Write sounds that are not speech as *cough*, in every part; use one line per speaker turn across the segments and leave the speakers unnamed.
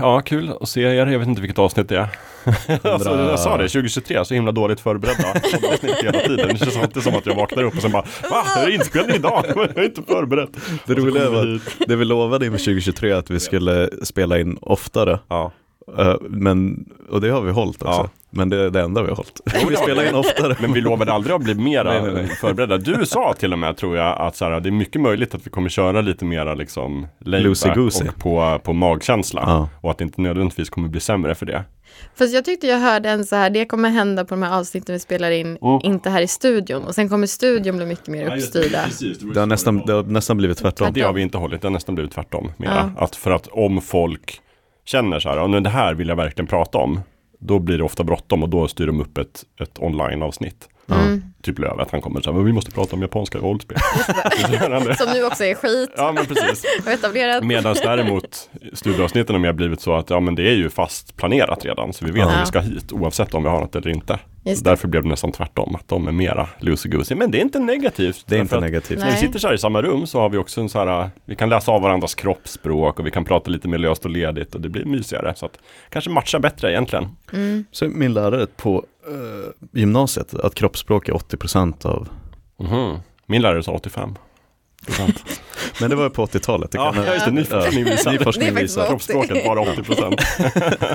ja, kul att se er. Jag vet inte vilket avsnitt det är. *laughs* alltså, jag sa det, 2023, så himla dåligt förberedda poddavsnitt hela tiden. Det känns alltid som att jag vaknar upp och sen bara Va? Är det inspelning idag? *laughs* Jag är inte förberedd.
Det
Och så
roliga
kommer
var
vi hit.
att det vi lovade inför 2023 att vi skulle spela in oftare.
Ja.
Eh, Men, och det har vi hållit också.
Ja.
Men det är det enda vi har hållit. Vi
det har
spelar
vi.
in oftare.
Men vi lovade aldrig att bli mera
Nej, nej, nej.
förberedda. Du sa till och med, tror jag, att så här, det är mycket möjligt att vi kommer köra lite mera liksom laid
Loosey
back
goosey.
och på, på magkänsla.
Ja.
Och att det inte nödvändigtvis kommer bli sämre för det.
Fast jag tyckte jag hörde en så här, det kommer hända på de här avsnitten vi spelar in, inte här i studion. Och sen kommer studion bli mycket mer uppstyrda.
*laughs* Det har nästan, det har nästan blivit tvärtom.
Det har vi inte hållit, det har nästan blivit tvärtom. Mera. Att för att om folk känner så här, "Ja, men det här vill jag verkligen prata om, då blir det ofta bråttom och då styr de upp ett, ett online-avsnitt.
Mm.
Typ Löv, att han kommer så här, "Men vi måste prata om japanska
*laughs*
rollspel. Så gör han det.
Som nu också är skit
ja, men precis.
och etablerat.
Medan däremot studieavsnitten har mer blivit så att ja, men det är ju fast planerat redan, så vi vet
Ja.
att vi ska hit oavsett om vi har något eller inte.
Just det.
Därför blev det nästan tvärtom, att de är mera loosey-goosey. Men det är inte negativt.
Det är
därför
inte
att
negativt.
När vi
Nej.
sitter så här i samma rum så har vi också en så här, vi kan läsa av varandras kroppsspråk och vi kan prata lite mer löst och ledigt och det blir mysigare. Så att kanske matcha bättre egentligen.
Så min lärare på eh, gymnasiet, att kroppsspråk är 80% av
Min lärare sa 85.
Men det var ju på 80-talet. det
Ja,
kan-
just det, *laughs* ny forskning visar.
Ny
Det
forskning
är faktiskt
visar.
bra.
Kroppsspråket bara 80 *laughs* procent.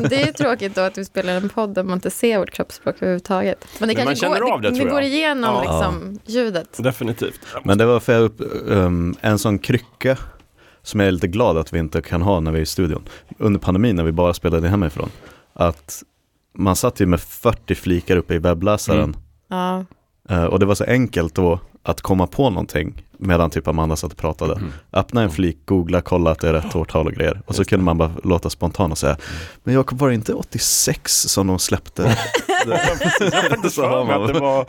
Det är tråkigt då att vi spelar en podd där man inte ser vårt kroppsspråk överhuvudtaget. Men det
Men man
kanske
känner
går,
av det,
vi
tror jag.
går igenom
Ja.
liksom, ljudet.
Definitivt.
Men det var för jag upp, ehm, en sån krycka som jag är lite glad att vi inte kan ha när vi är i studion. Under pandemin när vi bara spelade hemifrån. Att man satt ju med 40 flikar uppe i webbläsaren.
Mm.
Ja.
Eh, och det var så enkelt då att komma på någonting medan typ Amanda satt och pratade.
Mm. *laughs*
Öppna en flik, googla, kolla att det är rätt årtal och grejer. Och så kunde man bara låta spontan och säga, men Jakob var det inte 86 som de släppte?
Så har man. Att det var,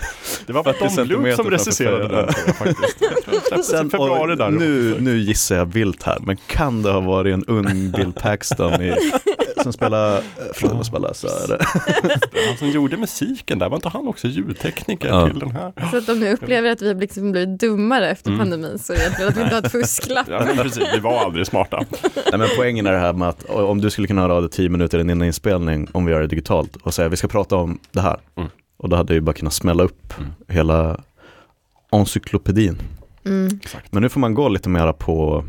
det var
40
Tom Luke
centimeter
som
framför
recenserade
fötterna.
den. tror jag, faktiskt. Den *laughs* släpptes i
Sen,
februari
och
där.
nu, nu gissar jag vilt här, men kan det ha varit en ung Bill Paxton i,
*laughs*
som spelar, eh, förlåt jag måste bara läsa här. eh,
Han som gjorde musiken där, var inte han också ljudtekniker
Ja.
till den här?
Så att om ni upplever att vi har liksom blivit dummare efter pandemin så är det egentligen att vi
*laughs*
inte har ett fusklapp.
Mm. Ja, men precis, vi var aldrig smarta.
Nej men poängen är det här med att o- om du skulle kunna höra av dig 10 minuter innan inspelning om vi gör det digitalt och säga vi ska prata om det här.
Mm.
Och då hade vi bara kunnat smälla upp hela encyklopedin.
Mm.
Men nu får man gå lite mera på,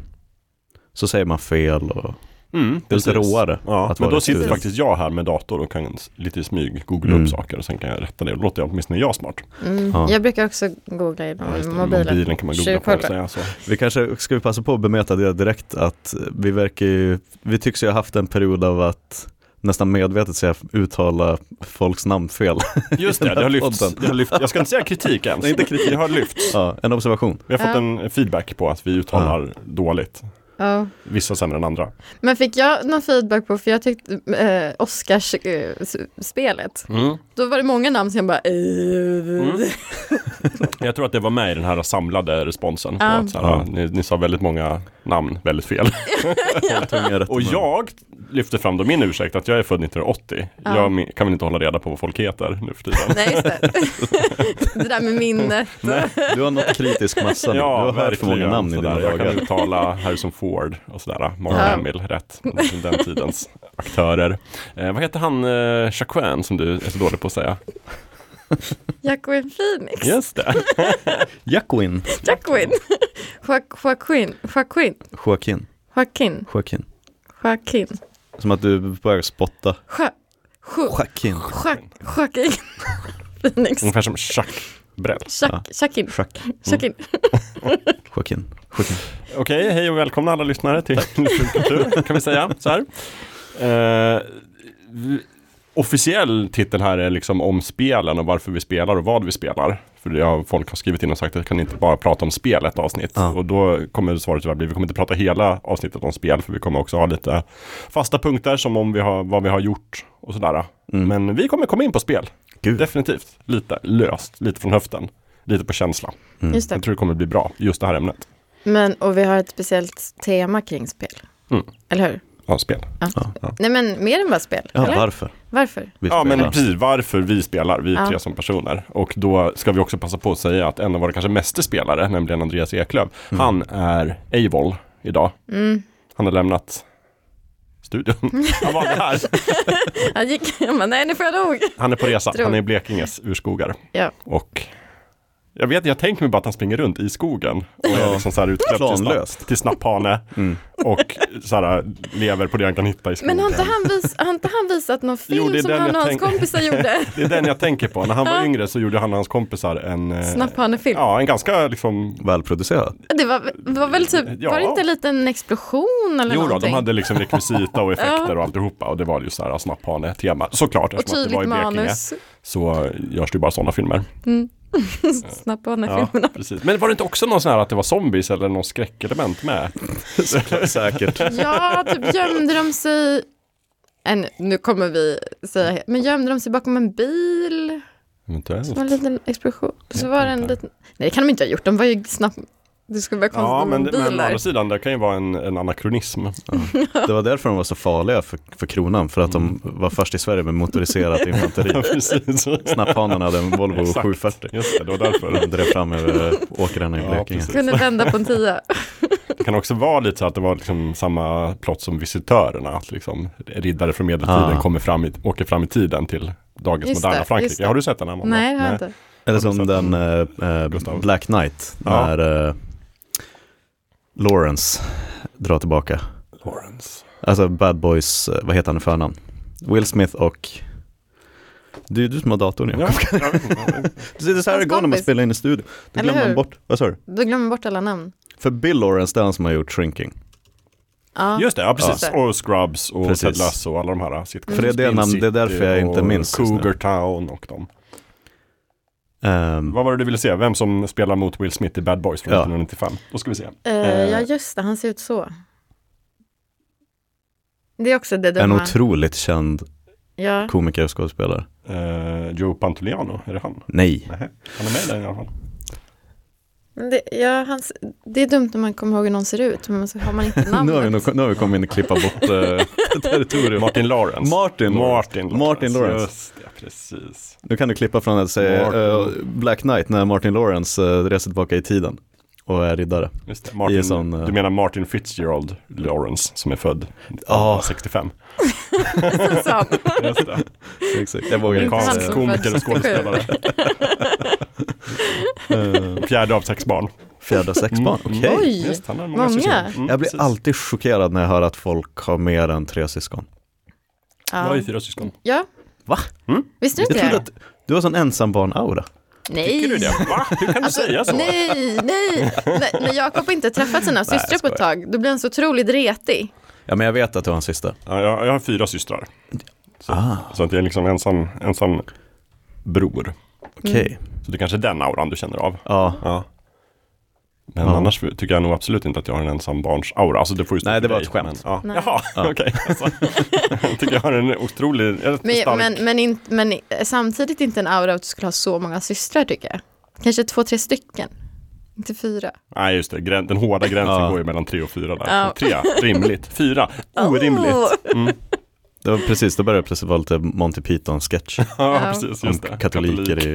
så säger man fel och
Mm,
det är lite
precis.
råare.
Ja,
att
men
vara
då
i
sitter
studion.
faktiskt jag här med dator och kan s- lite i smyg googla
Mm.
upp saker och sen kan jag rätta det. Då låter jag åtminstone jag smart.
Mm.
Ja.
Jag brukar också googla i
Ja, just det,
mobilen.
Mobilen kan man googla på.
Tjuvkoll.
Och säga så.
Vi kanske, ska vi passa på att bemöta det direkt att vi verkar ju, vi tycks ju ha haft en period av att nästan medvetet säga uttala folks
*laughs*
namn fel.
Just det, det har,
här
lyfts,
podden.
det har lyfts. Jag ska inte säga kritik ens.
*laughs* Nej, inte kritik.
Det har lyfts.
Ja, en observation.
Vi har fått
Ja.
en feedback på att vi uttalar dåligt.
Ja.
Vissa sämre än andra.
Men fick jag någon feedback på, för jag tyckte eh, Oscars-spelet,
Mm.
då var det många namn som jag bara... eh, *laughs*
Jag tror att det var med i den här samlade responsen. På
Ja.
att så här,
Ja.
ni, ni sa väldigt många namn väldigt fel.
Tunga rätt
Och
i mun.
jag lyfter fram då min ursäkt att jag är född 1980.
Ja.
Jag min- kan väl inte hålla reda på vad folk heter nu för tiden.
Nej, just det. *laughs* det där med minnet.
Du har nått kritisk massa nu. du har hört för många
verkligen,
namn i
sådär.
dina
Jag kan
dagar.
uttala Harrison Ford och sådär. Mark Hamill rätt. *laughs* Den tidens aktörer. Eh, vad heter han, eh, Jacquin, som du är så dålig på att säga?
Jacqueline Phoenix.
Just det.
Jacquin.
Jacqueline. Jo- *laughs* Joaquin. Joaquin.
Joaquin.
Joaquin.
Joaquin.
Joaquin.
Som att du börjar spotta.
Jo- Jo-
Joaquin.
Jo- Joaquin. *laughs* Phoenix.
Ungefär som Chuck Brell.
Jack- Jacquin.
Schack.
Jacquin.
Joaquin. Joaquin.
Okej, hej och välkomna alla lyssnare till
*laughs*
Kultur, kan vi säga så här. Eh, vi- officiell titel här är liksom om spelen och varför vi spelar och vad vi spelar. För det har, folk har skrivit in och sagt att kan ni inte bara prata om spel ett avsnitt.
Ja.
Och då kommer svaret tyvärr bli, vi kommer inte prata hela avsnittet om spel, för vi kommer också ha lite fasta punkter som om vi har, vad vi har gjort och sådär.
Mm.
Men vi kommer komma in på spel,
Gud.
definitivt. Lite löst, lite från höften, lite på känsla.
Just det.
Jag tror det kommer bli bra, just det här ämnet.
Men, och vi har ett speciellt tema kring spel.
Mm.
Eller hur?
Ja, spel.
Ja. Nej, men mer än bara spel.
Ja,
eller?
varför?
Varför?
Vi
Ja men
spelar.
precis, varför vi spelar, vi
Ja.
tre som personer. Och då ska vi också passa på att säga att en av våra kanske meste spelare, nämligen Andreas
Mm.
Mm.
Eklöf, han är Eivol idag. Han har lämnat
*laughs*
studion. Han valde här.
Han gick, *laughs* han bara, nej nu får jag nog.
Han är på resa,
Tror.
han är i Blekinges urskogar.
Ja.
Och jag vet, jag tänker mig bara att han springer runt i skogen och är
Ja.
liksom så här utklädd till, snapp,
Planlöst. Mm.
till snapphane och så här, lever på det han kan hitta i skogen.
Men har inte han, vis, har inte han visat någon film
det är
som
den
han
jag
och hans
tänk-
kompisar gjorde?
Det är den jag tänker på. När han var
Ja.
yngre så gjorde han och hans kompisar en, *laughs* eh,
Snapphanefilm.
ja, en ganska liksom *laughs*
Välproducerad.
Det, var, det var väl typ,
Eh, Ja.
var det inte en liten explosion eller
Jo då,
någonting?
de hade liksom rekvisita
*laughs*
och effekter och alltihopa och det var ju så här alltså, snapphane-tema. Såklart,
och
eftersom att det var i
tydligt
Blekinge
manus. *laughs*
så görs det ju bara sådana filmer. Ja,
Snapphanefilmerna.
precis. Men var det inte också någon sån här att det var zombies eller någon skräckelement med?
Säkert.
Ja, typ gömde de sig... En, nu kommer vi säga... Men gömde de sig bakom en bil? Det
Eventuellt.
var en liten explosion. Så var det en liten... Nej, det kan de inte ha gjort. De var ju snabbt... Det skulle vara
Ja,
konstigt med
men,
en
det- men
bil
å andra
där.
sidan, det kan ju vara en, en anakronism. *laughs*
*laughs* Det var därför de var så farliga för, för kronan, för att de
Mm.
var först i Sverige med
*laughs*
motoriserat infanteri.
precis.
Snapphanarna hade en Volvo
Exakt.
740.
Just det, det var därför.
De drev fram över åkrarna i
Ja,
Blekinge.
precis.
Kunde vända på en tia.
Det kan också vara lite så att det var liksom samma plott som visitörerna. Att liksom riddare från medeltiden
Ah.
kommer fram i, åker fram i tiden till dagens
Just
moderna
det, just
Frankrike.
det.
Har du sett den? Amanda?
Nej, det har jag inte.
Eller som
Har du sett
den eh, eh,
Gustav?
Black Knight,
Ja.
när eh, Lawrence drar tillbaka.
Lawrence.
Alltså Bad Boys, eh, vad heter han i förnamn? Will Smith och... Det är ju du som har datorn
Ja,
Jakob.
ja, ja.
*laughs* Det är så här det går
Hans
när man
kompis.
spelar in i studio. Då
Eller
glömmer man
hur?
bort, vad sa du?
Du glömmer bort alla namn.
För Bill Lawrence, det är han som har gjort Shrinking.
Ja.
Just det, ja precis.
Ja.
Och Scrubs och
Precis.
Ted Lasso och alla de här sitcoms.
För det är det
Spin
namn- det är därför jag
City
inte
och
minns just nu.
Cougar Town och dem.
Ehm,
Vad var det du ville se? Vem som spelar mot Will Smith i Bad Boys från
Ja.
1995? Då ska vi se.
Eh, ja, just det. Han ser ut så. Det är också det
en
dumma.
otroligt känd
Ja.
komiker och skådespelare.
Eh, Joe Pantoliano, är det han?
Nej,
Nej, han är med i den i alla fall.
*laughs*
Men Det, ja, hans, det är dumt när man kommer ihåg hur någon ser ut, men *laughs* så har
*laughs*
man inte
nu har, vi,
namnet.
nog- nu har vi kommit in och klippa bort *laughs* eh, territorium.
Martin Lawrence.
Martin Lawrence.
Martin
Martin Lawrence.
Just det, precis.
Nu kan du klippa från att säga
Martin.
eh, Black Knight när Martin Lawrence eh, reser tillbaka i tiden och är riddare.
Just det. Martin,
sån, eh,
Du menar Martin Fitzgerald Lawrence som är född 65.
Så,
Just
*laughs*
det.
Exakt. Jag vågar inte
han
Amerikansk
säga.
som
komiker och
född
skådespelare.
*laughs*
67.
Eh,
Fjärde av sex barn.
Fjärde och sex barn, okej.
Oj.
Just, han Mm. har
Många.
syskon. Mm,
Jag
precis.
blir alltid chockerad när jag hör att folk har mer än tre syskon.
Jag har
ja.
ju fyra syskon.
ja.
Va?
Visste du
Jag
inte
trodde
det?
att du har sån ensambarn-aura.
Nej.
Tycker du det? Va? Hur kan du säga så?
Alltså, Nej, nej. nej. När Jakob inte träffat
*laughs*
sina systrar på ett tag, då blir han så otroligt retig.
Ja men jag vet att du har en syster.
Ja, jag, jag har fyra systrar. Så,
Ah.
så att jag är liksom ensam, ensam bror.
Okej.
Mm.
Så det kanske är den auran du känner av.
Ja.
Ja. Men
Ja.
annars tycker jag nog absolut inte att jag har en ensam barns aura. Alltså det får ju stå
Nej,
för
det var
dig,
ett skämt.
Men, ja.
Nej.
Jaha, okej. Alltså, jag tycker jag har en otrolig, en stark...
Men, men, men, in, men samtidigt inte en aura av att du skulle ha så många systrar, tycker jag. Kanske två, tre stycken. Inte fyra.
Nej, just det. Grän, den hårda gränsen
Ja.
går ju mellan tre och fyra där.
Ja. Oh.
Tre, rimligt. Fyra, orimligt.
Åh.
Det var precis, då började det plötsligt vara lite Monty Python-sketch.
Ja,
Ja.
precis.
Om
Just det.
katoliker i...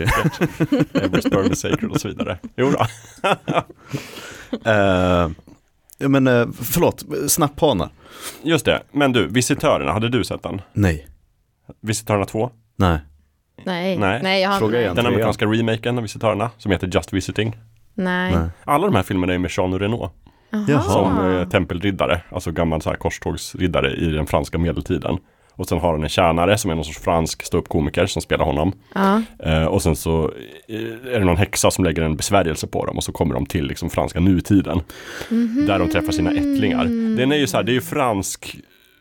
Every sperm is sacred och så vidare. Jo då.
*laughs* Eh, Ja men eh, förlåt, snapphanar.
Just det. Men du, Visitörerna, hade du sett den?
Nej.
Visitörerna 2?
Nej.
Nej.
Nej.
nej, jag har
Fråga
nej.
igen.
Den
Trean.
amerikanska remaken av Visitörerna som heter Just Visiting.
Nej.
Nej.
Alla de här filmerna är med Jean Reno
Jaha.
Jaha.
som eh, tempelriddare, alltså gammal så här korstågsriddare i den franska medeltiden. Och sen har han en tjänare som är någon sorts fransk ståuppkomiker som spelar honom.
Ja.
Eh, och sen så eh, är det någon häxa som lägger en besvärjelse på dem och så kommer de till liksom franska nutiden. Där de träffar sina ättlingar. Den är ju så här, det är ju fransk,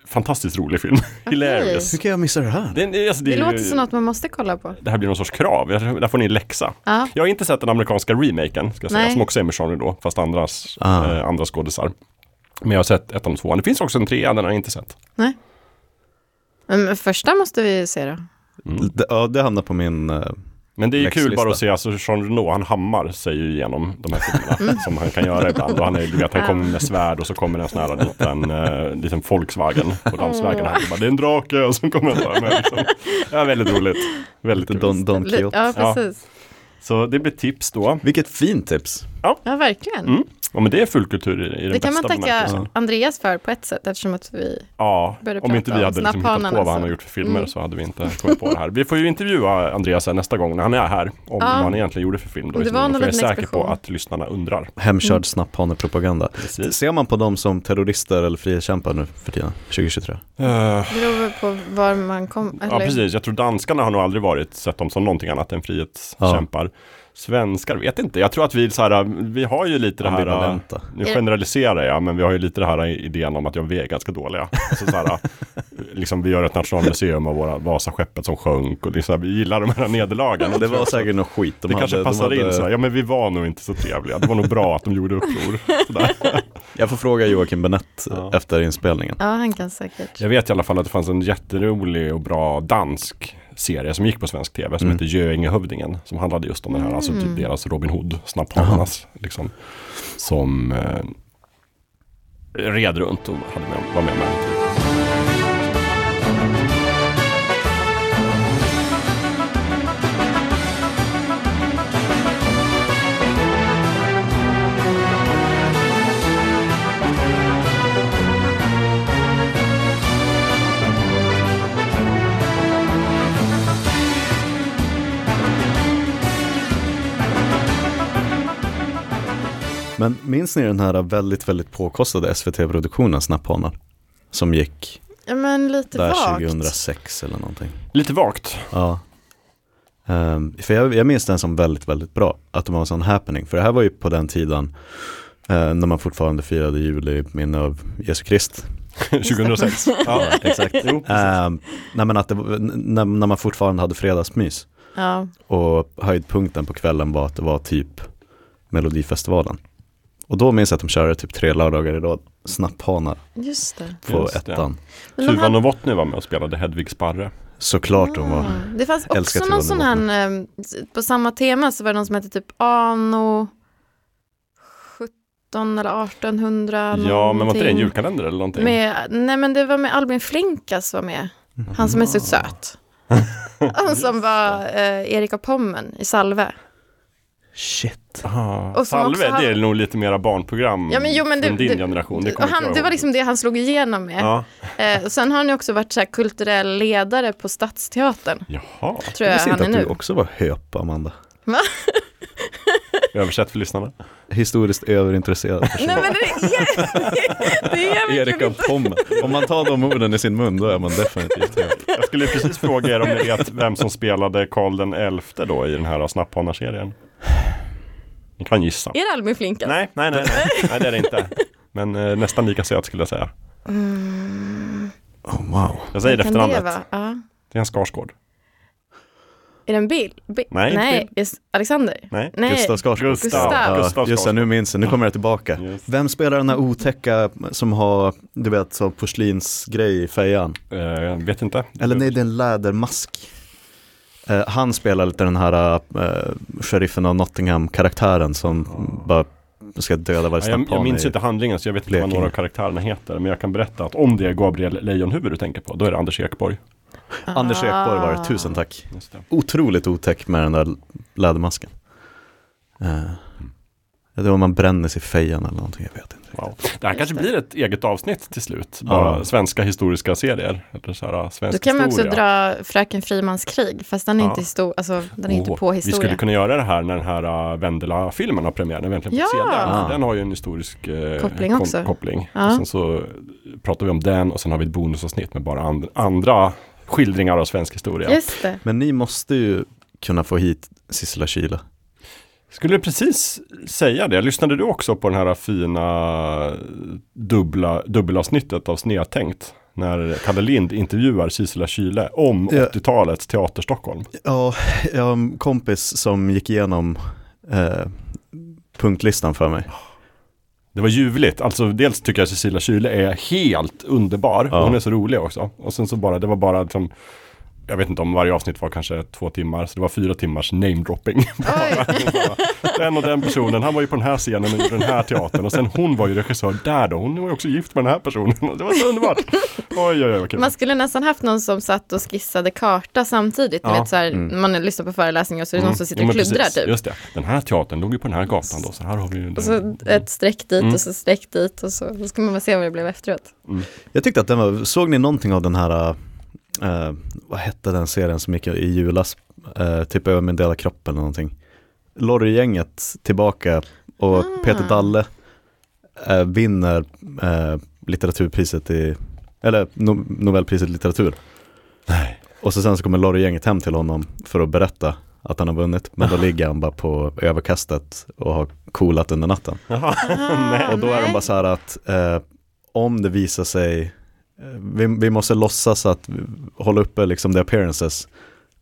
fantastiskt rolig film. Hilarious.
Hur kan jag missa det här?
Den, är- alltså, det,
Det
är ju-
låter som något man måste kolla på.
det här blir någon sorts krav, Jag- där får ni en läxa.
Ja.
Jag har inte sett den amerikanska remaken, ska jag säga,
Nej.
som också är med Sean då, fast andras,
Ah.
eh, andra skådisar. Men jag har sett ett av de två. Det finns också en trea, den har jag inte sett.
Nej. Men första måste vi ju se då.
Det- Ja, det hamnar på min... eh,
Men det är ju kul
Läxlista.
bara att se, alltså Jean Reno, han hammar sig ju igenom de här
Mm.
filmerna som han kan göra ibland. Och han, är, du vet, han kommer med svärd och så kommer det en sån här liten, eh, liten Volkswagen på landsvägen. Han bara, det är en drake och så kommer han så här med. Liksom. Ja, väldigt roligt. Väldigt
Lite
kul.
Don, Don
Li-
Quixote.
Ja,
Ja.
precis.
Så det blir tips då.
Vilket fint tips.
Ja, verkligen.
Ja men det är fulkultur i, i den
Det kan
bästa
man tacka
bemärkelsen.
Andreas för på ett sätt eftersom att vi
Ja,
Började
om inte
prata
vi
om
hade liksom hittat på
snapphanen
vad han
alltså.
har gjort för filmer
Mm.
så hade vi inte kommit på det här. Vi får ju intervjua Andreas här nästa gång när han är här om vad han egentligen gjorde för film. Då,
Det
i så
var
fall,
nog
för jag är säker
en
på
explosion.
att lyssnarna undrar.
Hemkörd snapphanepropaganda.
Precis.
Ser man på dem som terrorister eller frihetskämpar nu för tiden, 2023?
Eh,
beror på var man kom. Eller?
ja precis, jag tror danskarna har nog aldrig varit, sett dem som någonting annat än frihetskämpar. Svenskar vet inte, jag tror att vi, så här, vi har ju lite det här eh,
Ambivalenta.
Nu generaliserar jag, men vi har ju lite det här idén om att ja, vi är ganska dåliga. Alltså, så
*laughs*
här, liksom, vi gör ett nationalmuseum av våra Vasaskeppet som sjönk och det är så här, vi gillar de här nederlagen.
Det var säkert något skit. De
det kanske
hade- de
passar
hade-
in så här, ja men vi var nog inte så trevliga, det var nog bra att de gjorde uppror. Så där.
Jag får fråga Joakim Benett
Ja.
efter inspelningen.
Ja, han kan säkert.
Jag vet i alla fall att det fanns en jätterolig och bra dansk serie som gick på svensk tv som
Mm.
hette Göingehövdingen. Som handlade just om den här, alltså typ deras Robin Hood, snapphanarnas. Liksom, som eh, red runt och hade med, var med mig.
Men minns ni den här väldigt, väldigt påkostade SVT-produktionen Snapphanar? Som gick
Ja, men lite
där
vagt.
2006 eller någonting.
Lite vagt.
Ja. Ehm, för jag, jag minns den som väldigt, väldigt bra. Att det var en sån happening. För det här var ju på den tiden eh, när man fortfarande firade jul i minne av Jesu Krist.
2006. *laughs* ja, exakt. Jo,
Ehm, nej men att det, var- n- när, när man fortfarande hade fredagsmys.
Ja,
Och höjdpunkten på kvällen var att det var typ Melodifestivalen. Och då minns jag att de körde typ tre lördagar i rad, Snapphanar
just det.
på
Just det.
ettan.
Men de
Tuva
här-
Novotny var med och spelade Hedvig Sparre.
Såklart de var.
Ah, Det fanns
Älskar
också
Tuva
någon sån här, eh, på samma tema så var det någon som hette typ Ano 17 eller 1800
Ja, men var inte det en
någonting.
julkalender eller någonting?
Med, nej men det var med Albin Flinkas var med. Han som är
Mm.
så söt. Han som var eh, Erik av Pommen i Salve.
Shit.
Ah,
Och som
Salve,
också hade-
det är nog lite mera barnprogram
Ja, men jo, men
från
det-
din
det-
generation. Det,
och
kommer inte
han,
jag
det var
ihåg.
liksom det han slog igenom med.
Ja.
Eh, och sen har han ju också varit så här kulturell ledare på Stadsteatern.
Jaha,
Tror
Jag
jag,
visste
han
inte
är
att
nu.
du också var höp, Amanda.
översätt för lyssnarna.
Historiskt överintresserad person.
Nej men det är, *laughs* det
*laughs*
är
Erik av
verkligen
Pommen. Om man tar de orden i sin mun, då är man definitivt höp.
Jag skulle precis fråga er om ni vet vem som spelade Karl den elfte då i den här Snapphanar-serien. Ni kan gissa.
Är det Albin Flinkas?
Nej, nej, nej,
*laughs*
nej, nej, det är det inte. Men eh, nästan lika söt skulle jag säga.
Oh, wow.
Jag säger
Kan det
efternamnet.
vara? Ja.
Det är en Skarsgård.
Är det en bil? Bi-
Nej, inte
Nej.
Bill.
Just Alexander?
Nej.
Nej.
Gustav Skarsgård.
Gustav.
Gustav.
Ja,
Gustav
just det, nu minns jag. Nu kommer jag tillbaka.
Just.
Vem spelar den här otäcka som har, du vet, så porslinsgrej i fejan?
Eh, Jag vet inte.
Eller nej, det är en lädermask. Eh, han spelar lite den här eh, sheriffen av Nottingham-karaktären som bara ska döda varje
Ja, jag, jag
snapphane
minns
i-
inte handlingen så jag vet inte vad
Blekinge.
några av karaktärerna heter. Men jag kan berätta att om det är Gabriel Lejonhuvud du tänker på, då är det Anders Ekborg.
Anders Ekborg var det,
Ah.
tusen tack.
Just det.
Otroligt otäck med den där lädermasken. Eh, det var man bränner sig i fejan eller någonting, jag vet inte.
Wow. Det här kanske blir ett eget avsnitt till slut. Bara
Ja.
svenska historiska serier. Eller så här, äh,
Då
svensk
kan man också
historia.
dra Fröken Frimans krig, fast den är
Ja.
inte, histor- alltså, den är
Åh,
inte på
vi
historia.
skulle kunna göra det här när den här äh, Vendela-filmen har premiär, när vi äntligen får
Ja.
se den.
Ah.
Den har ju en historisk eh,
Koppling
kom-
också.
koppling.
Ja.
Och sen så pratar vi om den och sen har vi ett bonusavsnitt med bara and- andra skildringar av svensk historia.
Just det.
Men ni måste ju kunna få hit Sissela Kyle.
Skulle precis säga det. Lyssnade du också på den här äh, fina dubbla, dubbelavsnittet av Snedtänkt? När Kalle Lind intervjuar Sissela Kyle om
Ja.
80-talets Teaterstockholm.
Ja, jag har en kompis som gick igenom eh, punktlistan för mig.
Det var ljuvligt. Alltså dels tycker jag Cecilia Kyle är helt underbar.
Ja.
Hon är så rolig också. Och sen så bara, det var bara liksom jag vet inte om varje avsnitt var kanske två timmar, så det var fyra timmars namedropping. *laughs* den och den personen, han var ju på den här scenen och gjorde den här teatern och sen hon var ju regissör där då, hon var ju också gift med den här personen. Det var så underbart. Oj, oj, oj, okay.
Man skulle nästan haft någon som satt och skissade karta samtidigt. Ni
Ja,
vet, så här, Man lyssnar på föreläsningar och så är det någon som sitter
Jo,
och
Mm. men
kluddrar
precis,
typ.
Just det, den här teatern låg ju på den här gatan då, så här har vi ju den.
Och så ett streck dit
Mm.
och så ett streck dit och så, så ska man bara se vad det blev efteråt.
Jag tyckte att den var, såg ni någonting av den här, eh, vad hette den serien som gick i julas, eh, typ över min del av kroppen eller någonting. Lorry-gänget tillbaka och Peter Dalle eh, vinner eh, litteraturpriset i, eller no- Nobelpriset i litteratur.
Nej.
Och så sen så kommer Lorry-gänget hem till honom för att berätta att han har vunnit, men då ligger han bara på överkastet och har coolat under natten. Och då är de bara så här att eh, om det visar sig, eh, vi, vi måste låtsas att hålla uppe liksom the appearances,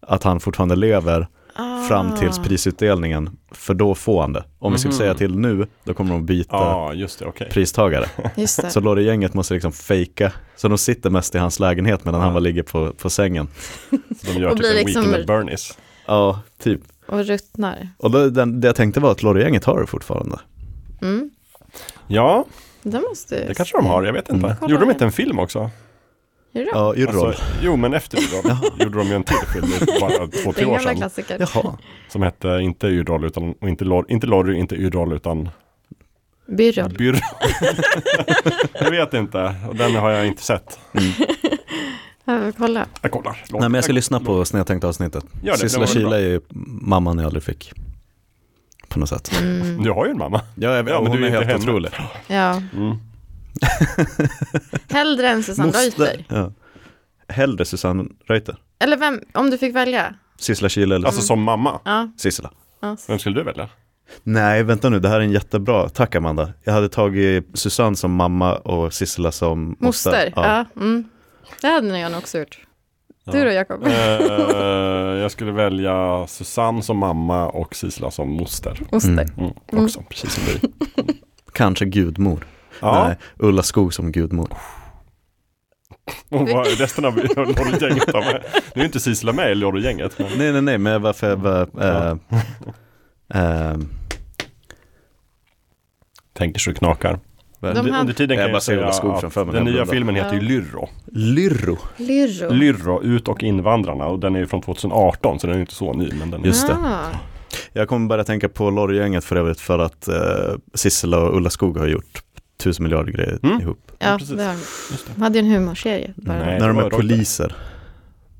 att han fortfarande lever
Ah,
fram tills prisutdelningen, för då får han det. Om vi skulle säga till nu, då kommer de byta
Mhm. Ja, just det, okej.
pristagare.
Just det.
Så Lorry-gänget måste liksom fejka, så de sitter mest i hans lägenhet medan han bara ligger på, på sängen.
De gör
Och
typ
blir
en
liksom-
Weekend at Bernies.
Ja, typ.
Och ruttnar.
Och då, den, det jag tänkte var att Lorry-gänget har det fortfarande.
Mm.
Ja,
Det måste
det kanske de har, jag vet inte.
Kolla
Gjorde de
det.
inte en film också?
Är det
Ja,
bra?
Yrrol.
Alltså, jo, men efter Yrrol gjorde de ju en till film för
*laughs*
bara två,
det är
tre
en
år
gamla
sedan.
klassiker.
Jaha.
Som hette inte Yrrol, utan, och inte, Lor, inte Lorry, inte Yrrol, utan
Byrroll.
Byrrol. *laughs* jag vet inte, och den har jag inte sett.
Jag får kolla.
Jag kollar. Låt-
Nej men jag ska lyssna på snedtänkta avsnittet.
det, för
Sissela
det var väl
Kyle
bra.
är ju mamman jag aldrig fick. På något sätt.
Du har ju en mamma.
Ja, jag,
Ja, men
hon
du är
är
inte
helt
henne.
otrolig.
Ja.
Mm.
*laughs* Hellre än Susanne Reuter.
Ja. Hellre Susanne Reuter.
Eller vem, om du fick välja.
Sissela Kyle eller
Alltså som mamma.
Ja,
Sissela.
ja.
Vem skulle du välja?
Nej, vänta nu, det här är en jättebra. Tack Amanda. Jag hade tagit Susanne som mamma och Sissela som
Moster.
Ja.
Ja. Mm. Det hade nog jag nog också gjort. Du då Jakob?
Eh, jag skulle välja Susanne som mamma och Sisla som moster.
Moster.
Mm, också, precis som du.
Kanske gudmor.
Ja.
Nej, Ulla Skog som gudmor.
Och vad, resten av *laughs* Lorry-gänget har med. Nu är inte Sisla med i Lorry-gänget. Men...
Nej, nej, nej, men varför...
Mm.
jag var, eh, ehm,
Tänker så det knakar.
vad-
De-
Under,
här-
under tiden
Jag
kan jag,
bara ser
säga
Ola Skog
att
framför mig när
den
jag
nya
blundar.
filmen heter ju Lyrro.
Lyrro.
Lyrro.
Lyrro, Ut och invandrarna och den är ju från 2018 så den är ju inte så ny. Men den är...
Just det.
Ah.
Jag kommer börja tänka på Lorry-gänget för övrigt för att eh, Sissela och Ulla Skog har gjort tusen miljarder grejer
Mm.
ihop.
Ja,
precis.
det har de. De hade ju en humorserie. Bara.
Nej.
När de
det
är
var Reuter.
poliser.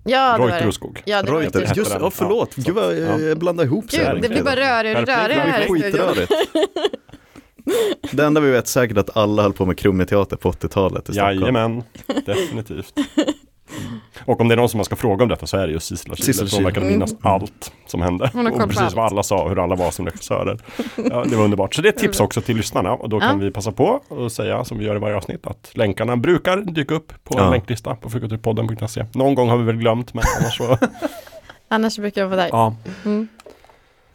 Ja, det var
Reuter
det.
och Skog.
Ja, det var
Reuter,
Reuter.
Reuter.
just
Hette
det,
den.
ja, förlåt.
Ja,
Gud vad jag jag blandar ihop sig. här.
Gud, det blir bara rörigare och
Skärpning.
rörigare här i
Skärpning.
studion. *laughs*
Skitrörigt. Det enda vi vet säkert är att alla höll på med krummiteater på 80-talet i Stockholm. *laughs*
Jajamän, definitivt. Och om det är någon som man ska fråga om detta så är det just Sissela
Sissela
Kyle. Hon
Kyle. Mm.
verkar minnas allt som hände.
Hon har koll
och
på
precis
allt.
vad alla sa, hur alla var som regissörer. Ja, det var underbart. Så det är ett tips också till lyssnarna. Och då kan vi passa på och säga, som vi gör i varje avsnitt, att länkarna brukar dyka upp på en
Ja.
länklista på fukulturpodden.se. Någon gång har vi väl glömt, men annars
*laughs*
så...
Annars brukar jag vara där. Mm.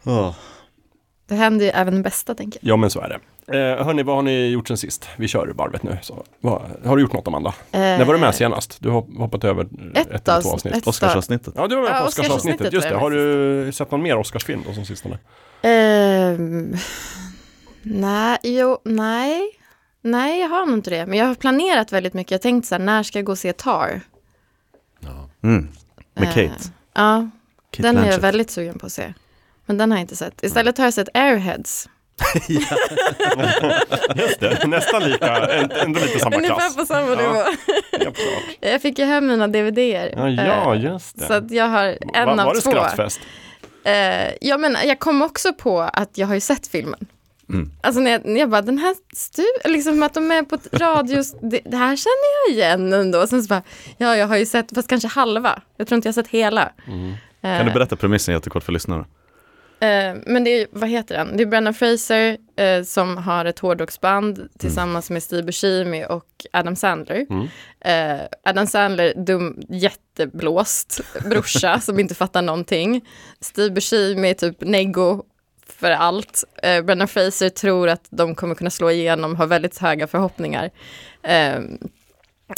ja.
Åh.
Det händer ju även det bästa, tänker
ja, men så är det. Eh, hörni, vad har ni gjort sen sist? Vi kör varvet nu. Så, vad, har du gjort något, Amanda?
jag.
När var du med senast? Du har hoppat över eh,
Eh. Ett
ett, eller två
avsnitt.
avsnitt.
Ett
Oscarsavsnittet.
Ja, du var med
Ja,
på
Oscarsavsnittet
Oscarsavsnittet. Just
var
det.
jag
Har du sett någon mer Oscarsfilm då som sistone?
Ehm, nej, jo, nej. Nej, jag har nog inte det. Men jag har planerat väldigt mycket. Jag har tänkt så här, när ska jag gå och se Tar? Ehm,
Mm. Med Kate.
Ja,
Kate
den är jag
Blanchett.
väldigt sugen på att se. Men den har jag inte sett. Istället har jag sett Airheads.
Just det, nästan lika, en- ändå lite samma klass.
Ungefär på samma nivå.
Helt klart.
Jag fick ju hem mina DVDer.
Ja, ja,
Eh,
just det.
Så att jag har en
Va-
av
var det
två.
skrattfest?
Eh, ja, men jag kom också på att jag har ju sett filmen.
Mm.
Alltså när jag, när jag bara, den här stu, liksom att de är på ett radio, det, det här känner jag igen ändå. Sen så bara, ja jag har ju sett, fast kanske halva. Jag tror inte jag har sett hela. Eh,
Mm. Kan du berätta premissen jättekort för lyssnarna?
eh, men det är ju- vad heter den? Det är Brendan Fraser eh, som har ett
Mm.
hårdrocksband tillsammans med Steve Buscemi och Adam Sandler. Eh, Adam Sandler, dum, jätteblåst brorsa *laughs* som inte fattar någonting. Steve Buscemi är typ neggo för allt. Eh, Brendan Fraser tror att de kommer kunna slå igenom, har väldigt höga förhoppningar. Eh,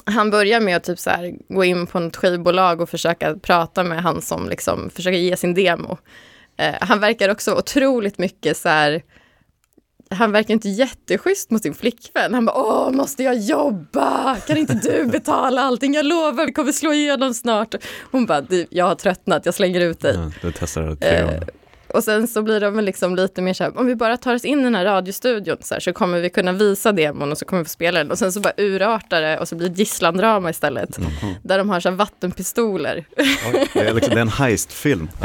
han börjar med att typ så här, gå in på något skivbolag och försöka prata med han som liksom försöker ge sin demo. Eh, han verkar också otroligt mycket så här, han verkar inte jätteschysst mot sin flickvän. Han bara, åh, måste jag jobba? Kan inte du betala allting? Jag lovar, vi kommer slå igenom snart. Hon bara, "Du, jag har tröttnat, jag slänger ut dig.
Ja, du testar det tre
Eh,
gånger.
Och sen så blir de väl liksom lite mer så här, om vi bara tar oss in i den här radiostudion så, här, så kommer vi kunna visa demon och så kommer vi få spela den. Och sen så bara urartar det och så blir det gisslandrama istället.
Mhm.
Där de har så här vattenpistoler.
Det är, liksom, det är en heistfilm.
*laughs*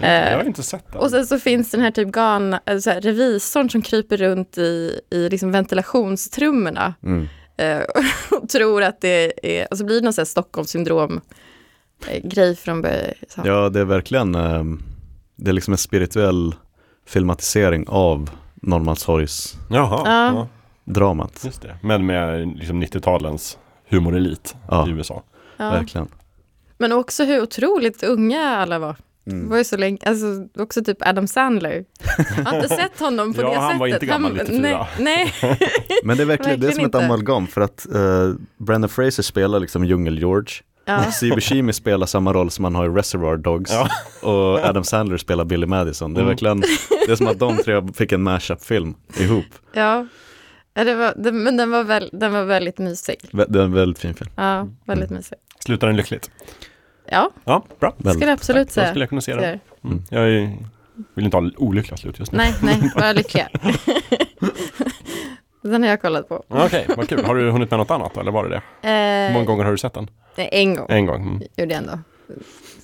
Ja.
Jag har inte sett den.
Och sen så finns den här typ gan, eller så här, revisorn som kryper runt i, i liksom ventilationstrummorna.
Mm.
Eh, *laughs* och tror att det är, och så blir det någon så här Stockholmssyndrom eh, grej från början. Så.
Ja, det är verkligen, ehm, det är liksom en spirituell filmatisering av Norrmalmstorgs-dramat.
Jaha,
Ja.
ja. just det. Men med liksom 90-talens humorelit
Ja.
i USA.
Ja.
Verkligen.
Men också hur otroligt unga alla var. Det var ju så länge, alltså också typ Adam Sandler. Jag har inte sett honom på
Ja,
det sättet.
han var inte gammal 94.
Nej, nej.
Men det är verkligen, det är som
Verkligen
ett
inte.
amalgam för att uh, Brandon Fraser spelar liksom Djungel-George.
Ja.
Sibu Shimi spelar samma roll som han har i Reservoir Dogs
Ja.
och Adam Sandler spelar Billy Madison. Det är
Mm.
verkligen, det är som att de tre fick en mashup-film ihop.
Ja. Ja, det var, det, men den var, väl, den var väldigt mysig.
Vä- Det är en väldigt fin film.
Ja, väldigt mysig.
Slutar den lyckligt?
Ja,
Ja, bra.
skulle jag absolut
Så
säga.
skulle jag kunna se
Skulle
den.
jag-
Mm. Jag är, vill inte ha olyckliga slut just nu.
Nej, nej, bara lyckliga. *laughs* den har jag kollat på.
Ja, Okej, vad kul. Har du hunnit med något annat eller var det det? Hur många
Eh,
gånger har du sett den?
nej, en gång
En gång. Mm.
gjorde jag ändå.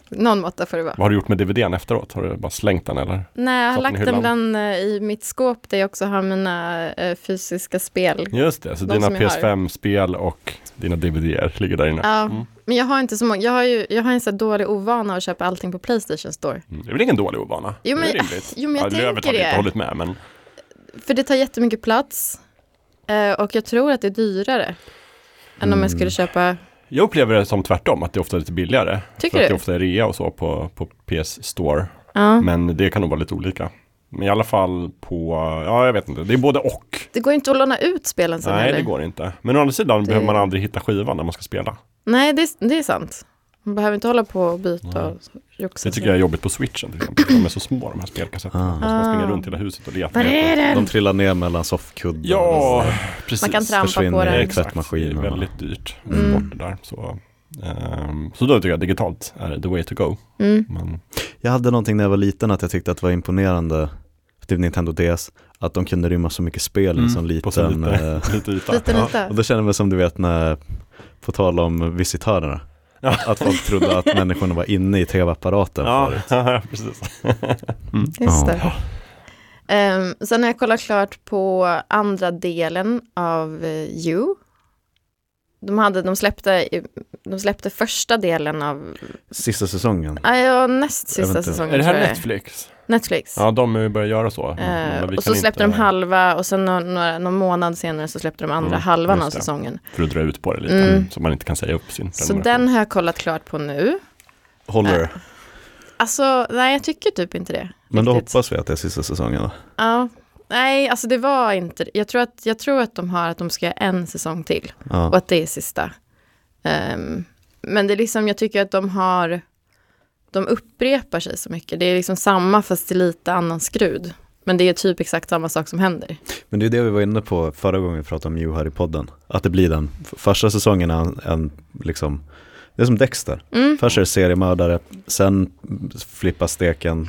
Någon måtta får det vara.
Vad har du gjort med DVDn efteråt? Har du bara slängt den eller?
Nej, jag har
Satt den i
lagt den
hyllan?
bland, eh, i mitt skåp där jag också har mina eh, fysiska spel.
Just det, så
De
dina
som jag har.
PS5-spel och dina DVDer ligger där inne.
Ja,
Mm.
men jag har inte så många. Jag har ju jag har en så här dålig ovana att köpa allting på Playstation Store.
Mm. Det är väl ingen dålig ovana?
Jo, men-
det är
*laughs*
rimligt.
jo, men jag
ja, Lövet
tänker
har vi inte
det.
hållit med, men
För det tar jättemycket plats eh, och jag tror att det är dyrare än om jag
Mm.
skulle köpa.
jag upplever det som tvärtom, att det ofta är lite billigare.
Tycker
för att
du?
det ofta är rea och så på, på PS Store.
Ja.
Men det kan nog vara lite olika. Men i alla fall på, ja jag vet inte, det är både och.
Det går inte att låna ut spelen sen
Nej,
heller.
det går inte. Men å andra sidan behöver man aldrig hitta skivan när man ska spela.
Nej, det, är- det är sant. Man behöver inte hålla på och byta och joxa.
Det tycker jag är jobbigt på switchen till exempel. för De är så små de här spelkassetterna.
Ah.
Måste man springa runt i hela huset och leta.
Var är
De
den?
trillar ner mellan soffkudden.
Ja, precis.
Man kan trampa på
försvinner
Nej,
den.
i
Exakt, det är
tvättmaskinen.
väldigt dyrt. att
Mm.
få Bort det där. Så, ehm, så då tycker jag digitalt är the way to go.
Mm.
Men, *laughs*
Jag hade någonting när jag var liten att jag tyckte att det var imponerande, typ Nintendo DS, att de kunde rymma så mycket spel i en sån
Mm. på så
liten... eh,
lite, lite yta.
Liten
Ja.
yta.
och då känner jag mig som du vet när, på tal om visitörerna,
Ja.
att folk
*laughs*
trodde att människorna var inne i tv-apparaten.
Ja, *laughs*
förut.
precis.
Ja.
Just det. Ehm, sen har jag kollat klart på andra delen av eh, You. De, hade, de, släppte, eh, de släppte första delen av,
Sista säsongen.
ah, ja, näst sista
Eventuellt.
säsongen
Är det här
tror jag
Netflix?
Netflix.
Ja, de har ju börjat göra så.
Eh,
Men vi
och
kan
så släppte
inte-
de halva och sen någon, några, någon månad senare så släppte de andra
Mm,
halvan
just
av
det.
säsongen.
För att dra ut på det lite,
Mm.
så man inte kan säga upp sin
Så den har jag kollat klart på nu.
Håller.
Alltså, nej jag tycker typ inte det.
Men då
riktigt.
hoppas vi att det är sista säsongen. då.
Ja, nej alltså det var inte, jag tror att, jag tror att de har att de ska göra en säsong till. och
Ja.
att det är sista. Ehm, men det är liksom, jag tycker att de har, de upprepar sig så mycket. Det är liksom samma fast i lite annan skrud. Men det är typ exakt samma sak som händer.
Men det är det vi var inne på förra gången vi pratade om You här i podden. Att det blir den f- första säsongen är en, en liksom, det är som Dexter.
Mm.
Först är det seriemördare, sen flippar steken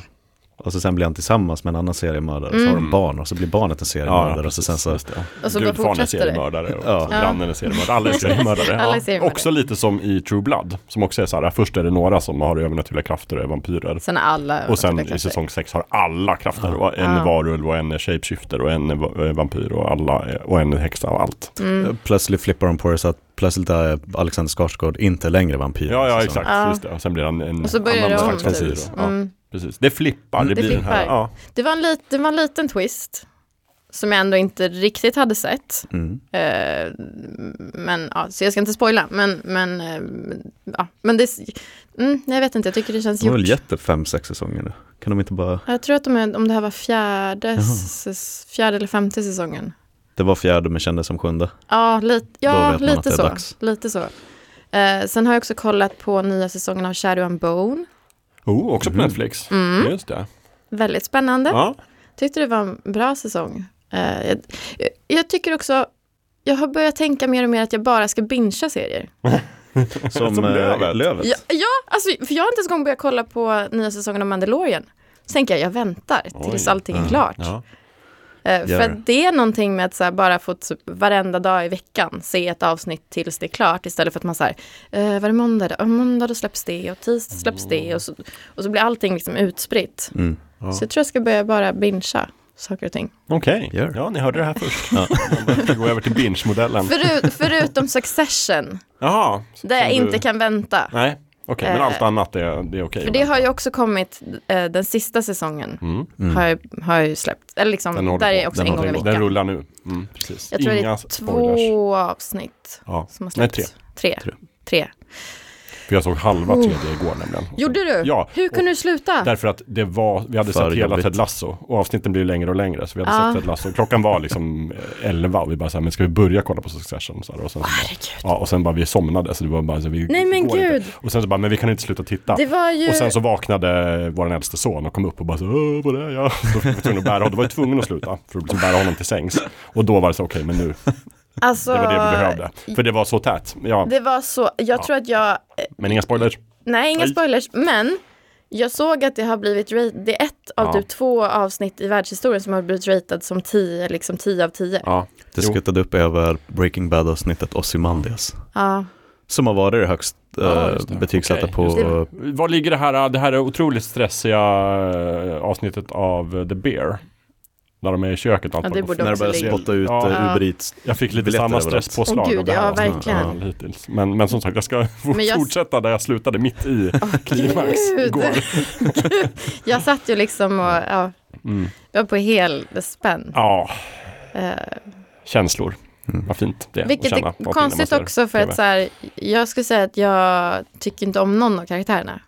och så sen blir han tillsammans med en annan seriemördare. Så har de
Mm.
barn och så blir barnet en seriemördare och så sen så,
Just det.
Och så Alltså, bara
Gudfadern är
fortsätter det.
seriemördare och
Ja.
grannen är seriemördare.
*laughs*
Alla är seriemördare.
Alla är
Ja.
seriemördare.
Också lite som i True Blood, som också är så här, först är det några som har övernaturliga krafter och är vampyrer.
Sen är alla
Och sen
överklassare.
i säsong 6 har alla krafter. Och en
Ja.
är varulv och en är shapeshifter och en är va- eh, vampyr och, alla är, och en är häxa och allt.
Mm.
plötsligt flippar de på det så att plötsligt är Alexander Skarsgård inte längre vampyr. Liksom.
Ja, ja
Så-
exakt.
Ja.
Just det. Och sen blir han en
Och så börjar
annan
det om,
slags vampyr.
typ.
Ja,
Mm.
precis. Det flippar. Det,
Det
blir den här.
flippar.
Ja.
Det, var en lit, det var en liten twist. Som jag ändå inte riktigt hade sett.
Mm.
Eh, men, ja, så jag ska inte spoila. Men, men, eh, ja, men det, mm, jag vet inte, jag tycker det känns
De har väl
gjort.
gett det fem, sex säsonger nu? Kan de inte bara...
Jag tror att de är, om det här var fjärde, s- s- fjärde eller femte säsongen.
Det var fjärde men kändes som *laughs* sjunde.
Ja, lite,
Då
ja,
vet man att det
lite,
är
så,
dags.
lite så. Eh, sen har jag också kollat på nya säsongen av Shadow and Bone.
Oh, också på
Mhm.
Netflix.
Mm.
Just det.
Väldigt spännande.
Ja.
Tyckte det var en bra säsong. Eh, jag, jag, jag tycker också, jag har börjat tänka mer och mer att jag bara ska bingea serier.
Som,
Som
eh,
Lövet.
lövet.
Ja, ja alltså, för jag har inte ens gång börjat kolla på nya säsongen av Mandalorian. Så tänker jag, jag väntar tills
Oj.
allting
Mm.
är klart.
Ja.
Eh, för
Gör det.
att det är någonting med att så här, bara få typ, varenda dag i veckan se ett avsnitt tills det är klart istället för att man så här, eh, var det måndag då? Ja, måndag då släpps det och tisdag släpps det och så, och så blir allting liksom utspritt.
Mm.
Så jag tror jag ska börja bara bingea saker och ting.
Okej,
Gör.
ja ni hörde det här först. *laughs* Man behöver gå över till binge-modellen.
*laughs*
Föru, förutom Succession,
Jaha. så-
där jag
som du-
inte kan vänta.
Nej, okej, men
Eh,
allt annat är, det är okej.
För
att
det
vänta.
har ju också kommit, eh, den sista säsongen
Mm.
har, jag, har jag ju släppt. Eller liksom,
Den håller
där är
på.
jag också
Den
en gång i
håller på.
Den
veckan.
rullar nu. Mm, precis.
Jag tror det
Inga
är
spoilers.
två avsnitt
Ja.
som har
Nej,
släppts.
tre.
tre.
Tre.
Tre.
För jag såg halva tredje igår nämligen. Och så-
Oh. Gjorde du?
Ja.
Hur kunde du sluta?
Därför att det var, vi hade
För
sett hela
jobbigt.
Ted Lasso och avsnitten blir längre och längre. Så vi hade
Ja.
sett Ted Lasso. Klockan var liksom eh, 11 och vi bara så här, men ska vi börja kolla på Succession? Så här, och sen så bara,
Herregud.
ja, och sen bara vi somnade. Så det var bara så här, vi
Nej, men
går
gud.
Inte. Och sen så bara, men vi kan inte sluta titta.
Det var ju...
Och sen så vaknade vår äldste son och kom upp och bara så, "Åh, vad är jag? Så var vi tvungna att bära honom, då var jag tvungen att sluta för att liksom bära honom till sängs. Och då var det så, okej men nu,
alltså,
det var det vi behövde. För det var så tätt. Ja,
Det var så, jag tror att jag... eh,
men inga spoilers.
Nej, inga
Aj.
spoilers, men jag såg att det har blivit... ra- Det är ett av
Ja.
typ två avsnitt i världshistorien som har blivit ratad som 10, liksom 10 av 10. Ja.
Ja,
Det
Jo.
skuttade upp över Breaking Bad-avsnittet Ozymandias. Som har varit det högst eh,
Ja, just det.
betygsatta
Okej,
på...
just Var ligger det här, det här är otroligt stressiga eh, avsnittet av The Bear? När de är i köket och allt
Ja, det
vad
borde
När det
också
börjar
ligga.
spotta ut
Ja.
ja. Uber Eats.
Jag fick lite
Biljetter
samma
överallt.
stresspåslag
Åh, gud,
av det här
ja,
avsnittet.
verkligen.
Ja, hittills. men, men som sagt, jag ska
*laughs* Men jag-
fortsätta där jag slutade mitt
*laughs*
i *laughs* klimax
gud.
igår.
*laughs* Jag satt ju liksom och... Ja,
Mm.
jag var på hel spänn.
Ja,
Eh,
känslor.
Mm.
Vad fint det är
vilket
att känna.
är
allting när man
konstigt
ser
också för
TV.
att så här, jag skulle säga att jag tycker inte om någon av karaktärerna.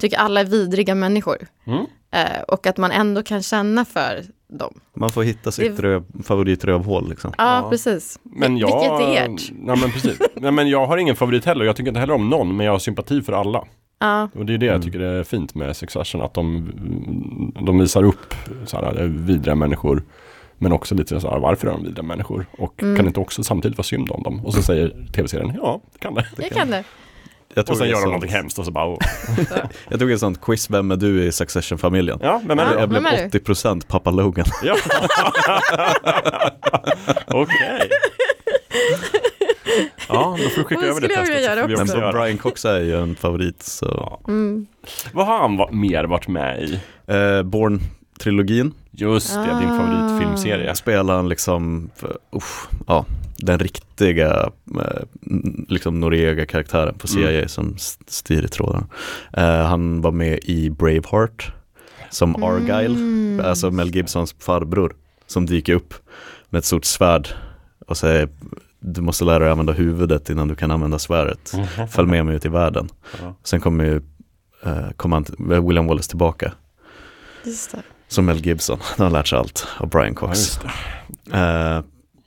Tycker alla är vidriga människor.
Mm.
Eh, och att man ändå kan känna för dem.
Man får hitta sitt
Det-
röv, favoritrövhål liksom.
Ja,
Ja.
precis.
Men jag,
Vilket är ert?
Nej, men precis. Nej, men jag har ingen favorit heller. Jag tycker inte heller om någon, men jag har sympati för alla.
Ja,
Och det är det jag tycker är fint med Succession, att de, de visar upp så här, eh, vidriga människor. Men också lite så här, varför är de vidriga människor? Och
Mm.
kan inte också samtidigt vara synd om dem? Och så säger tv-serien, ja, det kan det.
jag kan det.
Jag
Och
det
sen
är
gör de
sånt-
någonting hemskt och så bara, oh.
Jag tog ett sånt quiz, vem är du i Succession-familjen?
ja, vem är det
Ja.
då?
Jag blev
vem är
80% pappa Logan.
*laughs* Ja. Okej. *laughs* Ja, då får du skicka
Det
över det
skulle jag
testet.
vilja göra
så får vi
också.
Men
också göra det.
Brian Cox är ju en favorit. Så.
Mm.
Vad har han va- mer varit med i?
Eh, Born-trilogin
Just det, din
Ah.
favoritfilmserie.
spelar han liksom, för- usch, ja, den riktiga eh, n- liksom Noriega-karaktären på CIA
Mm.
som st- styr i trådarna. Eh, han var med i Braveheart som
Mm.
Argyle, alltså Mel Gibsons farbror som dyker upp med ett stort svärd och säger du måste lära dig använda huvudet innan du kan använda svärdet.
Mm.
Följ med mig ut i världen.
Ja.
Sen kommer ju eh, kommer han, t- William Wallace tillbaka
Just det.
som Mel Gibson. *laughs* Han har lärt sig allt av Brian
Ja,
Cox.
just det.
Eh,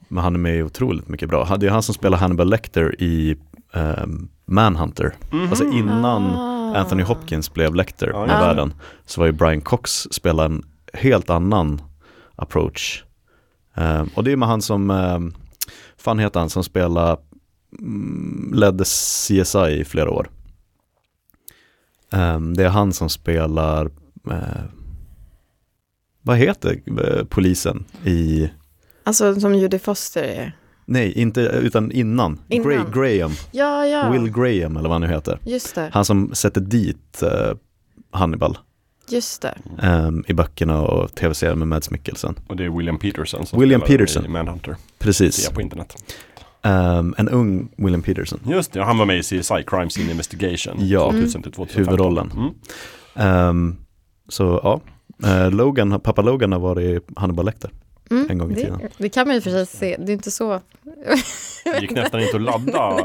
men han är med i otroligt mycket bra. Han- Det är han som spelar Hannibal Lecter i eh, Manhunter.
Mm-hmm.
Alltså innan
Ah.
Anthony Hopkins blev Lecter
Ja,
med
just
det.
världen så var ju Brian Cox spela en helt annan approach. Eh, och det är med han som, eh, fan heter han, som spelade, mm, ledde CSI i flera år. Eh, det är han som spelar, eh, vad heter eh, polisen i
Alltså som Judy Foster är.
Nej, inte utan innan.
Innan.
Gra- Graham,
Ja, ja.
Will Graham eller vad han nu heter.
Just det.
Han som sätter dit eh, Hannibal
Just det.
ehm, i böckerna och tv-serien med Mads Mikkelsen.
Och det är William Peterson som
William
spelar
Peterson.
i Manhunter. Ser
Precis,
jag på internet.
Ehm, en ung William Peterson.
Just det, han var med i CSI, Crime Scene Investigation.
Ja, mm.
2000 till 2015.
huvudrollen.
Mm.
Ehm, så ja, Eh, Logan, pappa Logan har varit Hannibal Lecter.
Mm,
en gång i tiden.
det, det kan man ju för sig se, det är inte så.
Det gick
*laughs*
nästan inte att
*laughs*
ladda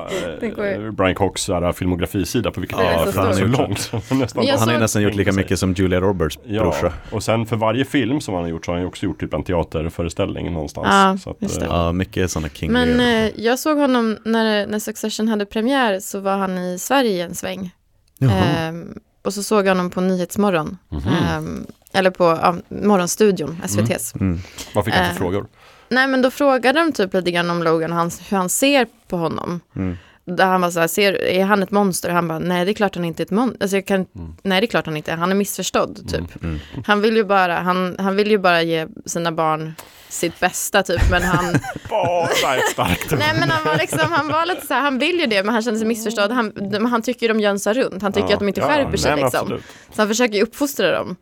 Det går ju.
eh, Brian Cocks så här filmografisida på
Den
Wikipedia.
är så
för den är så
stor.
långt. så man *laughs* nästan
Men jag
bara-
Han har ju
såg-
nästan gjort lika
Tänker sig.
mycket som Julia Roberts
Ja,
brorsa.
och sen för varje film som han har gjort så har han ju också gjort typ en teaterföreställning någonstans.
Ja,
så att,
just det.
eh,
Ja, mycket sådana king
Men
Lear.
eh, jag såg honom när, när Succession hade premiär så var han i Sverige en sväng.
Jaha.
Ehm, och så såg jag honom på Nyhetsmorgon.
Mhm.
Ehm, eller på ja, Morgonstudion, SVTs.
Mm.
Vad fick han
eh,
för frågor?
Nej men då frågade de typ lite grann om Logan och hans, hur han ser på honom.
Mm.
Där han var så här, ser, är han ett monster? Han bara, nej det är klart han inte är ett monster. Alltså jag kan,
Mm.
Nej det är klart han inte är, han är missförstådd typ. Han, vill ju bara, han, han vill ju bara ge sina barn sitt bästa typ, men han,
*laughs* Bara ett starkt ord.
*laughs* Nej men han var liksom, han var lite så här, han vill ju det men han känner sig missförstådd. Han, de, han tycker ju de jönsar runt, han tycker
Ja,
att de inte
ja,
skärper sig
nej, men
liksom.
absolut.
Så han försöker ju uppfostra dem.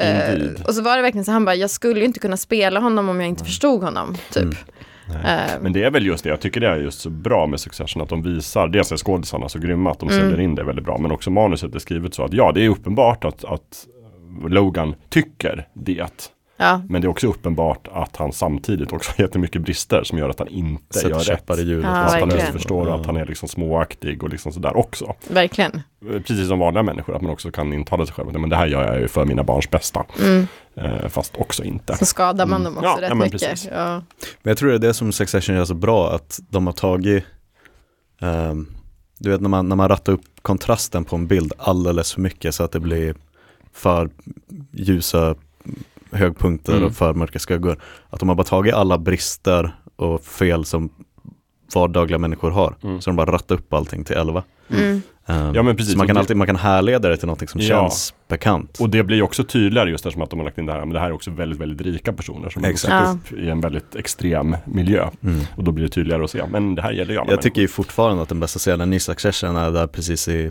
Eh,
Indeed.
och så var det verkligen så, han bara, jag skulle ju inte kunna spela honom om jag inte förstod honom, typ. Eh,
Mm. Men det är väl just det, jag tycker det är just så bra med Succession att de visar, dels är skådisarna så grymma att de säljer in det väldigt bra, men också manuset är skrivet så att ja, det är uppenbart att, att Logan tycker det.
ja.
Men det är också uppenbart att han samtidigt också har jättemycket brister som gör att han inte
Sätter
gör rätt.
käppar i hjulet.
Ja,
att han
verkligen.
missförstår och att han är liksom småaktig och liksom sådär också.
Verkligen.
Precis som vanliga människor, att man också kan intala sig själv att men det här gör jag ju för mina barns bästa. Eh, fast också inte.
Mm. Så skadar man dem också
Mm. Ja,
rätt
ja, men
mycket.
precis.
Ja.
Men jag tror det är det som Succession gör så bra, att de har tagit, ehm, du vet när man, när man rattar upp kontrasten på en bild alldeles för mycket så att det blir för ljusa högpunkter
Mm.
och för mörka skuggor. Att de har bara tagit alla brister och fel som vardagliga människor har,
Mm.
så de bara rattar upp allting till 11.
Mm.
Ehm,
Ja, men precis.
Så man
Och
kan,
det-
alltid, man kan härleda det till någonting som
Ja.
känns bekant.
Och det blir ju också tydligare just eftersom att de har lagt in det här, men det här är också väldigt, väldigt rika personer som har vuxit
Exakt.
upp i en väldigt extrem miljö.
Mm.
Och då blir det tydligare att se, men det här gäller ju alla
Jag tycker ju fortfarande att den bästa scenen i Succession är där precis i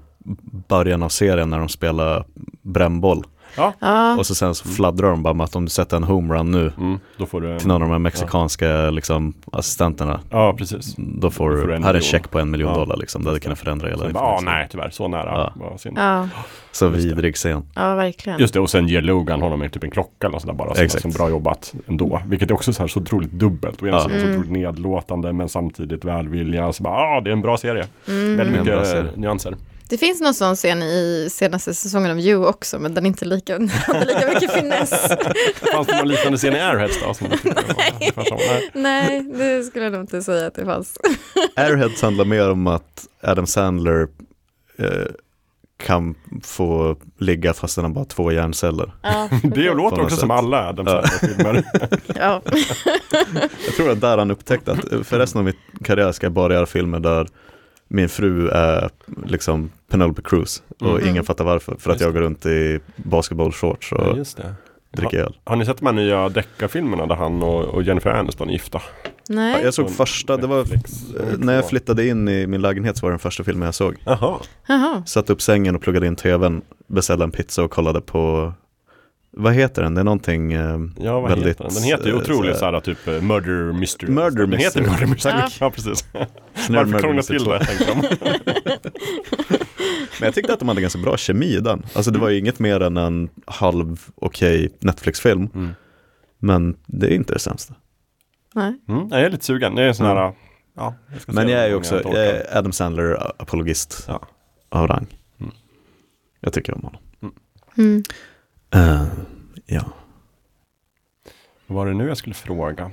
början av serien när de spelar brännboll.
människor. Ja,
Ja.
Och så sen så fladdrar de bara med att om du sätter en homerun nu
mm, då får du...
till någon av de här mexikanska liksom, assistenterna,
Ja, precis.
då får
Då får du
du,
en
här är en
miljon.
check på en miljon
Ja.
dollar liksom, det hade kunnat förändra hela
Sen
ditt
bara, ah,
liv.
nej, tyvärr, så nära.
Ja.
Vad synd.
Ja.
Så vidrig scen.
ja, verkligen.
Just det, och sen ger Logan honom en- typ en klocka eller sådär bara. Så
Exakt.
Som bra jobbat ändå. Vilket är också så, här, så otroligt dubbelt. Å ena
Ja.
sidan så otroligt nedlåtande men samtidigt välvilja. Så bara, ah, det är en bra serie. Väldigt
Mm.
Det är en bra
mycket
serie.
eh, nyanser.
Det finns någon sån scen i senaste säsongen av You också, men den är inte lika, *laughs* den har inte lika mycket finess.
Fanns det någon liknande scen i Airheads då? Som du tyckte var
*laughs*
ungefär som- Nej.
Nej, det skulle jag nog inte säga att det fanns.
Airheads handlar mer om att Adam Sandler eh, kan få ligga fast han har bara två hjärnceller.
Ja,
*laughs* Det låter
något
också som
sätt.
alla Adam
*laughs*
Sandler-filmer.
ja.
Jag tror att där han upptäckte att eh, för resten av min karriär ska jag bara göra filmer där min fru är liksom Penelope Cruz och
Mm.
ingen fattar varför. För att
Just
jag går runt i basketbollshorts och
just det.
dricker öl.
Har ni sett de här nya deckarfilmerna där han och, och Jennifer Aniston är gifta?
Ja,
Nej.
Jag såg första, det var
Netflix.
eh, när jag flyttade in i min lägenhet så var den första filmen jag såg.
Jaha.
Jaha.
Satt upp sängen och pluggade in tvn, beställde en pizza och kollade på, vad heter den? Det är någonting eh,
Ja, vad
väldigt...
heter den? Den heter ju
eh,
otroligt
så här-
såhär typ eh, Murder Mystery.
Murder
den heter
Mystery.
Murder Mystery.
Ja.
Ja, precis.
Snurr
Varför
Murder
krångla
Mystery
till
två.
det? tänkte jag.
Men jag tyckte att de hade ganska bra kemi i den. Alltså det var
Mm.
ju inget mer än en halv okej Netflix-film. *laughs*
Mm.
Men det är inte det sämsta.
Nej.
Mm, jag är lite sugen. Det är en sån här...
Mm.
Ja, jag ska
Men
se
jag är
hur
ju
många
också
jag
jag
orkar.
är Adam Sandler-apologist
Ja.
av rang.
Mm.
Jag tycker om honom.
Mm.
Eh, ja.
Vad var det nu jag skulle fråga?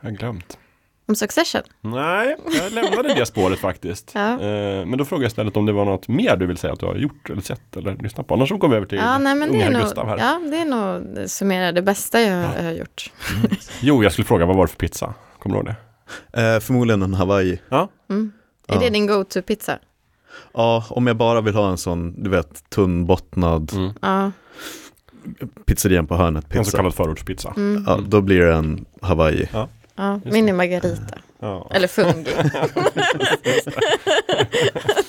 Jag har glömt.
Om Succession?
Nej, jag lämnade det spåret faktiskt.
Ja.
Eh, Men då frågar jag istället om det var något mer du vill säga att du har gjort eller sett eller lyssnat på. Annars så går vi över till
Ja, nej, men det,
unge
är nog,
Gustav här.
ja, det är nog summera det bästa jag har gjort.
Jo, jag skulle fråga vad var det för pizza? Kommer du ihåg det?
Eh, förmodligen en Hawaii.
Ja.
Mm. Är
Ja.
det din go-to-pizza?
Ja, om jag bara vill ha en sån, du vet, tunnbottnad
Mm.
Ja.
pizzerian på hörnet
En så
pizza.
kallad förortspizza.
Mm.
Ja, då blir det en Hawaii.
ja. Min är margarita.
Ja. *laughs*
Eller fungi.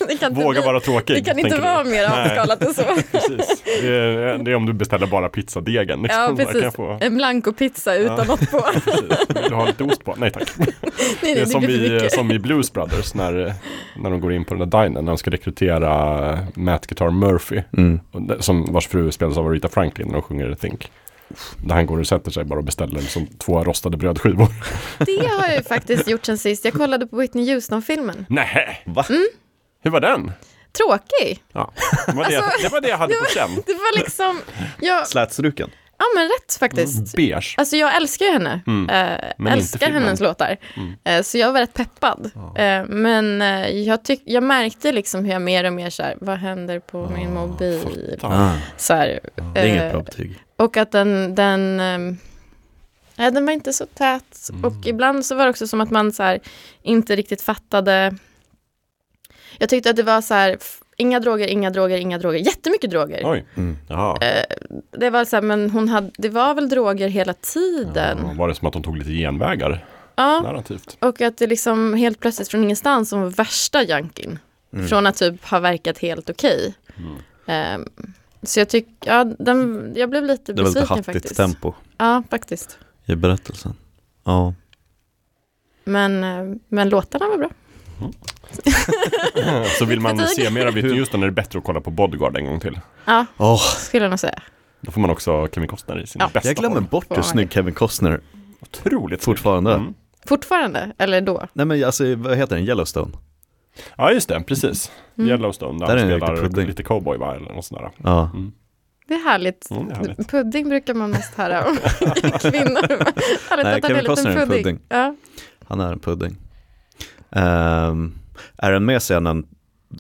det kan
Våga
inte,
vara tråkig.
det kan inte
tänker du.
vara mer
Nej.
avskalat än så.
*laughs* Precis. Det är, det är om du beställer bara pizzadegen. liksom.
Ja,
Där Kan
precis.
jag få,
En blancopizza utan
Ja. *laughs*
något på.
precis. Vill du ha lite ost på? Nej tack.
Nej,
Det är
nej, det
som,
blir för
vi,
mycket.
som i Blues Brothers när, när de går in på den där dinern när de ska rekrytera Matt Guitar Murphy.
Mm.
och det- Som, vars fru spelas av Rita Franklin när de sjunger Think. Där han går och sätter sig bara och beställer liksom två rostade brödskivor. eh,
Det har jag ju faktiskt gjort sen sist. Jag kollade på Whitney Houston-filmen.
Nej,
Va?
Mm.
hur var den?
Tråkig.
Ja. Det, var det, jag- det var det jag hade på känn.
Alltså, Det var liksom, jag,
Slätstruken?
ja men rätt
Mm.
faktiskt.
Beige.
Alltså jag älskar ju henne.
Mm. inte
Eh, älskar
filmen. Mm.
hennes låtar. Eh, så jag var rätt peppad. Eh, men eh, jag, tyck, jag märkte liksom hur jag mer och mer så här, vad händer på
Ah,
min mobil?
Fan.
Så här,
Ah. Det är
eh,
inget bra
Mm.
betyg.
Och att den, den, ehm, nej, den var inte så tät.
Mm.
Och ibland så var det också som att man så här, inte riktigt fattade. Jag tyckte att det var så här, f- inga droger, inga droger, inga droger, jättemycket droger.
Oj.
Mm.
Jaha.
Det var så här, men hon hade, det var väl droger hela tiden.
Ja, Var det som att de tog lite genvägar
Ja.
narrativt?
Och att det liksom helt plötsligt från ingenstans som var värsta junkin.
Mm.
Från att typ ha verkat helt okej. Ehm, så jag tycker, ja, den, jag blev lite
Det var lite
besviken
hattigt
faktiskt.
tempo
Ja, faktiskt.
i berättelsen. Ja.
Men, eh, men låtarna var bra.
Så vill man
*laughs* Betyg.
se mer
*laughs*
av Whitney Houston är det bättre att kolla på Bodyguard en gång till.
Ja,
Åh,
skulle jag nog säga.
Då får man också Kevin Costner i sin
Ja.
bästa
jag glömmer
form.
bort hur snygg Kevin Costner
Otroligt snygg.
fortfarande är.
Mm.
Fortfarande, eller då?
Nej men alltså, vad heter den? Yellowstone?
Ja just det, precis.
Mm.
Yellowstone där,
Där är
han
en riktig
spelar
pudding.
lite cowboy va? Eller något sånt där.
Ja.
Det är härligt.
Mm, det är härligt.
Pudding brukar man mest höra om *laughs* kvinnor.
*laughs*
Härligt
Nej,
att han
Kevin
är en
Costner
liten
är en
pudding.
pudding.
Ja.
Han är en pudding. Ehm, är den med scenen,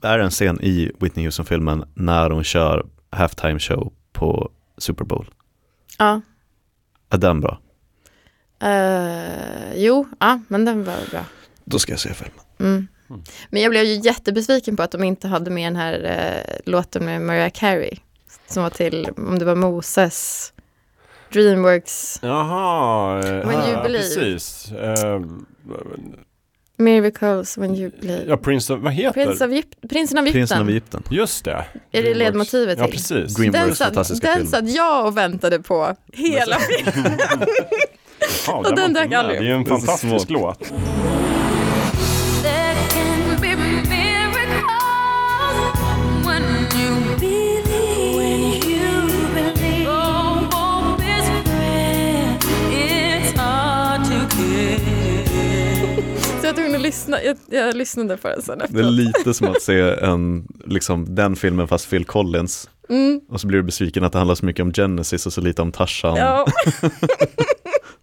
är en scen i Whitney Houston-filmen när hon kör halftime show på Super Bowl?
ja.
Är den bra?
Eh, jo, ja, men den var bra.
Då ska jag se filmen.
Mm. Men jag blev ju jättebesviken på att de inte hade med den här eh, låten med Mariah Carey. Som var till, om det var Moses, Dreamworks,
Jaha,
When
ja,
you believe.
precis. Eh,
Miracles when you believe.
ja, Prince of, vad heter?
Prince of Egypt, Prinsen av
Prinsen av
Egypten.
Egypten.
Just det.
Är det ledmotivet
Ja,
till?
precis.
Green-
Den
Dreamworks
satt,
fantastiska
den
film.
satt jag och väntade på hela filmen.
Ja,
den
var inte
dök
med.
aldrig
Det är ju en
Det är så
fantastisk
svårt.
låt.
There can be miracles when you believe. Oh, hope is rare. It's hard to get.
Så jag var tvungen att lyssna, jag, jag lyssnade på den sen
Det är
efteråt.
lite som att se en, liksom, den filmen fast Phil Collins. Och så blir du besviken att det handlar så mycket om Genesis och så lite om Tarzan.
Mm, Ja,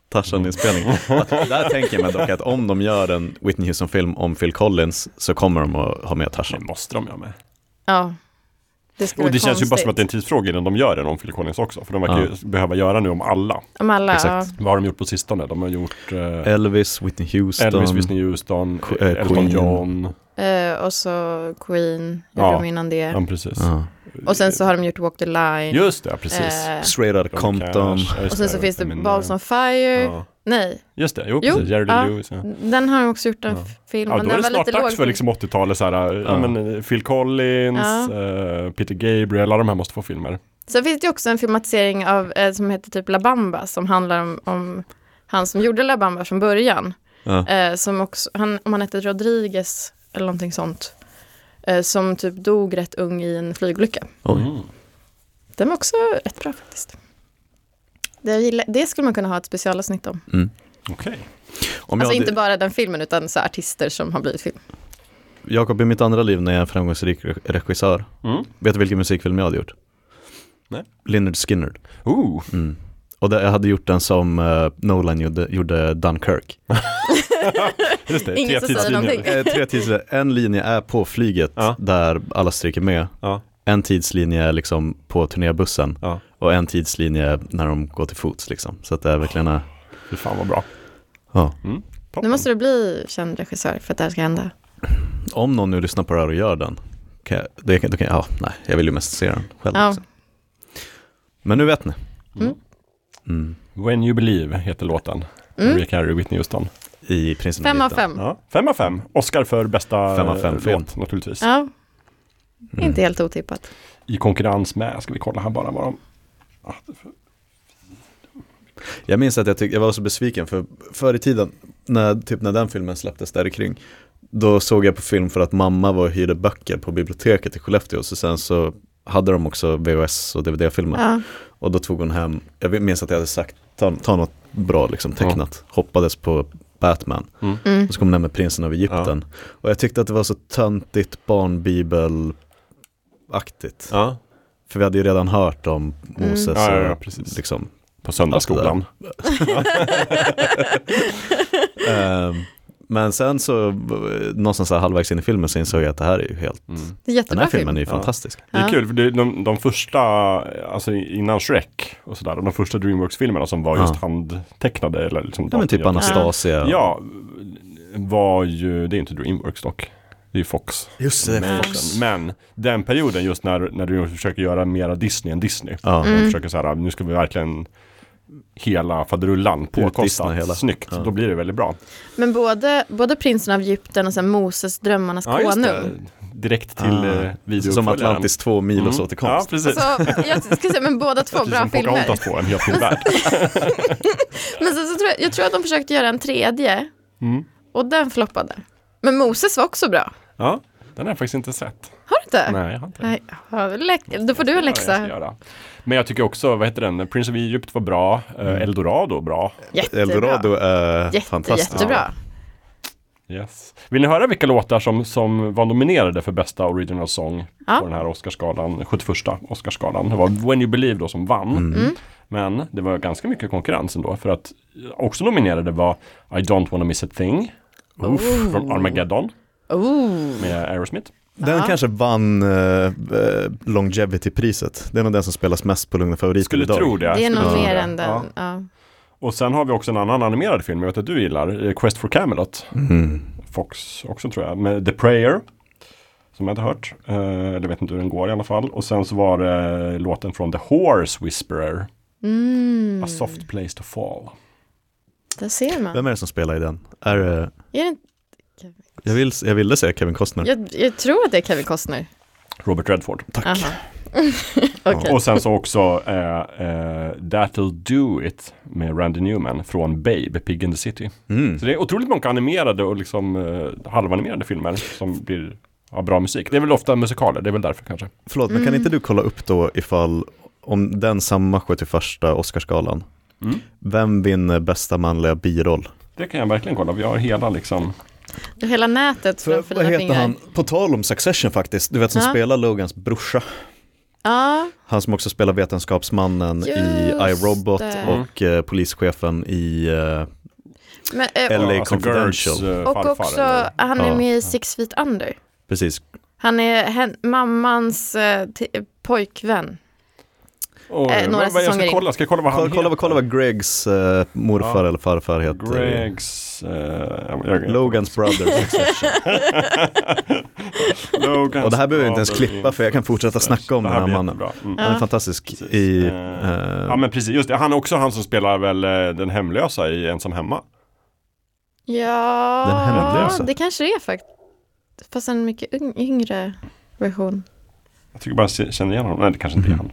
Tarzan-inspelning. Att- Där tänker jag mig dock att om de gör en Whitney Houston-film om Phil Collins så kommer de att ha med
Det
Tarzan.
måste de göra med.
*laughs* ja. Det skulle
Och det
vara
känns ju bara som att det är en
konstigt.
tidsfråga innan de gör den om Phil Collins också. För de verkar ju behöva göra nu om alla.
Om alla, ja.
Exakt.
Vad har de gjort på sistone? De har gjort eh,
Elvis, Whitney Houston.
Elvis, Whitney Houston,
Qu- eh,
Elton
Queen.
John.
Eh, och så Queen,
Ja.
gjorde de innan det.
Ja, precis.
Ja.
Och sen så har de gjort Walk the Line.
Just det, precis.
Eh,
Straight Outta
Johnny
Compton.
Cash. Ja, just
och sen så finns det
Men,
Balls
eh,
on Fire.
ja.
Nej,
Just det, jo,
Jo,
precis. Jerry
ja.
Lewis. Ja.
den har jag också gjort en f- film.
Ja,
men
då är det
den var
snart
lite
dags
låg.
för liksom 80-talet, så här, ja.
Ja.
men, eh, Phil Collins,
Ja.
eh, Peter Gabriel, alla de här måste få filmer.
Sen finns det ju också en filmatisering av, eh, som heter typ La Bamba, som handlar om, om han som gjorde La Bamba från början.
Ja.
Eh, som också, han, om han hette Rodriguez eller någonting sånt. Eh, som typ dog rätt ung i en flygolycka.
Oj.
Mm.
Den var också rätt bra faktiskt. Det, jag gillar, det skulle man kunna ha ett specialavsnitt om.
Okej.
Mm. Om
Alltså
jag,
inte
hade-
bara den filmen utan så artister som har blivit film.
Jakob, i mitt andra liv när jag är en framgångsrik re- regissör,
Mm.
vet du vilken musikfilm jag hade gjort?
Nej.
Lynyrd Skynyrd.
Ooh.
Och det, jag hade gjort den som eh, Nolan gjorde, gjorde Dunkirk.
Just det, tre
Ingen som säger
tidslinjer.
någonting.
Eh, tre tidslinjer, en linje är på flyget
Ja.
där alla stryker med.
Ja.
En tidslinje är liksom på turnébussen
Ja,
och en tidslinje när de går till fots liksom. Så att det är verkligen, eh,
fy fan vad bra.
ja.
Mm.
Nu
Toppen.
måste du bli känd regissör för att det här ska hända.
Om någon nu lyssnar på det här och gör den, kan jag, det, kan- då kan jag, ja, nej, jag vill ju mest se den själv.
Ja.
liksom. Men nu vet ni.
Mm.
Mm.
When You Believe heter låten.
Mm.
Mariah Carey, Whitney Houston.
I Prinsen
Fem av
Egypten.
fem.
Ja. Fem av fem. Oscar för bästa
Fem av fem
eh,
film.
låt naturligtvis.
Ja. Inte helt otippat.
I konkurrens med, ska vi kolla här bara vad de...
Jag minns att jag, tyck, jag var så besviken för förr i tiden, när, typ när den filmen släpptes där i kring, då såg jag på film för att mamma var och hyrde böcker på biblioteket i Skellefteå, så sen så hade de också VHS och DVD-filmer.
Ja.
Och då tog hon hem, jag minns att jag hade sagt, ta, ta något bra liksom tecknat, hoppades på Batman.
Mm.
Mm.
Och så kom hon hem med Prinsen av Egypten. Och jag tyckte att det var så töntigt barnbibelaktigt.
Ja.
För vi hade ju redan hört om Moses
Mm. Ja, ja, ja,
och
precis.
liksom.
På söndagsskolan.
Ehm, men sen så, eh, någonstans så här halvvägs in i filmen så insåg jag att det här är ju helt,
Mm.
Det är
den
jättebra
här filmen är
film.
ju
Ja.
fantastisk.
Det är
Ja.
kul, för det, de, de första, alltså innan Shrek och sådär, de första Dreamworks-filmerna som var just
Ja.
handtecknade eller liksom
Ja men typ
datorgjorda.
Anastasia.
Ja, var ju, det är inte Dreamworks dock. Det är ju Fox.
just det,
Men, men den perioden just när, när Dreamworks försöker göra mera Disney än Disney.
Ja.
Mm.
De försöker så här, nu ska vi verkligen hela faderullan påkostat,
hela.
snyggt.
Ja.
Då blir det väldigt bra.
Men både, både Prinsen av Egypten och sen Moses Drömmarnas konung.
Direkt till
Ah.
eh, videouppföljaren. Mm.
Som Atlantis två mil och så till
Ja,
konst.
precis.
Så, jag skulle säga, men båda två
Precis
Alltså, bra
som
filmer.
Pocahontas på en helt ny
*laughs*
värld.
Men sen så tror jag, jag tror att de försökte göra en tredje
Mm.
och den floppade. Men Moses var också bra.
Ja, den har jag faktiskt inte sett.
Har du inte?
Nej, jag har inte.
Nej, ja, lä- då får du en
Ja, jag ska
läxa.
göra. Men jag tycker också, vad heter den, Prince of Egypt var bra, eh,
Mm.
Eldorado bra.
Jättebra.
Eldorado är
Jätte,
fantastisk.
jättebra.
Yes. Vill ni höra vilka låtar som, som var nominerade för bästa original song
Ja.
på den här Oscarsgalan, 71 Oscarsgalan? Det var When You Believe då som vann.
Mm.
Men det var ganska mycket konkurrens ändå för att eh, också nominerade var I Don't Wanna Miss A Thing Oof, från Armageddon
Oh.
med Aerosmith.
Den
Ja.
kanske vann eh, eh, Longevity-priset. Det är nog den som spelas mest på Lugna Favoriter
Skulle
idag.
tro det.
Det är
skulle
nog
tro
mer
det.
än
Ja.
den. Ja.
Och sen har vi också en annan animerad film, jag vet att du gillar, eh, Quest for Camelot.
Mm.
Fox också tror jag, med The Prayer. Som jag inte hört. Eh, Eller vet inte hur den går i alla fall. Och sen så var det låten från The Horse Whisperer.
Mm,
A soft place to fall.
där ser man.
Vem är det som spelar i den? Är, det-
Är det, inte-
jag, vill, jag ville säga Kevin Costner.
jag, jag tror att det är Kevin Costner.
Robert Redford.
Tack.
Aha. *laughs* Okej.
Och sen så också eh, eh, That'll Do It med Randy Newman från Babe, Pig in the City.
Mm.
Så det är otroligt många animerade och liksom eh, halvanimerade filmer som blir av bra musik. Det är väl ofta musikaler, det är väl därför kanske.
Förlåt,
Mm.
men kan inte du kolla upp då ifall, om den samma 71 Oscarsgalan,
Mm.
vem vinner bästa manliga biroll?
Det kan jag verkligen kolla, vi har hela liksom.
Du har Hela nätet framför dina fingrar.
På tal om Succession faktiskt, du vet som
Ja.
spelar Logans brorsa.
Ja,
Han som också spelar vetenskapsmannen i
Just
iRobot
det.
och eh, polischefen i eh,
men, eh,
LA
Ja, alltså
Confidential.
Gertz, eh,
och
farfar eller-
också han är
Ja.
med i Six Feet Under.
Precis,
Han är hen, mammans eh, ti- pojkvän.
Oj,
Eh, några
vad- vad jag
säsonger
ska
in.
kolla, ska jag kolla vad han
Kolla, kolla, vad- kolla vad Gregs eh, morfar
Ja.
eller farfar
heter?
heter.
Gregs... Eh, jag, jag,
Logans Brothers.
*laughs*
*laughs*
Logans
Och det här behöver jag inte ens
Brother
klippa, för jag kan fortsätta
Infestation.
snacka om
Det
den här
blir
mannen.
jättebra. Mm.
Han är
Ja.
fantastisk
Precis.
i...
Eh,
eh,
Ja men precis, just det. Han är också han som spelar väl eh, den hemlösa i Ensam Hemma.
Den hände
Ja,
alltså.
det kanske det är faktiskt. Fast en mycket yng- yngre version.
Jag tycker bara jag se- känner igen honom. Nej det kanske inte är han.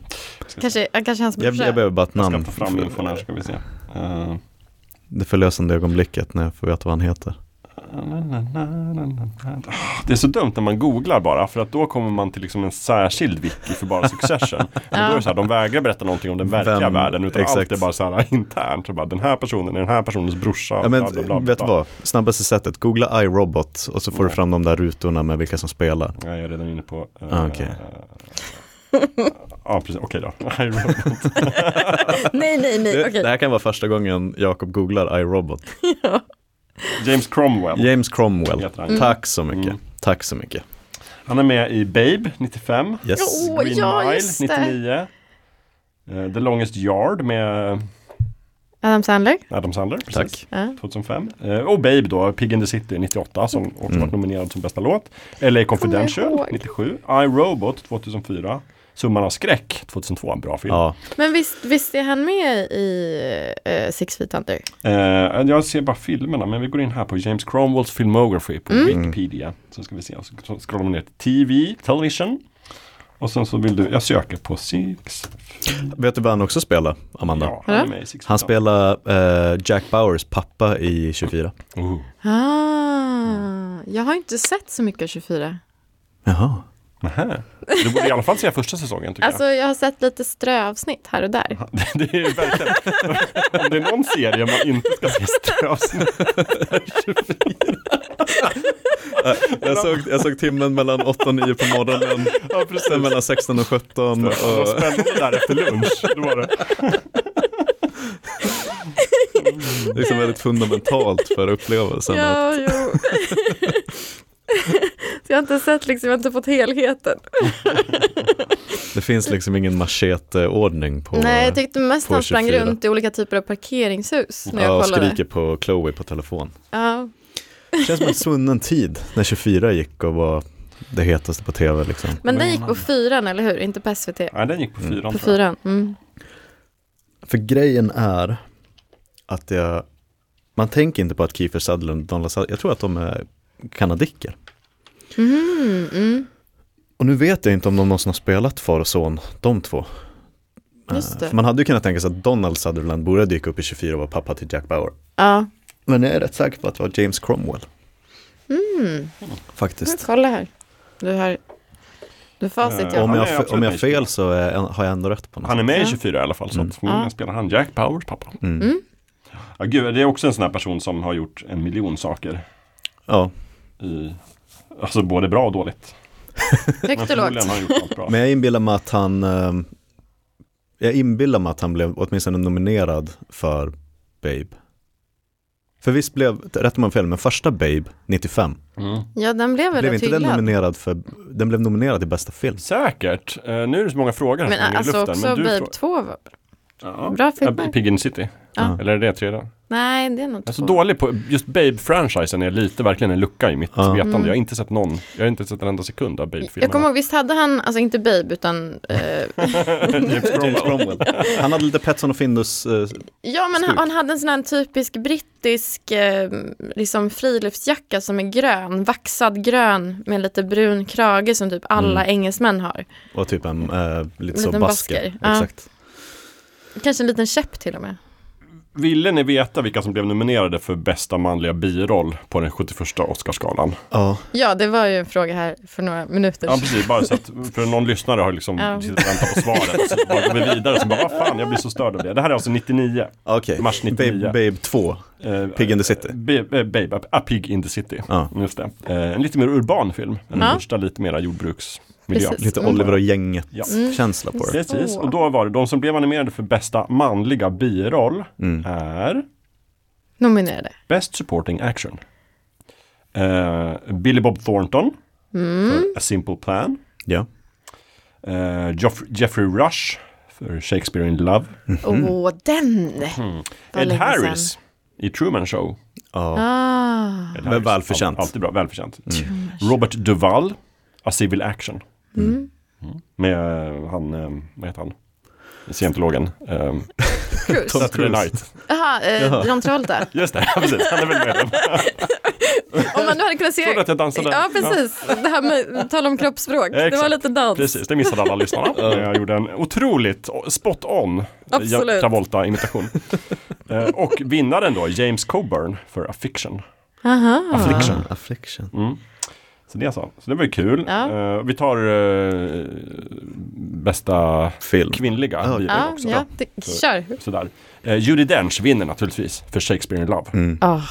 Kanske, ja, kanske hans
jag,
brorsa.
jag behöver bara ett
Jag ska
namn.
ta fram infon här ska vi se. Eh,
Det förlösande ögonblicket när jag får veta vad han heter.
na, na, na, na, na. Ah, Det är så dumt när man googlar bara för att då kommer man till liksom en särskild wiki för bara
*laughs*
Succession. Men då är det så här, de vägrar berätta någonting om den verkliga
Vem-
världen utan allt
exakt.
är bara så här internt. Så bara, den här personen är den här personens brorsa.
Ja, men
bla, bla, bla,
vet du
bla.
vad? Snabbaste sättet, googla iRobot och så får du fram de där rutorna med vilka som spelar.
Ja, jag är redan inne på... eh,
Ah, okej.
eh, Ja, precis. Okej då. *laughs* I Robot.
Nej, nej, nej.
Det,
Okej.
det här kan vara första gången Jakob googlar iRobot.
James Cromwell.
James Cromwell,
Heter han.
tack så mycket.
Mm.
Tack så mycket.
Han är med i Babe 95.
Yes.
Åh,
Green
ja,
Mile
just det.
99. eh, The Longest Yard med
Adam Sandler.
Adam Sandler. precis,
Tack.
Ja.
2005. Eh, Och Babe då, Pig in the City 98 som
Mm.
också varit nominerad som bästa låt. LA Confidential
ihåg.
97. I Robot 2004. Summan av skräck 2002, en bra film.
Ja,
Men visst, visst är han med i eh, Six Feet Under?
Eh, jag ser bara filmerna, men vi går in här på James Cromwells filmography på
Mm.
Wikipedia. Så ska vi se, och så så scrollar man ner till TV, television. Och sen så vill du, jag söker på Six.
vet du vad han också spelar, Amanda?
Ja, han är
Hallå?
med i Six
Han
Feet Under.
spelar eh, Jack Bowers pappa i 24.
Oh.
Ah, jag har inte sett så mycket av 24.
Jaha.
Nähä. Du borde i alla fall se första säsongen tycker
Alltså jag har sett lite ströavsnitt här och där.
jag. *laughs* Det är ju verkligen... *laughs* Om det är någon serie man inte ska se ströavsnitt.
Jag såg, jag såg timmen mellan 8 och 9 på morgonen,
Ja, precis.
sen mellan 16 och 17. Och,
Det var spännande där efter lunch. Det var det.
liksom väldigt fundamentalt för upplevelsen. att-
Ja, jo. *laughs* Så jag har inte sett liksom, jag har inte fått helheten.
Det finns liksom ingen macheteordning på...
Nej, jag tyckte mest
på
han sprang
24.
runt i olika typer av parkeringshus när
ja,
jag
och
kollade.
skriker på Chloe på telefon.
Ja,
Det känns som en svunnen tid när 24 gick och var det hetaste på tv liksom.
men den gick på fyran, eller hur? Inte på SVT.
Nej, den gick på fyran.
På
tror jag.
fyran. Mm.
För grejen är att jag, man tänker inte på att Kiefer Sutherland och Donald Sutherland, jag tror att de är kanadicker.
Mhm, mm.
Och nu vet jag inte om de någonsin har spelat far och son, de två.
Just
Eh,
det.
För man hade ju kunnat tänka sig att Donald Sutherland borde dyka upp i 24 och vara pappa till Jack Bauer.
Ja,
Men jag är rätt säker på att det var James Cromwell.
mm.
Faktiskt.
kolla här. Du har, du har facit.
Ja,
Om
Ja.
han är
jag, fe- om
absolut
jag
med.
fel så är, har jag ändå rätt på något
Han är med i
Ja.
24 i alla fall, så
Mm.
att förmodligen
Ja.
spelar han Jack Powers pappa.
sätt. Mm.
Mm.
Ja, gud, det är också en sån här person som har gjort en miljon saker.
Ja,
I, alltså både bra och dåligt.
Högt och lågt.
förmodligen har han gjort allt bra.
men jag inbillar mig att han eh, Jag inbillar mig att han blev åtminstone nominerad för Babe. För visst blev, rätt om jag har fel, men första Babe, 95,
Mm.
Ja, den blev väl
blev
rätt
inte den
hyllad.
nominerad för, den blev nominerad i
*laughs*
bästa film.
Säkert. Eh, nu är det så många frågor här
Men
som hänger
alltså
i luften.
också
men du
Babe
frå-
2 var
ja.
bra
Ja,
filmer.
Pig in City.
Ja.
Eller är det tredje?
Nej, det är nog
Jag är så
två.
dålig på, just Babe-franchisen är lite verkligen en lucka i mitt
Ja.
vetande.
Mm.
Jag har inte sett någon, jag har inte sett en enda sekund av Babe-filmerna.
Jag kommer ihåg, visst hade han, alltså inte Babe, utan... Eh,
James Cromwell. Han hade lite Petson och Findus, eh,
ja, men
Skurk.
han, han hade en sån här typisk brittisk eh, liksom friluftsjacka som är grön, vaxad grön med lite brun krage som typ alla
Mm.
engelsmän har.
och typ en eh, lite så
Liten
basker.
basker, ja.
Exakt.
Kanske en liten käpp till och med.
Ville ni veta vilka som blev nominerade för bästa manliga biroll på den 71 Oscarsgalan?
Ja.
Ja, det var ju en fråga här för några minuter
Ja
sedan.
precis, bara så att för någon lyssnare har liksom
Ja.
suttit och väntat på svaret och så bara går vi vidare så bara vad fan jag blir så störd av det. Det här är alltså 99.
Okej,
Mars 99.
Babe, babe 2,
Eh,
Pig in the City.
Babe, eh, babe a, a Pig in the City.
Ja.
Just det. Eh, en lite mer urban film. En
Ja.
första lite mera jordbruksmiljö.
Precis.
Lite Oliver och gänget
Ja.
känsla på det.
Precis, och då var det de som blev animerade för bästa manliga biroll
Mm.
är
Nominerade.
Best Supporting Action. Eh, Billy Bob Thornton
Mm.
för A Simple Plan.
Ja.
Eh, Joff- Jeffrey Rush för Shakespeare in Love.
Åh, den!
Mm.
Vad
Ed
länge
Harris
sedan.
i Truman Show.
Ja.
Ah,
Ed
Men
Harris.
välförtjänt.
All- Alltid bra, välförtjänt.
Mm.
Robert Duvall, A Civil Action. Mm. Med eh, han, eh, vad heter han? Scientologen. Um,
Cruise.
Saturday
Cruise.
Night.
Jaha, eh, John Travolta.
Just det, *laughs* precis. Han är väl med dem.
Om man nu hade kunnat se...
Såg du att jag dansade?
Ja, precis. Det här med tal om kroppsspråk. Det var
Exakt.
lite dans.
Precis, det missade alla
*laughs*
lyssnarna. Men jag gjorde en otroligt spot on
Absolut.
Jack
*laughs*
Travolta-imitation. Eh, och vinnaren då, James Coburn för Affiction.
Aha.
Affliction.
Ah, affliction.
Så det så. Så det var ju kul.
Ja.
Eh, vi tar eh, bästa
Film.
kvinnliga
Ja.
biroll
Ja,
också.
ja det, kör.
Sådär. Eh, Judi Dench vinner naturligtvis för Shakespeare in Love.
Mm.
Ah,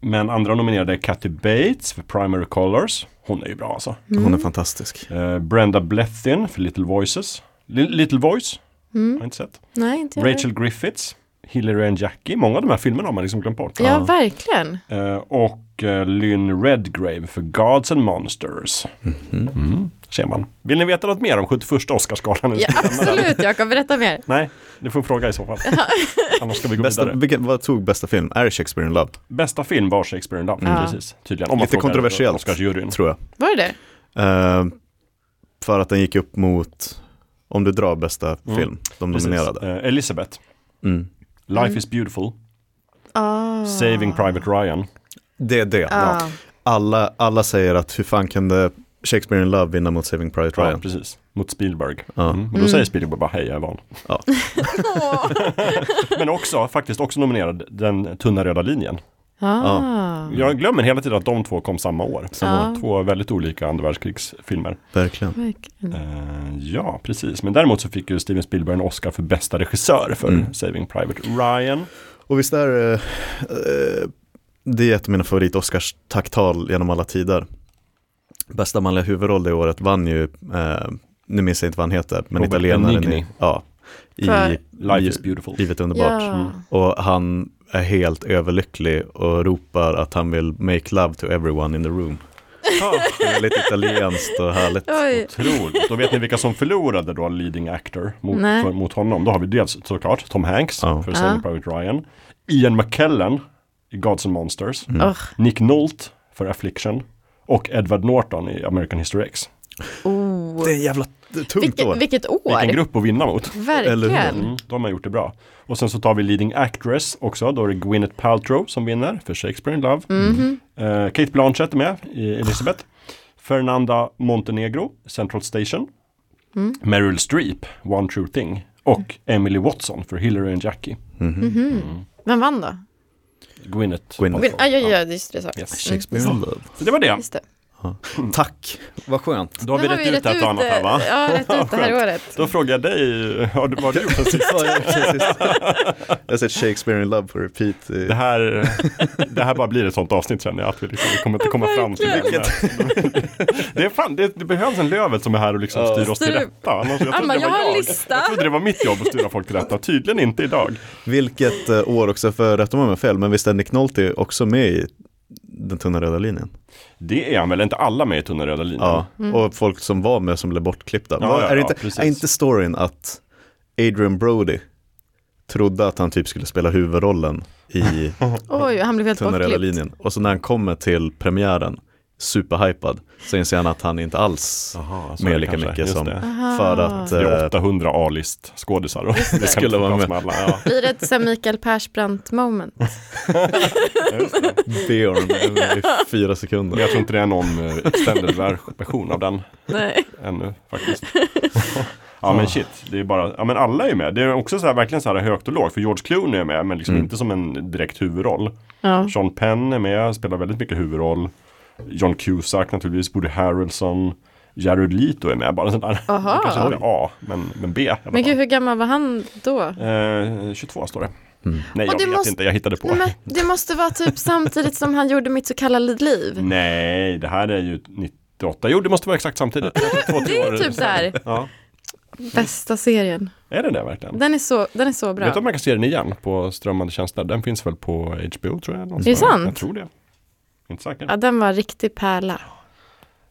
Men andra nominerade är Kathy Bates för Primary Colors. Hon är ju bra alltså.
Hon är fantastisk.
Eh, Brenda Blethyn för Little Voices. Li- Little Voice?
Mm.
Har jag inte sett.
nej, inte jag.
Rachel Griffiths, Hillary and Jackie. Många av de här filmerna har man liksom glömt bort.
Ja, verkligen.
Eh, och eh, Lynn Redgrave för Gods and Monsters.
Mhm.
Mm, ser man. Vill ni veta något mer om 71 Oscarsgalan?
Ja, absolut, Jakob. Berätta mer.
*laughs* Nej, ni får fråga i så
*laughs*
fall. Annars ska vi gå
Bästa,
vidare. Mm.
vilken, vad tog bästa film? Är det Shakespeare in Love?
Bästa film var Shakespeare in Love,
Ja.
precis. Tydligen. Om man
Mm, Lite
frågar
kontroversiellt,
Oscarsjuryn.
tror jag.
Var det det?
Eh, för att den gick upp mot, om du drar bästa film, de
Mm. Precis.
nominerade.
Eh, Elizabeth,
Mm.
Life is beautiful,
Ah.
Saving Private Ryan.
Det är det.
Ah.
Alla, alla säger att hur fan kunde Shakespeare in Love vinna mot Saving Private
Ja,
Ryan?
precis. Mot Spielberg.
Ja.
Mm. Och då säger Spielberg bara hej, jag är van.
Ja.
Men också, faktiskt också nominerad Den tunna röda linjen.
Ah.
Jag glömmer hela tiden att de två kom samma år.
Samma år.
Två väldigt olika andra världskrigsfilmer.
Verkligen.
Verkligen.
Eh, ja, precis. Men däremot så fick ju Steven Spielberg en Oscar för bästa regissör för Saving Private Ryan.
Och visst är eh, eh, det är ett av mina favorit-Oscars-tacktal genom alla tider. Bästa manliga huvudroll det året vann ju, eh, nu minns jag inte vad han heter, men
Robert
italienaren
Benigni.
i, ja, i
För-
Life
Li-
is Mm. beautiful.
Livet är underbart.
Ja.
Och han är helt överlycklig och ropar att han vill make love to everyone in the room.
Ja,
Det är lite italienskt och härligt.
Oj.
otroligt. Då vet ni vilka som förlorade då leading actor mot,
Nej.
för, mot honom. Då har vi dels såklart Tom Hanks
Ja.
för Saving
Ja.
Private Ryan. Ian McKellen i Gods and Monsters.
Åh,
Nick Nolte för Affliction. Och Edward Norton i American History X.
Oh.
Det är jävla det är tungt
Vilket,
år.
vilket år!
Vilken grupp att vinna mot.
Eller
Verkligen.
Mm, de har gjort det bra. Och sen så tar vi leading actress också. Då är det Gwyneth Paltrow som vinner för Shakespeare in Love. Eh, Kate Blanchett är med i Elizabeth. Fernanda Montenegro, Central Station. Mm. Meryl Streep, One True Thing. Och Emily Watson för Hillary and Jackie.
Vem vann då?
Gwyneth.
Gwyneth.
Vilken- Ah, ja, ja, just det. Så.
Yes.
Shakespeare in love.
Så det var det.
Just det.
Tack, vad skönt.
Då har vi
Nu
rätt ut ett och annat
eh,
här va?
Ja, rätt ut det här
*laughs* Skönt.
året.
Då frågar jag dig, har du, vad har du gjort?
Precis vad jag gjorde sist. Jag har sett Shakespeare in love på repeat. i-
Det här, det här bara blir ett sånt avsnitt känner jag. Att vi, liksom, vi kommer inte komma fram till det. *laughs* Det, är fan, det, det behövs en Lövet som är här och liksom
Ja.
styr oss till
Styr-
rätta. Annars, jag, trodde
Alma,
det
jag
var
har en
jag.
lista.
jag trodde det var mitt jobb att styra folk till rätta. Tydligen inte idag.
Vilket eh, år också, för rätta mig om jag har fel, men visst är Nick Nolte också med i den tunna röda linjen?
Det är han väl, inte alla med i Tunna röda linjen?
Ja, och folk som var med som blev bortklippta.
Mm. Ja,
Var-
ja,
är, det
ja,
inte,
precis.
är inte storyn att Adrian Brody trodde att han typ skulle spela huvudrollen
*laughs*
i
Oj, han blev helt
tunna röda
bortklippt.
linjen. Och så när han kommer till premiären, superhypad, så inser han att han inte alls
Aha, så är det
med lika
kanske.
mycket
Just
som
Det.
för att
Det är
eh,
800 A-list skådisar. och Det
skulle vara med.
Alla, ja.
Blir det ett så här Mikael
*laughs*
Persbrandt moment?
Björn är i fyra
Men
sekunder.
jag tror inte det är någon eh, extended ver- version av den
Nej.
ännu
*laughs*
faktiskt. ja men shit, det är bara, ja men alla är med. Det är också så här, verkligen så här högt och lågt. För George Clooney är med, men liksom inte som en direkt huvudroll.
Ja.
Sean Penn är med, spelar väldigt mycket huvudroll. John Cusack naturligtvis, Woody Harrelson. Jared Leto är med, bara sån där.
Aha.
Kanske inte A, men, men B. i alla
Men
fall.
gud, hur gammal var han då?
Eh, 22 står det. Nej,
Och
jag
det
vet
måste-
inte. Jag hittade på.
Nej, men det måste vara typ samtidigt som han gjorde mitt så kallade
Mm.
liv.
Nej, det här är ju 98. Jo, det måste vara exakt
*laughs*
samtidigt. Två, tre
Det är
år
typ så här,
Ja.
bästa serien.
Är det det verkligen?
Den är så, den är så
Vet du
bra.
om man kan se den igen på strömmande tjänster? Den finns väl på HBO tror jag. någonstans.
Är det sant?
Jag tror det. Inte säker.
Ja, den var riktig pärla.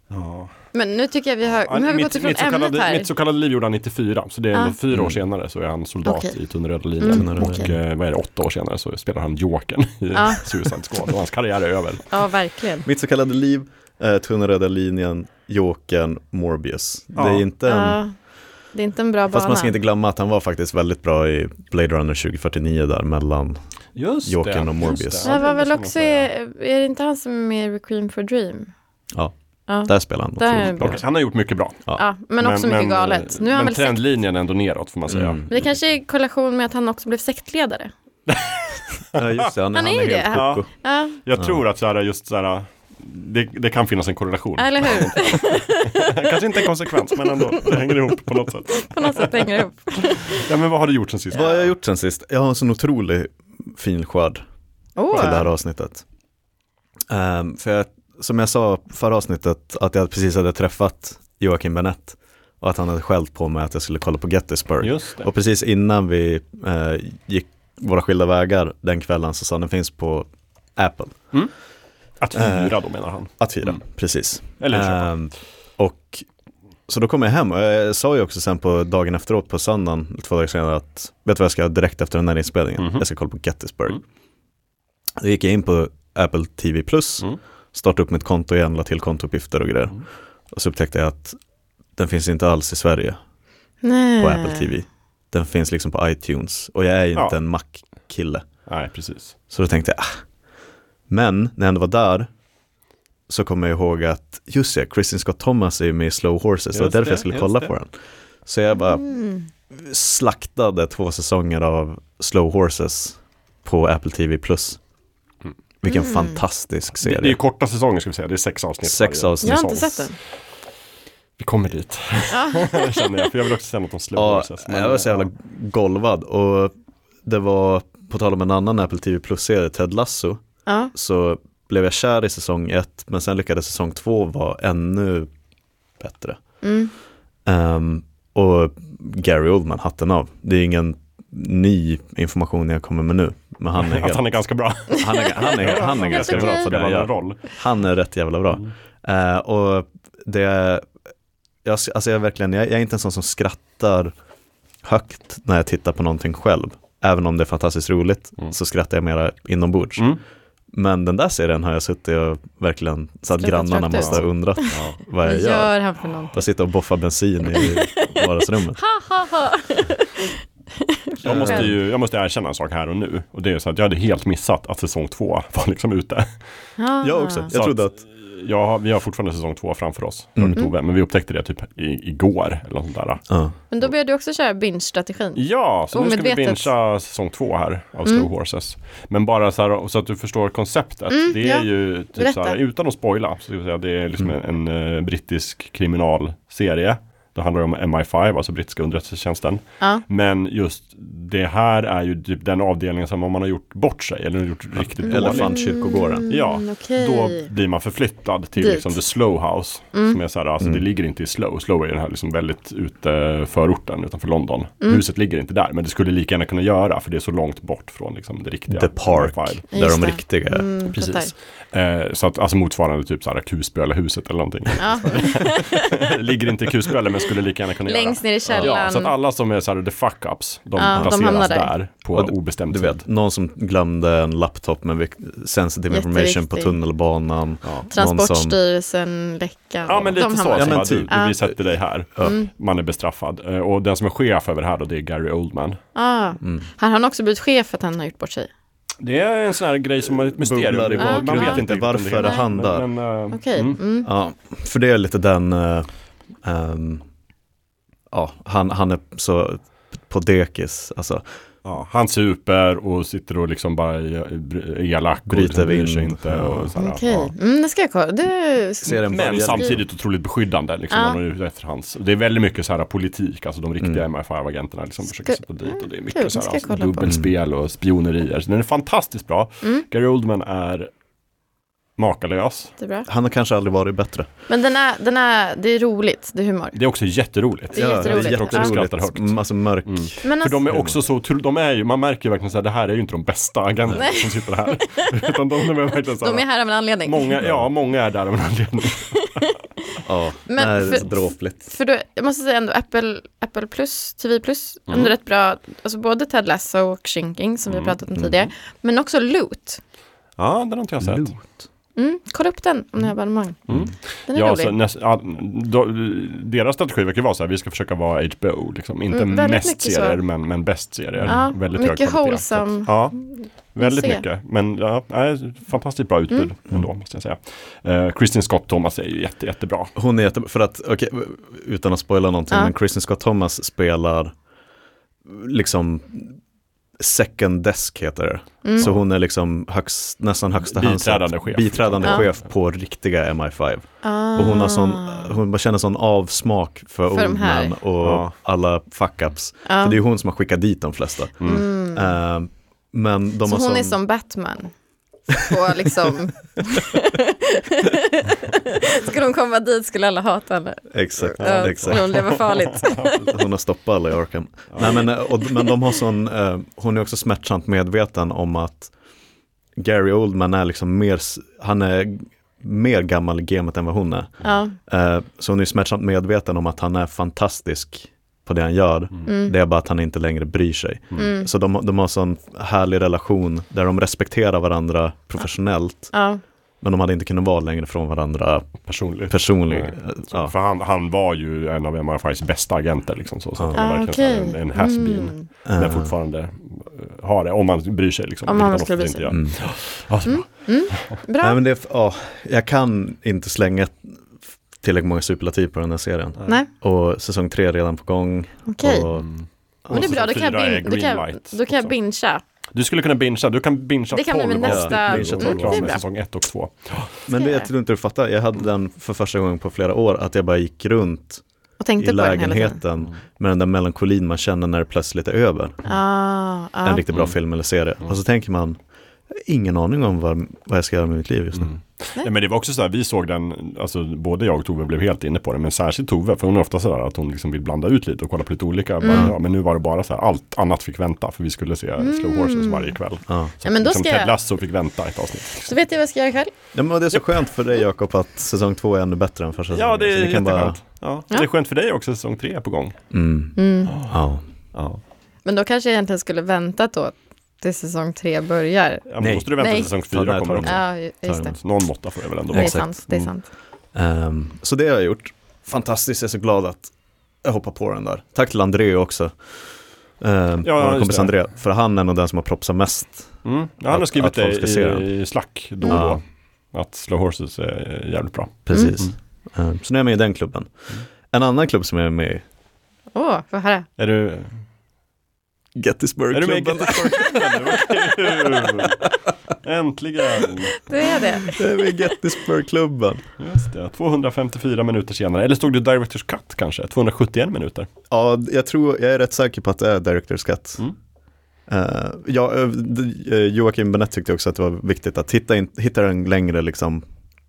Ja.
Men nu tycker jag vi har, nu har vi gått ifrån
Äh, mitt, så
ämnet
kallade,
här.
mitt så kallade liv gjorde han 94, så det är ändå
Ah.
fyra år senare så är han soldat
Okej.
i Mm. Tunna röda linjen.
Mm,
och
okej.
eh, vad är det, åtta år senare så spelar han Jokern i
Ah.
Suicide Squad och hans karriär är över.
Ja, verkligen.
Mitt så kallade liv, eh, Tunna röda linjen, Jokern, Morbius.
Ja.
Det är inte
Mm.
en,
Ja, det är inte en bra
fast
bana.
man ska inte glömma att han var faktiskt väldigt bra i Blade Runner 2049 där mellan,
*laughs* Just
Jokern
det,
och Morbius.
just
Det här var
det
väl
måste man
också,
säga.
är, är det inte han som är med i Requiem for a Dream?
ja,
Ja,
där spelar han
Där är
otroligt
han
bra.
Okej, Han har gjort mycket bra.
ja men, också mycket galet. Nu är han
men
väl sekt,
trendlinjen är ändå neråt får man säga.
Mm.
det kanske är i kollation med att han också blev sektledare.
Ja, just det, han,
Han är ju det.
helt
Ja.
koko.
Ja,
Jag tror att så här, just så här, det, det kan finnas en korrelation.
eller hur?
*laughs* Kanske inte en konsekvens men ändå, det hänger ihop på något sätt.
På något sätt hänger det ihop.
Ja, men vad har du gjort sen sist?
Vad har jag gjort sen sist? Jag har en sån otrolig fin skörd
Åh,
till det här avsnittet. Ehm, för jag, som jag sa förra avsnittet, att jag precis hade träffat Joakim Benett och att han hade skällt på mig att jag skulle kolla på Gettysburg.
Just det.
Och precis innan vi eh, gick våra skilda vägar den kvällen så sa han den finns på Apple.
Att hyra då menar han.
Att fira,
Mm.
precis.
Eller köpa.
Ehm, och så då kom jag hem och jag sa ju också sen på dagen efteråt på söndagen, två dagar senare att vet du vad jag ska göra direkt efter den här inspelningen?
Mhm.
Jag ska kolla på Gettysburg.
Mm.
Då gick jag in på Apple TV+, Plus,
Mm.
startade upp mitt konto igen, la till kontouppgifter och grejer.
Mm.
Och så upptäckte jag att den finns inte alls i Sverige
nej.
på Apple TV. Den finns liksom på iTunes och jag är ju inte
Ja.
en Mac-kille.
Nej, precis.
Så då tänkte jag, ah. Men när jag ändå var där så kom jag ihåg att, just det, Kristin Scott Thomas är ju med i Slow Horses, det var
Just
därför
det,
jag skulle
just
kolla
det.
på den. Så jag bara
Mm.
slaktade två säsonger av Slow Horses på Apple TV+. Vilken fantastisk
Det,
serie.
det är ju korta säsonger ska vi säga, det är sex avsnitt.
Sex
varje
avsnitt.
Jag har inte
säsong.
sett den.
Vi kommer dit. *laughs* Känner jag, för jag vill också säga något om Slow
Ja,
Horses, men,
jag var så jävla golvad och det var, på tal om en annan Apple TV Plus-serie, Ted Lasso,
Ja.
så blev jag kär i säsong ett, men sen lyckades säsong två vara ännu bättre.
Mm.
Ehm, och Gary Oldman, hatten av. Det är ingen ny information jag kommer med nu, men han *laughs* är,
Att
helt,
han är ganska bra.
han är, han *laughs* är, han är ganska bra för det han
var en
gör.
roll.
Han är rätt jävla bra. Eh, och det, jag, alltså jag, är verkligen, jag, jag är inte en sån som skrattar högt när jag tittar på någonting själv. Även om det är fantastiskt roligt
Mm.
så skrattar jag mera inombords.
Mm.
Men den där serien har jag suttit och verkligen så att
Skrattat
grannarna
rakt ut.
måste ha
*laughs*
undrat vad jag
Vad
gör.
gör han för någonting?
Jag sitter och boffar bensin
*laughs*
i vardagsrummet.
Jag, måste ju, jag måste erkänna en sak här och nu. Och det är ju så att jag hade helt missat att säsong två var liksom ute.
Ah.
Jag också.
Så
Jag trodde att,
Jag, har- vi har fortfarande säsong två framför oss. Hörde
Mm.
Tove, men vi upptäckte det typ i, igår eller något sånt där.
ja.
Men då började du också köra binge-strategin.
Ja, så nu ska vi
Omedvetet. Mm.
bingea säsong två här av Slow Horses. Men bara så här, så att du förstår konceptet. det är
Mm, ja.
ju typ
Berätta.
så här, utan att spoila, så ska vi säga, det är liksom en, en eh, brittisk kriminalserie. Det handlar om MI5, alltså brittiska underrättelsetjänsten.
Ja.
Men just det här är ju typ den avdelningen som om man har gjort bort sig eller gjort riktigt dåligt.
Elefantkyrkogården.
Ja,
Mm, okej.
då blir man förflyttad till
Dit. Mm.
liksom the slow house. Som är så här,
Mm.
alltså det ligger inte i slow. Slow är den här liksom väldigt ute förorten utanför London.
Mm.
Huset ligger inte där, men det skulle lika gärna kunna göra för det är så långt bort från liksom det riktiga.
The Park,
Five.
där
Just
de
det.
riktiga är.
Mm,
Precis.
fattar.
Eh, så att alltså motsvarande typ så här Kusböle huset eller någonting. *laughs*
Ja.
ligger inte i Kusböle men skulle lika gärna kunna
Längst
göra.
ner i källaren.
Ja, så att alla som är så här the fuck ups, de
Ja, de
placeras
hamnar
där.
där.
på
Och d-
obestämd
Du
tid.
vet, någon som glömde en laptop med vik- sensitive information på
Jätteviktig.
tunnelbanan.
Transportstyrelsen, läckan.
Ja men lite så,
de hamnar
ja,
Ja,
där.
men
men du,
typ.
vi sätter dig här. Mm.
Mm.
Man är bestraffad. Eh, Och den som är chef över det här då, det är Gary Oldman.
Ah.
Mm.
Här har han också blivit chef för att han har gjort bort sig.
Det är en sån här grej som är ett
Bubblar i
mysterium. Man
bakgrunden.
vet inte riktigt om
Varför
det hela.
han där?
Men, men, eh,
Okej.
mm.
Mm.
Ja, för det är lite den, eh, ehm, ja, han, han är så på dekis, alltså
ja, han super och sitter och liksom bara är elak och
Bryter
liksom bryr sig
vind.
inte. Och så här,
Okej,
ja.
mm, det ska jag kolla. Det...
Ser den
Men
börjar-
samtidigt otroligt beskyddande. Liksom,
Ja.
man är ute efter hans. Det är väldigt mycket så här politik, alltså de riktiga MFI-agenterna liksom försöker
Ska- Mm,
sätta dit. Och det är mycket
kul,
så här,
ska jag
alltså,
kolla på.
dubbelspel och spionerier. Så den är fantastiskt bra.
Mm.
Gary Oldman är makalös.
Det är bra.
han har kanske aldrig varit bättre.
Men den är, den är, det är roligt, det är humor.
Det är också jätteroligt.
Det är jätteroligt.
Jag tror också
jätteroligt.
skrattar högt.
Mm, Alltså märk,
Mm.
Men
För
alltså,
de är också så, otro- de är ju, man märker ju verkligen så här, det här är ju inte de bästa agenterna som sitter här. *laughs* Utan de, de är verkligen så här,
de är här av en anledning.
många, ja många är där av en anledning.
ja,
Men
nej,
för-
dråpligt.
För då, jag måste säga ändå Apple, Apple Plus, TV Plus,
Mm.
ändå rätt bra, alltså både Ted Lasso och Shrinking som vi har
mm.
pratat om tidigare, men också Loot.
Ja, den har inte jag sett.
Mm, kolla upp den om ni har abonnemang.
Mm.
Den är
Ja,
rolig.
så näst, ja, då, deras strategi verkar ju vara så här, vi ska försöka vara HBO, liksom. inte
Mm, väldigt
mest
mycket så.
serier men, men bäst serier.
Ja,
väldigt
mycket
hög kvalitet. Så att-
wholesome.
Ja, väldigt
se. Mm.
mycket. Men ja, nej, fantastiskt bra utbud ändå, måste jag säga. Eh, Kristin Scott Thomas är ju jätte, jättebra.
Hon är jättebra, för att, okej, utan att spoila någonting,
Ja.
men Kristen Scott Thomas spelar liksom second desk heter det.
Mm.
Så hon är liksom högst, nästan högsta hand-
Biträdande chef.
Biträdande
Ja.
chef på riktiga MI5.
Ah.
Och hon, har sån, hon bara känner sån avsmak för,
För de
Oldman
här.
och
Ja.
alla fuck-ups. För det är hon som har skickat dit de flesta. Eh, men de
Mm. så
har
hon
sån,
är som Batman. På
*laughs*
liksom... skulle hon komma dit skulle alla hata henne.
Exakt,
Ja,
exakt.
skulle hon
*laughs*
leva farligt.
Hon har stoppat alla i Arkham. Nej, men, eh, och, men de har sån, eh, hon är också smärtsamt medveten om att Gary Oldman är liksom mer, s- han är mer gammal i gamet än vad hon är.
ja.
Eh, så hon är smärtsamt medveten om att han är fantastisk på det han gör.
mm.
Det är bara att han inte längre bryr sig. Så de, de har sån härlig relation där de respekterar varandra professionellt.
ja.
Men de hade inte kunnat vara längre från varandra
Personligt.
personligt.
Nej.
Ja.
För han, han var ju en av MFIs bästa agenter. Liksom, så, så han
Ah,
var verkligen så här
okej. Mm.
en, en has-been. Men fortfarande eh, har det, om man bryr sig. Liksom,
Om
vilket
man
ofta
skulle bry
inte
sig. Mm.
gör.
Mm.
Ja, så bra.
Bra.
Nej, men det, är f- ja, jag kan inte slänga tillräckligt många superlativ på den här serien.
Nej,
Och säsong tre är redan på gång.
okej.
Och,
Men det är bra, då kan jag,
Fyra är
bin, då kan jag,
Greenlight
liksom.
då kan jag
också.
bingea
Du skulle kunna bingea, du kan bingea
Det kan bli
12
min nästa-
avsnitt. Bingea 12
Mm, det är
avsnitt,
bra.
säsong 1 och 2.
Men det
jag
jag tror inte du fattar, jag hade den för första gången på flera år, att jag bara gick runt
Och tänkte
i
på den hela tiden.
lägenheten med den där melankolin man känner när det plötsligt är över.
Ah, ah.
En riktigt bra film eller serie.
Mm.
Och så tänker man, jag har ingen aning om vad, vad jag ska göra med mitt liv just
Mm.
nu.
Nej, men det var också så här, vi såg den, alltså både jag och Tove blev helt inne på den, men särskilt Tove, för hon är ofta så där att hon liksom vill blanda ut lite och kolla på lite olika.
Mm.
Bara, ja, men nu var det bara så här, allt annat fick vänta, för vi skulle se Slow Horses varje kväll.
Ja.
Så
Ja, men då
liksom
ska
Ted
jag-
Lasso fick vänta ett avsnitt.
Så vet jag vad jag ska göra ikväll.
Ja, men det är så skönt för dig Jakob att säsong två är ännu bättre än första säsongen.
Ja, det
Så
är
ni kan
jätteskönt.
bara,
Ja.
Ja.
Det är skönt för dig också, säsong tre är på gång.
mm, ja.
Ja.
Men då kanske jag egentligen skulle vänta då tills säsong tre börjar.
Ja, men
Nej.
måste du vänta
Nej.
till säsong
Ta det
fyra
här,
kommer
ta det
också.
Ja, ju- just det.
Så Någon måtta får det väl ändå
Det är
vara.
Exakt.
sant. Det är
Mm.
sant.
Ehm, så det har jag gjort. Fantastiskt, jag är så glad att jag hoppar på den där. Tack till André också. Um,
Ja,
ja,
just
kompis
det.
André, för han är nog den som har propsat mest.
Mm. Ja, han har
Att-
skrivit
att folk ska se den.
det i, i Slack då och
Ja.
då. Att Slow Horses är jävligt bra.
Precis. Ehm, så nu är jag med i den klubben.
Mm.
En annan klubb som jag är med i,
Åh, vad här.
Är du, är du med i
Gettysburg-klubben.
Gettysburg-klubben? Vad *laughs* kul! Äntligen!
Det är det.
*laughs* Jag är med i Gettysburg-klubben.
Just det, 254 minuter senare. Eller stod det Directors Cut kanske? 271 minuter.
Ja, jag tror, jag är rätt säker på att det är Director's Cut.
Mm.
Eh, ja, eh, d- eh, Joakim Benett tyckte också att det var viktigt att hitta, in, hitta den längre, liksom.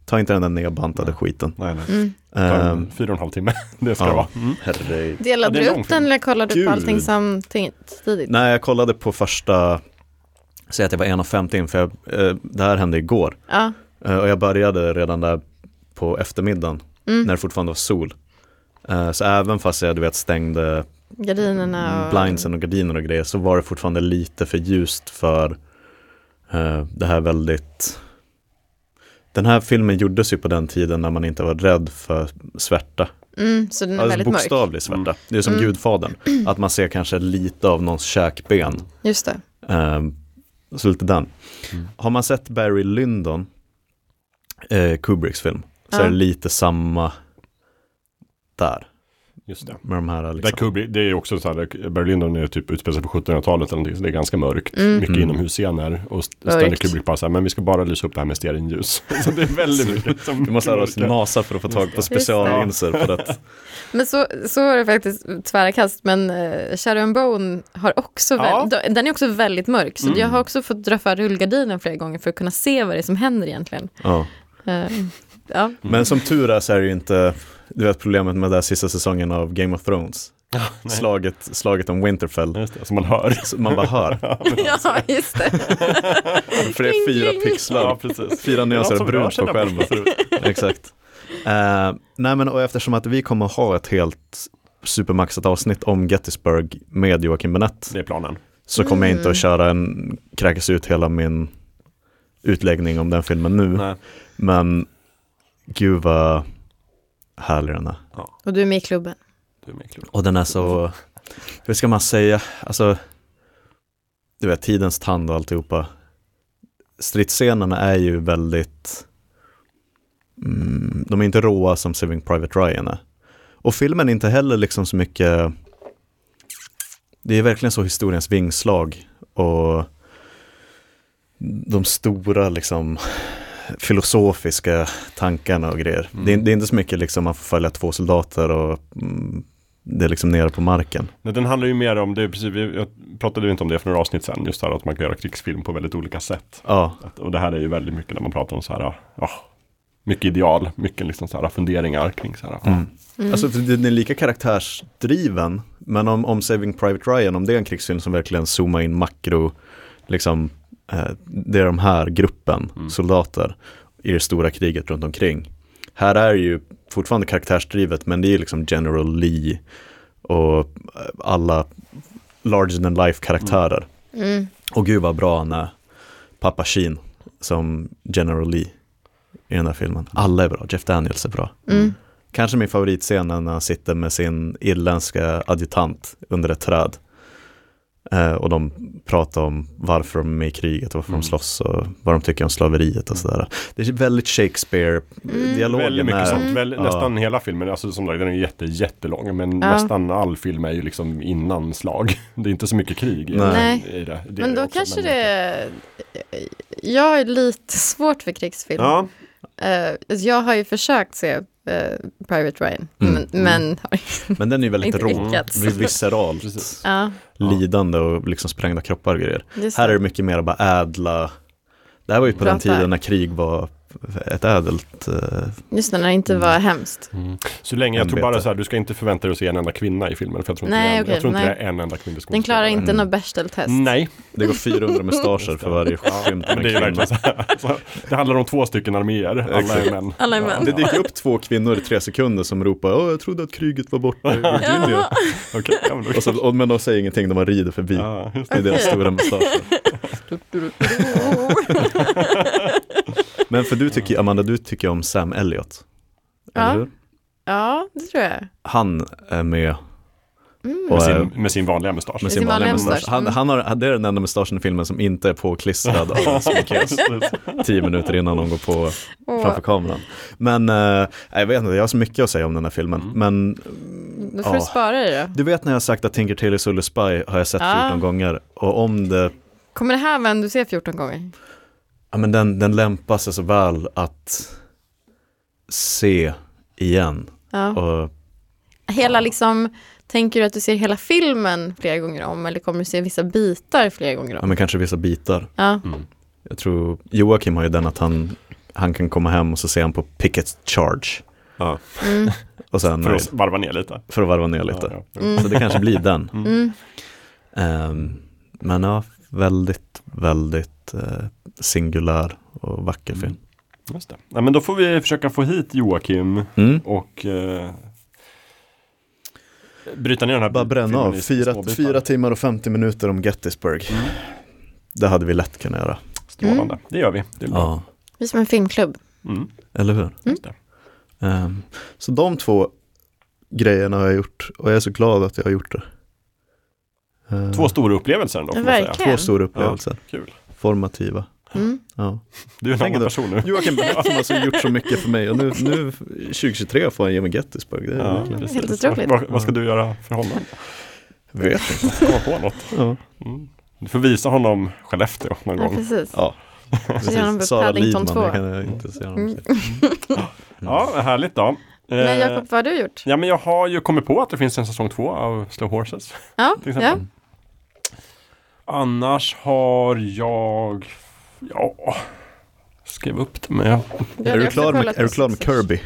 ta inte den där nedbantade skiten.
Nej, nej.
Mm.
Tar
Eh,
en Fyra och en halv timme. *laughs* Det ska
ja.
det vara. Mm.
Herregud.
Delade
Ja, det
du
är
upp den eller kollade du
Gud. Mm,
på allting samtidigt?
Nej, jag kollade på första, säg att jag var 1.50 in, för jag, eh, det här hände igår.
Ja.
Eh, och jag började redan där på eftermiddagen,
Mm.
när det fortfarande var sol. Eh, så även fast jag, du vet, stängde
Gardinerna och...
Mm, blindsen och gardiner och grejer så var det fortfarande lite för ljust för eh, det här väldigt den här filmen gjordes ju på den tiden när man inte var rädd för svärta.
Mm, så den är
Alltså
väldigt mörk. Mm.
bokstavlig svärta. Det är som Gudfadern. Att man ser kanske lite av någons käkben.
Just det.
Eh, så lite den. Har man sett Barry Lyndon, eh, Kubricks film, så
Ja.
är det lite samma där.
Just det.
Med de här
Där
liksom.
Kubrick, det är ju också så här, Berlin då, är typ utspelar sig på 1700-talet eller någonting, så det är ganska mörkt.
Mm.
Mycket inomhusscener och st- Stanley
Mörkt.
Kubrick bara så här, men vi ska bara lysa upp det här med stearinljus. *laughs* så det är väldigt mycket som
Du måste ha oss
mörker.
NASA för att få tag på speciallinser för att
Men så, så är det faktiskt tvära kast, men eh, Shadow and Bone har också väl,
Ja. Mm.
de- den är också väldigt mörk, så jag har också fått dra för rullgardinen flera gånger för att kunna se vad det är som händer egentligen.
Ja.
Eh, ja.
Men som tur är så är det ju inte, du vet problemet med den där sista säsongen av Game of Thrones. slaget, slaget om Winterfell.
Just det, som man hör.
Så man bara hör,
*laughs*
alltså.
ja, just det.
för det är fyra pixlar,
precis.
fyra nyanser
som rör
brunt
sig
på
där
skärmen. *laughs* Exakt. Eh, nej men och eftersom att vi kommer ha ett helt supermaxat avsnitt om Gettysburg med Joakim Benett
*laughs* Det är planen.
så kommer jag inte att köra en, kräkas ut hela min utläggning om den filmen nu.
Nej.
Men gud vad härlig den är.
Och du är med i klubben.
Du är med i klubben.
Och den är så, hur ska man säga, alltså, du vet tidens tand och alltihopa. Stridsscenerna är ju väldigt, mm, de är inte råa som Saving Private Ryan är. Och filmen är inte heller liksom så mycket, det är verkligen så historiens vingslag och de stora liksom filosofiska tankarna och grejer. Det, är, det är inte så mycket liksom man får följa två soldater och mm, det är liksom nere på marken.
Nej, den handlar ju mer om, det är precis, vi- jag pratade ju inte om det för några avsnitt sedan, just det här att man kan göra krigsfilm på väldigt olika sätt.
Ja,
Att, och det här är ju väldigt mycket när man pratar om så här, ja, mycket ideal, mycket liksom så här funderingar kring så här, ah, ja.
alltså för den är lika karaktärsdriven, men om, om Saving Private Ryan, om det är en krigsfilm som verkligen zoomar in makro, liksom, eh, det är de här gruppen soldater i det stora kriget runt omkring. Här är det ju fortfarande karaktärsdrivet, men det är ju liksom General Lee och eh, alla larger than life karaktärer.
Mm.
Och gud vad bra han är, pappa Sheen som General Lee i den här filmen. Alla är bra, Jeff Daniels är bra.
Mm,
Kanske min favoritscen är när han sitter med sin irländska adjutant under ett träd. Eh, och de pratar om varför de är i kriget och varför
Mm.
de slåss och vad de tycker om slaveriet och sådär. Det är väldigt Shakespeare, dialogen
Mm. Väldigt mycket
är...
sånt. Väl,
Ja.
Nästan hela filmen, alltså som sagt den är jätte, jättelång. Men
Ja.
nästan all film är ju liksom innan slag. *laughs* Det är inte så mycket krig i,
Nej.
i det. det är
Men då
också,
kanske
men
det eh, Jag är lite svårt för krigsfilm.
Ja,
Eh, jag har ju försökt se eh, Private Ryan,
Mm,
men, men
Men den är ju väldigt
*laughs* Inte
rå,
lyckats.
vis- visceralt,
Precis.
ja,
lidande och liksom sprängda kroppar och grejer.
just
Här är
det.
det mycket mer bara ädla, det här var ju på den
Pratar.
tiden när krig var ett ädelt, eh,
Just det, när det inte
Mm.
var hemskt.
så länge, jag tror bara
Ämbete.
så här, du ska inte förvänta dig att se en enda kvinna i filmen. För jag tror inte, det,
Nej,
är en- jag
okej,
tror inte
nej.
det är en enda kvinnlig
Den klarar
skådespelare.
inte
Mm.
något Bechdel-test.
Nej,
*laughs*
det går 400 mustascher för varje skymt
men
med
det är ju
kvinna.
verkligen så här. Alltså, Det handlar om två stycken arméer, alla är män.
Alla är män.
Det dyker upp två kvinnor i tre sekunder som ropar Åh, jag trodde att kriget var
*laughs*
borta i Virginia.
Okej, ja, men då-
och så, och, men de säger ingenting, de bara rider förbi.
Ja, just
Det är deras
*laughs*
stora mustascher. Men för du tycker, Amanda, du tycker om Sam Elliot.
Ja.
Eller hur?
*laughs* Ja, det tror jag.
Han är med
med,
och är
sin, med sin vanliga mustasch.
med
sin
sin vanliga
vanliga
mustasch.
mustasch.
Han,
Mm.
han har, det är den enda mustaschen i filmen som inte är påklistrad av
*laughs*
en sminkes tio minuter innan de går på
Och
framför kameran. Men eh, jag vet inte, jag har så mycket att säga om den här filmen.
Mm.
Men
då får
Ja.
du spara det då.
du vet när jag har sagt att Tinker Tailor Soldier Spy har jag sett
Ja.
14 gånger. Och om det
Kommer det här vara en du ser 14 gånger?
Ja, men den, den lämpar sig så väl att se igen.
Ja.
Och,
Hela liksom, tänker du att du ser hela filmen flera gånger om eller kommer du se vissa bitar flera gånger
ja,
om?
men kanske vissa bitar.
Ja,
Mm.
Mm. Jag tror Joakim har ju den att han, han kan komma hem och så ser han på Pickets Charge.
Ja,
Mm,
*laughs* Och sen eh,
för att varva ner lite.
för att varva ner lite.
Ja, ja.
Så det
*laughs*
kanske blir den.
mm.
Ehm, men ja, väldigt, väldigt eh, singulär och vacker film.
Just det. Ja, men då får vi försöka få hit Joakim
Mm.
och eh, bryta ner den här
Bara bränna
filmen
av,
i
fyra,
småbitar. Mm.
fyra timmar och 50 minuter om Gettysburg. Det hade vi lätt kunnat göra.
Strålande.
Mm.
Det gör vi. Det är bra.
Ja,
Vi är som en filmklubb.
Mm.
eller hur?
Just det.
Ehm, så de två grejerna har jag gjort och jag är så glad att jag har gjort det. Ehm,
Två stora upplevelser ändå. Får man säga.
Verkligen.
två stora upplevelser,
Kul.
formativa.
Mm.
Ja.
Du är en
Tänk
annan
då.
person nu.
Joakim Bennett som har gjort så mycket för mig och nu, nu 2023 får han ge mig Gettysburg. Det är
Ja,
verkligen-
precis.
Helt otroligt.
Vad, vad ska du göra för honom?
Jag vet inte.
Komma på något.
*laughs* Ja.
Mm. Du får visa honom Skellefteå någon
Ja,
gång.
precis.
Ja,
honom
precis.
på
Sara Lidman,
Paddington
det
2.
kan jag inte säga honom.
Mm.
Ja, härligt då.
Men
Eh,
Jakob, vad har du gjort?
Ja, men jag har ju kommit på att det finns en säsong två av Slow Horses.
Ja,
till
ja.
Mm.
exempel. Annars har jag... Ja... Skrev upp det med...
det
Är
hade
du
jag
klar
också
med,
kollat
är du
på
klar med
Six Flags.
Kirby?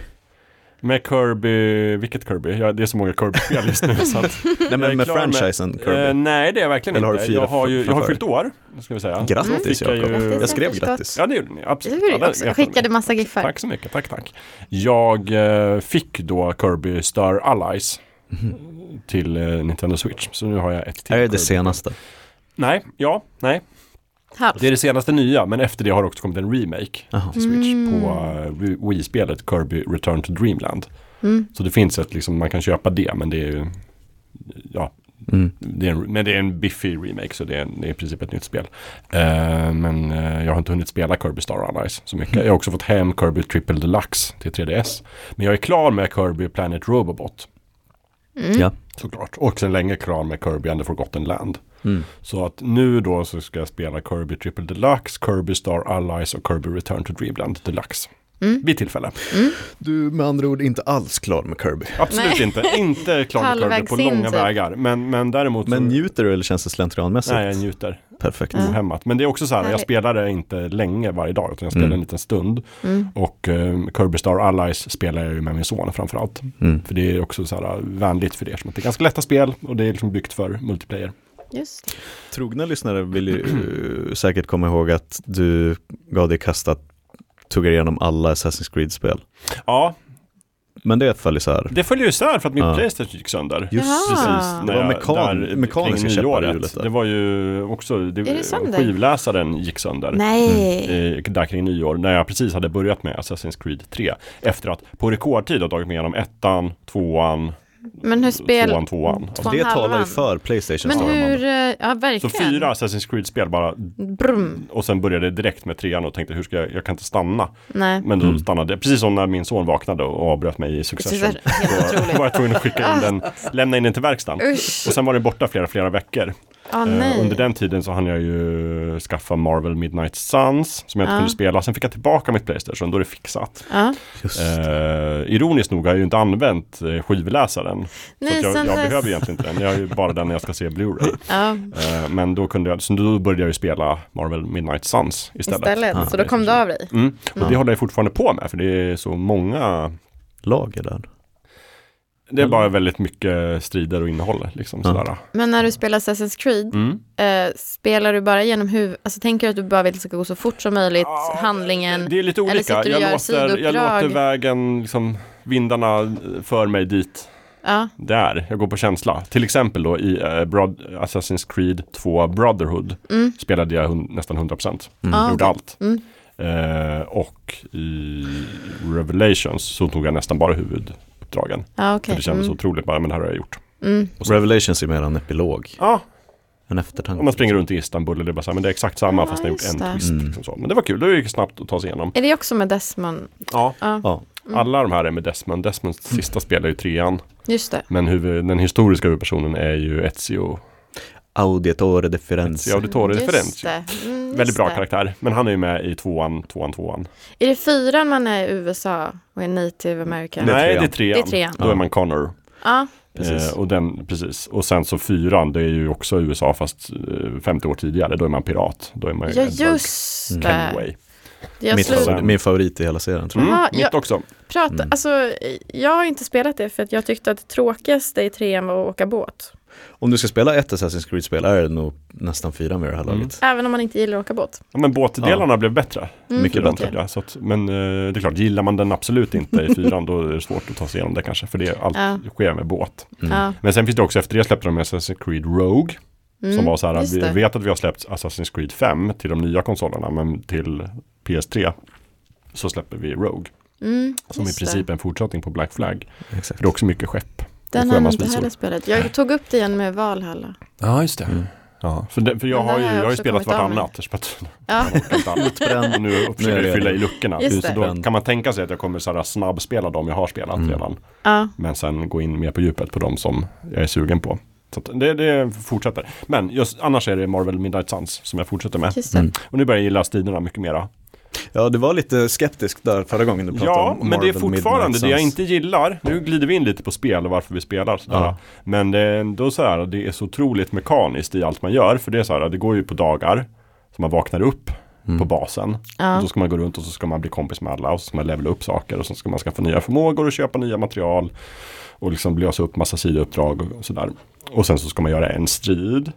Med Kirby... Vilket Kirby? Ja, det är så många Kirby-spel just nu. Så att,
Nej
Jag är
men med
klar med-
franchisen
eh,
*laughs* Kirby.
nej, det är jag verkligen
Eller har
inte.
du fyra
jag har ju jag har
framför dig?
fyllt år, ska vi säga.
Grattis
Fick jag
Jakob.
ju-
Jag skrev
Grattis.
grattis.
Ja, det gjorde ni.
Det
Absolut.
gjorde
Ja,
du
där-
också.
jag-
Skickade massa giffar.
Tack så mycket. Tack, tack. Jag eh, fick då Kirby Star Allies till eh, Nintendo Switch. Så nu har jag ett till.
Här är
Kirby.
Mhm. det senaste.
Nej, ja, nej.
Halvt.
Det är det senaste nya, men efter det har det också kommit en remake
Jaha.
till Switch på eh, Wii- Wii-spelet Kirby Return to Dreamland.
Mm.
Så det finns ett, liksom, man kan köpa det, men det är ju, ja,
Mm.
det är en, men det är en biffig remake, så det är, det är i princip ett nytt spel. Eh, men eh, jag har inte hunnit spela Kirby Star Allies så mycket. Jag har också fått hem Kirby Triple Deluxe till 3DS. Men jag är klar med Kirby Planet Robobot,
Ja.
såklart. Och sen länge klar med Kirby and the Forgotten Land.
Mm.
Så att nu då så ska jag spela Kirby Triple Deluxe, Kirby Star Allies och Kirby Return to Dreamland Deluxe.
Mm.
Vid tillfälle.
Du är med andra ord inte alls klar med Kirby.
Absolut
Nej.
inte. Inte klar med Kirby
Halvvägs
på
in,
långa
typ.
vägar. Men, men däremot
Men
så...
njuter du eller känns det slentrianmässigt?
Mm. Nej, jag njuter
Perfekt. Mm.
ohämmat. Men det är också så här, jag
Härligt.
spelade inte länge varje dag, utan jag spelade
Mm.
en liten stund.
Mm.
Och eh, Kirby Star Allies spelar jag ju med min son framförallt.
Mm.
För det är också så här äh, vänligt för er som att det är ganska lätta spel och det är liksom byggt för multiplayer.
Just det.
Trogna lyssnare vill ju eh, säkert komma ihåg att du gav dig i kast att tog er igenom alla Assassin's Creed-spel.
Ja,
Men det följer så här.
det följer ju isär för att min
Ja.
Playstation gick sönder.
Just
Jaha.
Precis, när
Det
jag-
var mekan- mekaniska
kring
käppar i
nyåret.
hjulet där.
Det var ju också, det,
Är det sönder?
skivläsaren gick sönder.
Nej.
Mm.
eh, Där kring nyår, när jag precis hade börjat med Assassin's Creed 3. Efter att på rekordtid ha tagit mig igenom ettan, tvåan,
Men hur spel...
Tvåan, tvåan.
Två-
Det
Fan,
talar ju
halvan.
för Playstation.
Men
sa de.
hur, eh, ja
Så
verkligen.
fyra Assassin's Creed-spel bara
Brum.
och sen började jag direkt med trean och tänkte hur ska jag, jag kan inte stanna.
Nej.
Men då
Mm.
stannade jag, precis som när min son vaknade och avbröt mig i Succession.
Precis, helt
Då var jag tvungen att skicka in
*laughs*
den, lämna in den till verkstaden.
Usch.
Och sen var den borta flera, flera veckor.
Åh
Mm. Eh,
nej.
Under den tiden så hann jag ju skaffa Marvel Midnight Suns som jag inte
Ja.
kunde spela. Sen fick jag tillbaka mitt Playstation, då är det fixat.
ja.
Just.
Eh, ironiskt nog har jag ju inte använt eh, skivläsaren.
Nej,
så att jag,
sen
jag
dess-
behöver egentligen inte den. Jag har ju bara den när jag ska se
*laughs*
Blu-ray.
ja.
Eh, men då, kunde jag, så då började jag ju spela Marvel Midnight Suns istället.
Istället. så då kom du av dig.
Mm. Och det håller jag fortfarande på med för det är så många
Lager där.
Det är
Mm.
bara väldigt mycket strider och innehåll liksom
Ja.
sådär.
Men när du spelar Assassin's Creed,
Mm.
eh, spelar du bara genom huvudet? Alltså tänker du att du bara vill att det ska gå så fort som möjligt,
Ja,
handlingen?
Det är lite
Eller sitter
olika.
du
Jag
och gör
låter, jag
sidouppdrag?
låter vägen, liksom, vindarna eh, för mig dit.
Ja,
Där, jag går på känsla. Till exempel då i eh, Brod- Assassin's Creed 2 Brotherhood
Mm.
spelade jag hun- nästan 100%.
Ah,
Gjorde
okej.
allt.
Mm.
Eh, och i Revelations så tog jag nästan bara huvuduppdragen.
ja
För
okej.
det kändes
Mm.
otroligt bara, men det här har jag gjort.
Mm.
Och så- Revelations är mer en epilog,
Ja,
en
om man
eftertanke.
springer runt i Istanbul och det är bara så här, men det är exakt samma
Ja,
fast jag har gjort
just
en
det.
twist.
Mm.
Liksom så. Men det var kul, det gick snabbt att ta sig igenom.
Är det också med Desmond?
Ja.
Ja, Mm.
Ja, Mm.
Alla de här är med Desmond. Desmonds sista spel är ju trean.
just det.
Men huvud, den historiska huvudpersonen är ju Ezio.
audietore differens.
Ezio Auditore
Just
Referens.
det. Mm, just
Väldigt bra
det.
karaktär. Men han är ju med i tvåan, tvåan, tvåan.
Är det fyran man är i USA och är native american?
Det är
Nej,
trean.
det är trean.
Det är trean.
Då är man Connor.
Ja,
Precis.
Eh, och, den, precis. och sen så fyran, det är ju också USA fast eh, 50 år tidigare. Då är man pirat. Då är man ju
ja
Edward
just
Mm.
det.
Kenway.
Jag
Mitt
slut-
favorit, min favorit i hela serien tror jag.
Mm,
Jaha,
mitt
jag-
också.
Prata,
Mm.
alltså, jag har inte spelat det för att jag tyckte att det tråkigaste i trean var att åka båt.
Om du ska spela ett Assassin's Creed-spel är det nog nästan fyra med det
Mm.
här laget.
Även om man inte gillar att åka båt.
Ja, men båtdelarna blev bättre.
Mm.
Mycket
Fyran,
bättre.
trodde jag. Så att, men eh, det är klart, gillar man den absolut inte i fyran då är det svårt att ta sig igenom det kanske. För det är allt
Ja.
sker med båt.
Mm.
Ja.
Men sen finns det också, efter det släppte de Assassin's Creed Rogue. som var så här,
Mm, just
vi
det.
vet att vi har släppt Assassin's Creed 5 till de nya konsolerna, men till PS3 så släpper vi Rogue.
Mm,
Som i
just
princip är en fortsättning på Black Flag.
Exakt.
För det är också mycket skepp.
det. Den
och
har jag inte
sjömansvisor.
heller spelat. Jag tog upp det igen med Valhalla.
Ja, just det. Ja, Mm. för, det, för jag
Men det
har ju,
har
jag
jag
har ju
också
spelat
kommit av med.
vartannat. Så att,
Ja.
jag orkar inte allt. Och
Bränd.
nu försöker
är det
jag fylla i
redan.
luckorna.
Just
Så
det.
då kan man tänka sig att jag kommer så här snabbspela de jag har spelat redan.
Ja.
Men sen gå in mer på djupet på de som jag är sugen på. Så att det, det fortsätter. Men just, annars är det Marvel Midnight Suns som jag fortsätter med.
Just det.
Och nu börjar jag gilla striderna mycket mera.
Ja, du var lite skeptisk där förra gången du pratade
Ja, men
om
det är
Marvel
fortfarande
Midnight
det jag
Suns.
inte gillar. Nu glider vi in lite på spel och varför vi spelar. Sådär.
Ja.
Men det är ändå så här, det är så otroligt mekaniskt i allt man gör. För det är så här, det går ju på dagar. Så man vaknar upp
Mm.
på basen.
Ja.
Och då ska man gå runt och så ska man bli kompis med alla. Och så ska man levela upp saker. Och så ska man skaffa nya förmågor och köpa nya material. Och liksom lösa upp massa sidouppdrag och sådär. Och sen så ska man göra en strid.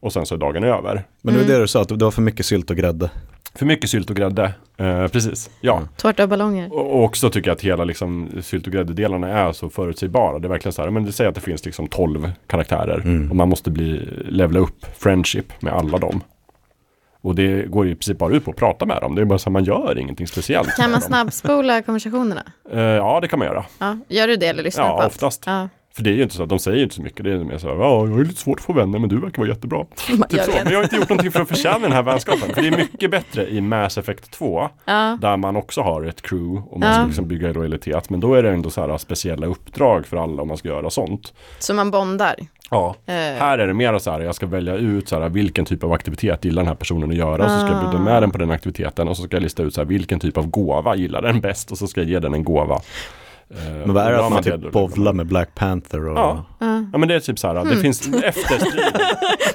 Och sen så är dagen över.
Men det var
Mm.
det du sa, att det var för mycket sylt och grädde.
För mycket sylt och grädde. Eh, precis, ja.
Tårta och ballonger.
Och och också tycker jag att hela liksom, sylt och gräddedelarna är så förutsägbara. Det är verkligen så här, men det säger att det finns liksom 12 karaktärer och man måste bli, levla upp friendship med alla dem. Och det går ju i princip bara ut på att prata med dem. Det är bara så här, man gör ingenting speciellt.
Kan
med
man
dem.
snabbspola konversationerna?
Eh, ja, det kan man göra.
Ja. Gör du det eller lyssnar du på
Ja,
allt?
oftast.
Ja.
För det är ju inte så att de säger ju inte så mycket. Det är mer så här, ja, jag har ju lite svårt att få vänner men du verkar vara jättebra. *laughs* Typ
jag
så.
vet.
Men jag har inte gjort någonting för att förtjäna den här vänskapen. För det är mycket bättre i Mass Effect 2.
Ja.
Där man också har ett crew och man ska
Ja.
liksom bygga lojalitet. Men då är det ändå så här speciella uppdrag för alla om man ska göra sånt.
Så man bondar.
Ja.
Eh,
Här är det mer så här, jag ska välja ut så här, vilken typ av aktivitet gillar den här personen att göra. Och så ska jag bjuda med den på den aktiviteten och så ska jag lista ut så här, vilken typ av gåva gillar den bäst. Och så ska jag ge den en gåva. Eh,
Men vad är det att man
då? liksom.
typ bovlar med Black Panther och...
Ja. ja, men det är typ så här, det finns efter striden,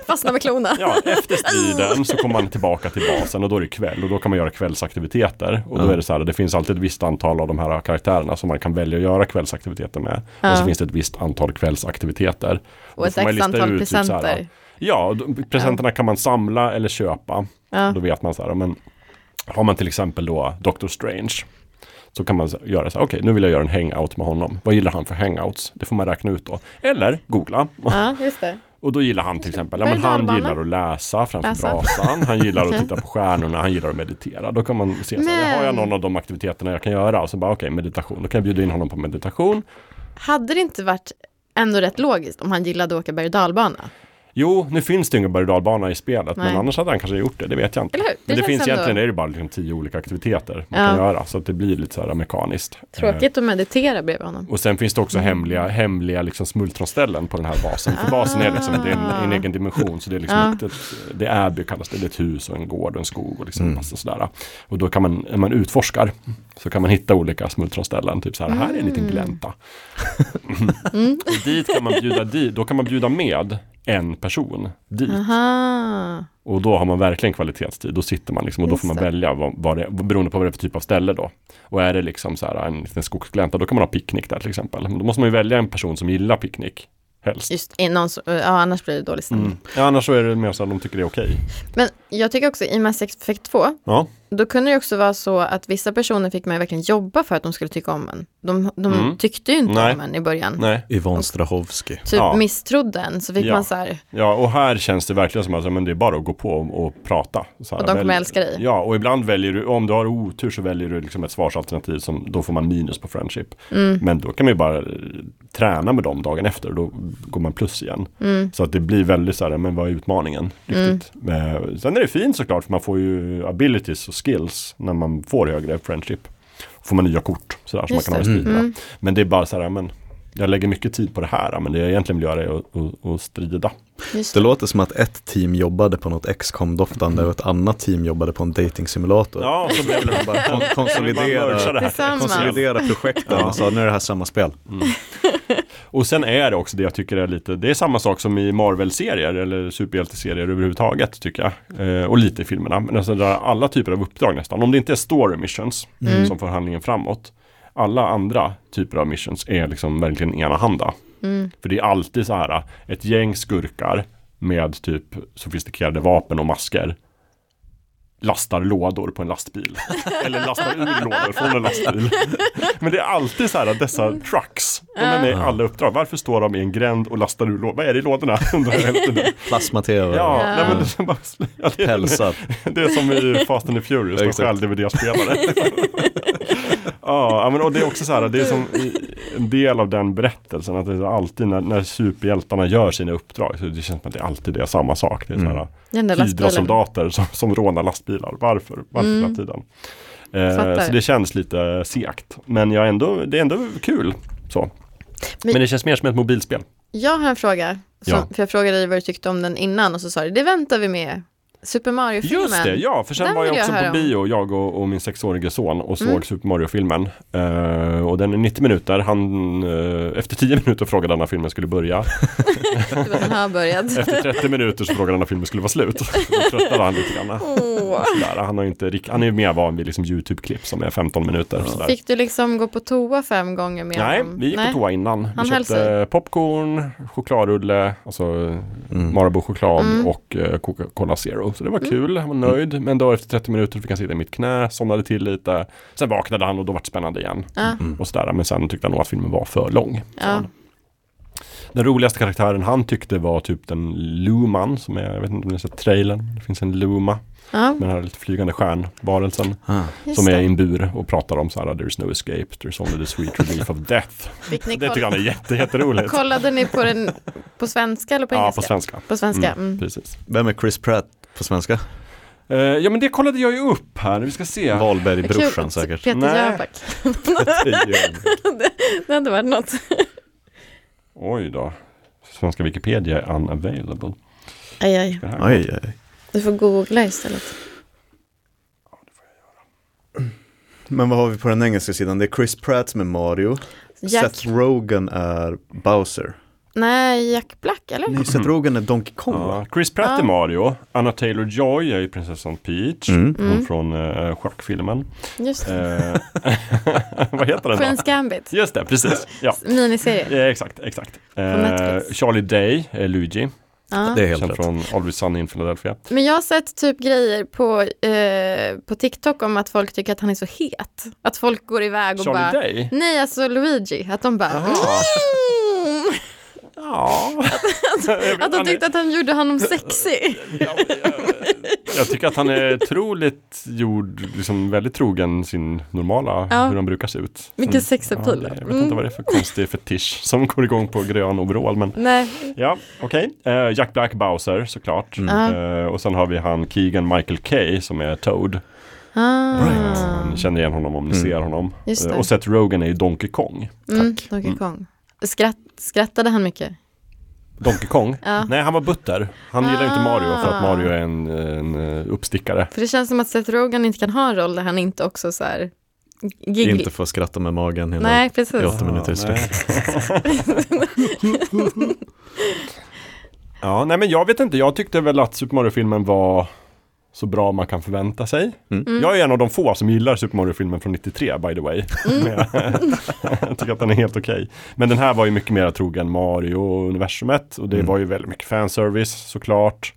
fastnar med *laughs* klorna.
ja, efter striden så kommer man tillbaka till basen och då är det kväll och då kan man göra kvällsaktiviteter. Och då är det så här, det finns alltid ett visst antal av de här karaktärerna som man kan välja att göra kvällsaktiviteter med. Och så finns det ett visst antal kvällsaktiviteter.
Och ett
Då får man
x
lista
antal
ut typ så här,
presenter.
Ja, då- presenterna kan man samla eller köpa.
Ja.
Då vet man så här, men har man till exempel då Doctor Strange så kan man så- göra så här, okej nu vill jag göra en hangout med honom. Vad gillar han för hangouts? Det får man räkna ut då. Eller googla.
Ja, just det.
Och då gillar han till exempel, ja,
Berg-
men han
dalbana.
gillar att läsa framför
Läsa.
brasan, han gillar
*laughs*
att titta på stjärnorna, han gillar att meditera. Då kan man se, så här,
Men-
har jag någon av de aktiviteterna jag kan göra? Och så bara, okej, meditation, då kan jag bjuda in honom på meditation.
Hade det inte varit ändå rätt logiskt om han gillade att åka berg och dalbana.
Jo, nu finns det ju ingen berg och dalbana i spelet,
Nej.
men annars hade han kanske gjort det, det vet jag inte.
Eller hur? Det
men det
känns
finns
ändå-
egentligen, det är ju bara liksom tio olika aktiviteter man
Ja.
kan göra, så att det blir lite så här mekaniskt. Eh,
Tråkigt att meditera bredvid honom.
Och sen finns det också hemliga, hemliga liksom smultronställen på den här basen. För basen är liksom det är en, en egen dimension. Så det är liksom
Ah.
ett, ett, det är Äby kallas det. Det är ett hus och en gård och en skog och liksom massa sådär. Och då kan man, när man utforskar, så kan man hitta olika smultronställen. Typ så här, här är en liten glänta. *laughs* och dit kan man bjuda, di, då kan man bjuda med en person dit.
Aha.
Och då har man verkligen kvalitetstid. Då sitter man liksom och då
Just
får man
det.
välja vad, vad det, beroende på vad det är för typ av ställe då. Och är det liksom så här en liten skogsglänta, då kan man ha picknick där till exempel. Men då måste man ju välja en person som gillar picknick. Helst.
Just i någon som, ja, annars blir det dålig stämning.
Mm. Ja, annars så är det mer så att de tycker det är okej.
Men jag tycker också i Mass Effect 2,
Ja.
då kunde det också vara så att vissa personer fick man ju verkligen jobba för att de skulle tycka om en. De, de
Mm.
tyckte ju inte
Nej.
om en i början.
Nej.
Yvonne Strahovski.
Typ
Ja.
misstrodde en, så fick
Ja.
man så här,
Ja, och här känns det verkligen som att ja, men det är bara att gå på och, och prata. Så här,
Och de kommer
välj-
älska dig.
Ja, och ibland väljer du, om du har otur så väljer du liksom ett svarsalternativ som då får man minus på friendship.
Mm.
Men då kan man ju bara eh, träna med dem dagen efter och då går man plus igen.
Mm.
Så att det blir väldigt så här, men vad är utmaningen? Riktigt. Eh, sen är det fint såklart, för man får ju abilities och skills när man får högre friendship. Får man nya kort sådär, som man
Just
kan ha i
det. Mm.
striden. Men det är bara så här, men jag lägger mycket tid på det här, men det jag egentligen vill göra är att, att, att strida.
just
Det
det.
låter som att ett team jobbade på något xcom doftande och ett annat team jobbade på en dating-simulator.
Ja, så blev det bara *laughs*
Kon-
konsolidera
konsolidera,
det här.
Tillsammans.
konsolidera projekten och sa nu är det här samma spel.
Och sen är det också det jag tycker är lite, det är samma sak som i Marvel-serier eller superhjälteserier överhuvudtaget tycker jag. Eh, och lite i filmerna, men alltså där alla typer av uppdrag nästan. Om det inte är story missions som för handlingen framåt, alla andra typer av missions är liksom verkligen enahanda. För det är alltid så här, ett gäng skurkar med typ sofistikerade vapen och masker lastar lådor på en lastbil. Eller lastar ur lådor från en lastbil. Men det är alltid så här att dessa trucks, de är med i alla uppdrag. Varför står de i en gränd och lastar ur lådor? Vad är det i lådorna? *laughs* Undrar jag hela tiden.
Plasma-tv,
Ja, nej, men det, är bara, ja, det, är,
pälsar.
*laughs* det är som i Fast and the Furious, de
Exakt.
stjäl DVD-spelare. ja, ja, men och det är också så här, det är som i- en del av den berättelsen. Att det är alltid när, när superhjältarna gör sina uppdrag, så det känns som att det alltid är samma sak. Det är så här,
Den där
hydra
lastbilen. Mm.
soldater som, som rånar lastbilar. Varför? Varför hela tiden? Eh,
Fattar.
så det känns lite segt. Men jag är ändå, det är ändå kul. Så. Men,
Men-
det känns mer som ett mobilspel.
Jag har en fråga, som,
Ja.
för jag frågade dig vad du tyckte om den innan och så sa du, det väntar vi med. Super Mario-filmen.
Just det, ja. För sen
Den
var jag
vill jag
också
höra
på
om. Mm.
bio, jag och, och min sexårige son och såg Super Mario-filmen. Eh, och den är 90 minuter. Han, eh, efter 10 *laughs* minuter frågade han när filmen skulle börja. *laughs*
Du bara, Den har börjat.
Efter 30 minuter så frågade han när filmen skulle vara slut. Då tröttnade han lite grann.
Åh.
Sådär, han, har ju inte, rikt- han är ju mer van vid liksom YouTube-klipp som är 15 minuter. Sådär.
Fick du liksom gå på toa fem gånger med
Nej,
honom?
vi gick på toa innan.
Han
vi
höll
köpte popcorn, chokladrulle, alltså
Mm.
Marabou-choklad
Mm.
och eh, Coca-Cola Zero. Så det var kul, han var nöjd. Men då efter 30 minuter fick han sitta i mitt knä, somnade till lite. Sen vaknade han och då var det spännande igen.
Ja.
Och sådär. Men sen tyckte han nog att filmen var för lång.
Ja.
Den roligaste karaktären han tyckte var typ den Luman, som är, jag vet inte om ni har sett trailern, det finns en Luma,
ja,
med den här lite flygande stjärnvarelsen.
Ah.
just
Som är i
det.
en bur och pratar om så här, there's no escape, there's only the sweet relief of death.
Fick ni
Det tycker
kolla-
han är jätte,
*laughs*
jätteroligt.
Kollade ni på den på svenska eller på
Ja,
engelska?
på svenska.
På svenska. Mm.
Precis.
Vem är Chris Pratt på svenska?
Eh, ja men det kollade jag ju upp här, vi ska se.
Vad kul.
Wahlberg-brorsan säkert.
Peter
Nej. *laughs*
Jöback. Det hade varit något.
Oj då. Svenska Wikipedia är unavailable.
Aj, aj.
Det här.
Oj, oj.
Du får googla istället.
Men vad har vi på den engelska sidan? Det är Chris Pratt som är Mario.
Jack,
Seth Rogen är Bowser.
nej, Jack Black eller?
Nej, Seth Rogen är Donkey Kong va?
Mm. Ja, Chris Pratt är Mario, Anna Taylor-Joy är ju prinsessan Peach,
Mm.
hon från uh, schackfilmen.
Just det.
Eh, *laughs* vad heter den då?
Queen's Gambit.
Just det, precis.
*laughs*
Ja,
Miniserie.
eh, exakt, exakt. Eh,
Netflix.
Charlie Day är Luigi,
Ja.
Det är helt
känd
rätt.
från Always Sunny in Philadelphia.
Men jag har sett typ grejer på, eh, på TikTok om att folk tycker att han är så het. Att folk går iväg och
Charlie
bara...
Day?
Nej, alltså Luigi. Att de bara...
Jaha.
Mm! *laughs*
Ja.
Att de tyckte att han gjorde honom sexig.
Jag tycker att han är otroligt gjord, liksom väldigt trogen sin normala,
Ja. Mm.
hur han brukar se ut.
Vilken
Ja,
sexappeal.
det, jag vet inte vad det är för konstig fetisch som går igång på grön overall. Men
Nej,
ja, okej. Eh, Jack Black Bowser såklart. Eh, och sen har vi han Keegan Michael Kay som är Toad.
ah,
Eh, ni känner igen honom om ni ser honom.
Just
Eh,
det.
och Seth Rogen är ju Donkey Kong.
mm, Donkey Kong. Skratt, skrattade han mycket?
Donkey Kong?
Ja.
Nej, han var butter. Han gillar inte Mario för att
Ah.
Mario är en, en eh, uppstickare.
För det känns som att Seth Rogen inte kan ha en roll där han inte också så här giggig.
Inte få skratta med magen hela
Nej,
i
precis.
åtta minuter i sträck.
*laughs* ja, nej men jag vet inte. Jag tyckte väl att Super Mario-filmen var så bra man kan förvänta sig.
Mm.
Jag är en av de få som gillar Super Mario-filmen från 93 by the way. *laughs* jag tycker att den är helt okej. Men den här var ju mycket mer trogen Mario-universumet och det
Mm.
var ju väldigt mycket fanservice såklart.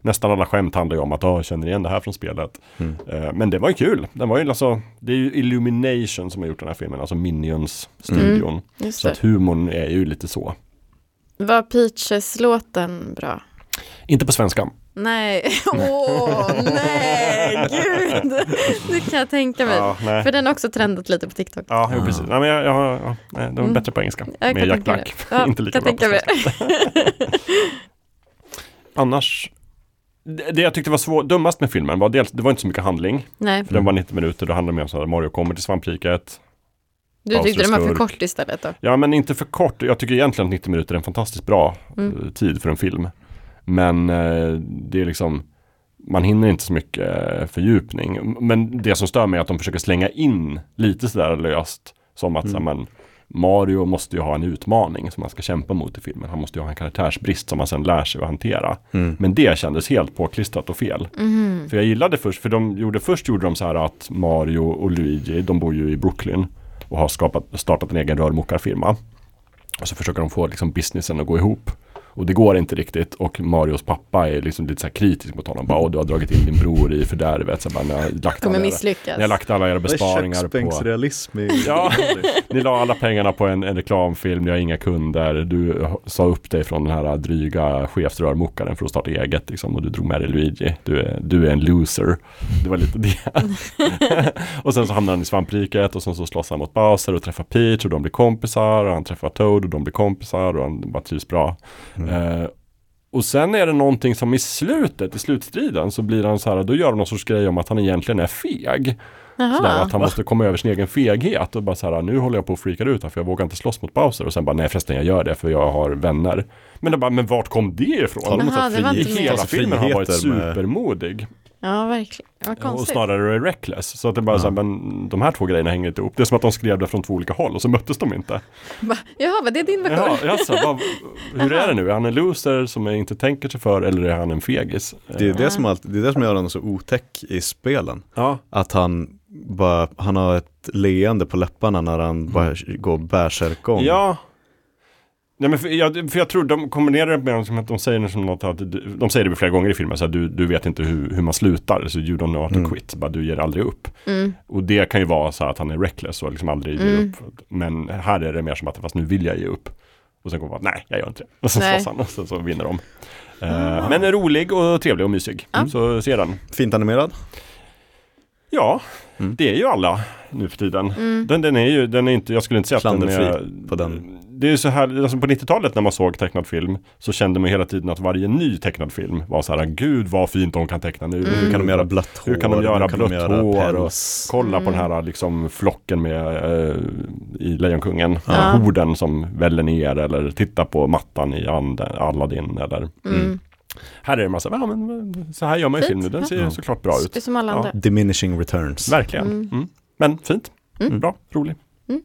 Nästan alla skämt handlar ju om att "Åh, jag känner igen det här från spelet. Eh, Men det var ju kul. Den var ju alltså, det är ju Illumination som har gjort den här filmen, alltså Minions-studion.
Just
Så
det.
att humorn är ju lite så.
Var Peaches-låten bra?
Inte på svenska.
Nej, *laughs* åh nej, gud. Det kan jag tänka mig.
Ja, nej.
För den har också trendat lite på TikTok.
Ja, jo, precis. Mm. Nej, men jag, jag, ja, nej, det var bättre på engelska.
Mm. Jag
med
kan
Jack
tänka
Black.
mig
*laughs*
det. Ja,
Inte lika
kan
bra på
tänka mig
svenska. Annars, det det jag tyckte var svår, dummast med filmen var dels, det var inte så mycket handling.
*laughs* Nej,
För den var 90 minuter, då handlade det mer om så här, Mario kommer till svampriket.
du tyckte den var för
Avslöskurk.
kort istället då.
Ja, men inte för kort. Jag tycker egentligen att 90 minuter är en fantastiskt bra
Mm.
eh, tid för en film. Men eh, det är liksom, man hinner inte så mycket eh, fördjupning. Men det som stör mig är att de försöker slänga in lite sådär löst. Som att så här, men, Mario måste ju ha en utmaning som han ska kämpa mot i filmen. Han måste ju ha en karaktärsbrist som han sen lär sig att hantera. Men det kändes helt påklistrat och fel. För jag gillade först, för de gjorde, först gjorde de så här att Mario och Luigi, de bor ju i Brooklyn och har skapat, startat en egen rörmokarfirma. Och så försöker de få liksom businessen att gå ihop. Och det går inte riktigt och Marios pappa är liksom lite så här kritisk mot honom. Bara, "Åh, du har dragit in din bror i fördärvet. Så bara, "Ni har lagt alla
Kommer
era-
misslyckas.
Ni har lagt alla era besparingar på...
köksbänksrealism i...
*laughs* Ja, ni la alla pengarna på en, en reklamfilm, ni har inga kunder. Du sa upp dig från den här dryga chefsrörmokaren för att starta eget liksom, och du drog med dig Luigi. Du är, du är en loser. Det var lite det. *laughs* och sen så hamnar han i svampriket och sen så slåss han mot Bowser och träffar Peach och de blir kompisar. Och han träffar Toad och de blir kompisar och han bara trivs bra. Eh, och sen är det någonting som i slutet, i slutstriden, så blir han så här, då gör de någon sorts grej om att han egentligen är feg. Sådär,
Jaha,
att han måste komma över sin egen feghet och bara så här, nu håller jag på att freaka ut här för jag vågar inte slåss mot Bowser. Och sen bara, nej förresten jag gör det för jag har vänner. Men jag bara, men vart kom det ifrån?
Jaha, det var inte med.
Hela
Alltså,
filmen har varit
friheter med-
supermodig
ja verkligen. Vad
och
konstigt.
snarare reckless. Så att det bara så här, men de här två grejerna hänger inte ihop. Det är som att de skrev det från två olika håll och så möttes de inte.
Va? Jaha, vad det är din version?
Jaha, alltså, vad, hur är det nu? Är han en loser som inte tänker sig för eller är han en fegis?
*laughs* Det är det, som alltid, det är det som gör honom så otäck i spelen.
Ja,
Att han bara, han har ett leende på läpparna när han bara går bärsärkång.
Mm. Ja. Nej, men för, jag, för jag tror de kombinerar det med som att de säger som något att du- de säger det flera gånger i filmen så här, du, du vet inte hur, hur man slutar så you don't know how to quit, bara, du ger aldrig upp. Och det kan ju vara så här att han är reckless och liksom aldrig ger upp. Men här är det mer som att fast nu vill jag ge upp. Och sen kommer man nej jag gör inte det. Och sen
Nej.
slåss han och sen så vinner de. Eh, Men är rolig och trevlig och mysig. Så se den.
Fint animerad.
Ja, det är ju alla nu för tiden. Den, den är ju, den är inte, jag skulle inte säga att den är...
Klanderfri på den.
Det är ju så här, alltså på 90-talet när man såg tecknad film så kände man hela tiden att varje ny tecknad film var så här, gud vad fint de kan teckna nu.
Hur kan de göra blött hår?
Mm. Hur kan de göra blött hår? Och
päls?
kolla på den
Mm.
här liksom flocken med eh, i Lejonkungen.
Ja.
Horden som väller ner eller titta på mattan i Ande- Aladdin eller
Mm.
här är det en massa, ja, men, eh, så här gör man ju
Fint.
film nu, den ser ju
Ja.
såklart bra ut.
Det är som alla
Ja.
andra.
Diminishing returns.
Verkligen.
Mm.
Mm. Men fint.
Mm.
Bra, rolig.
Mm.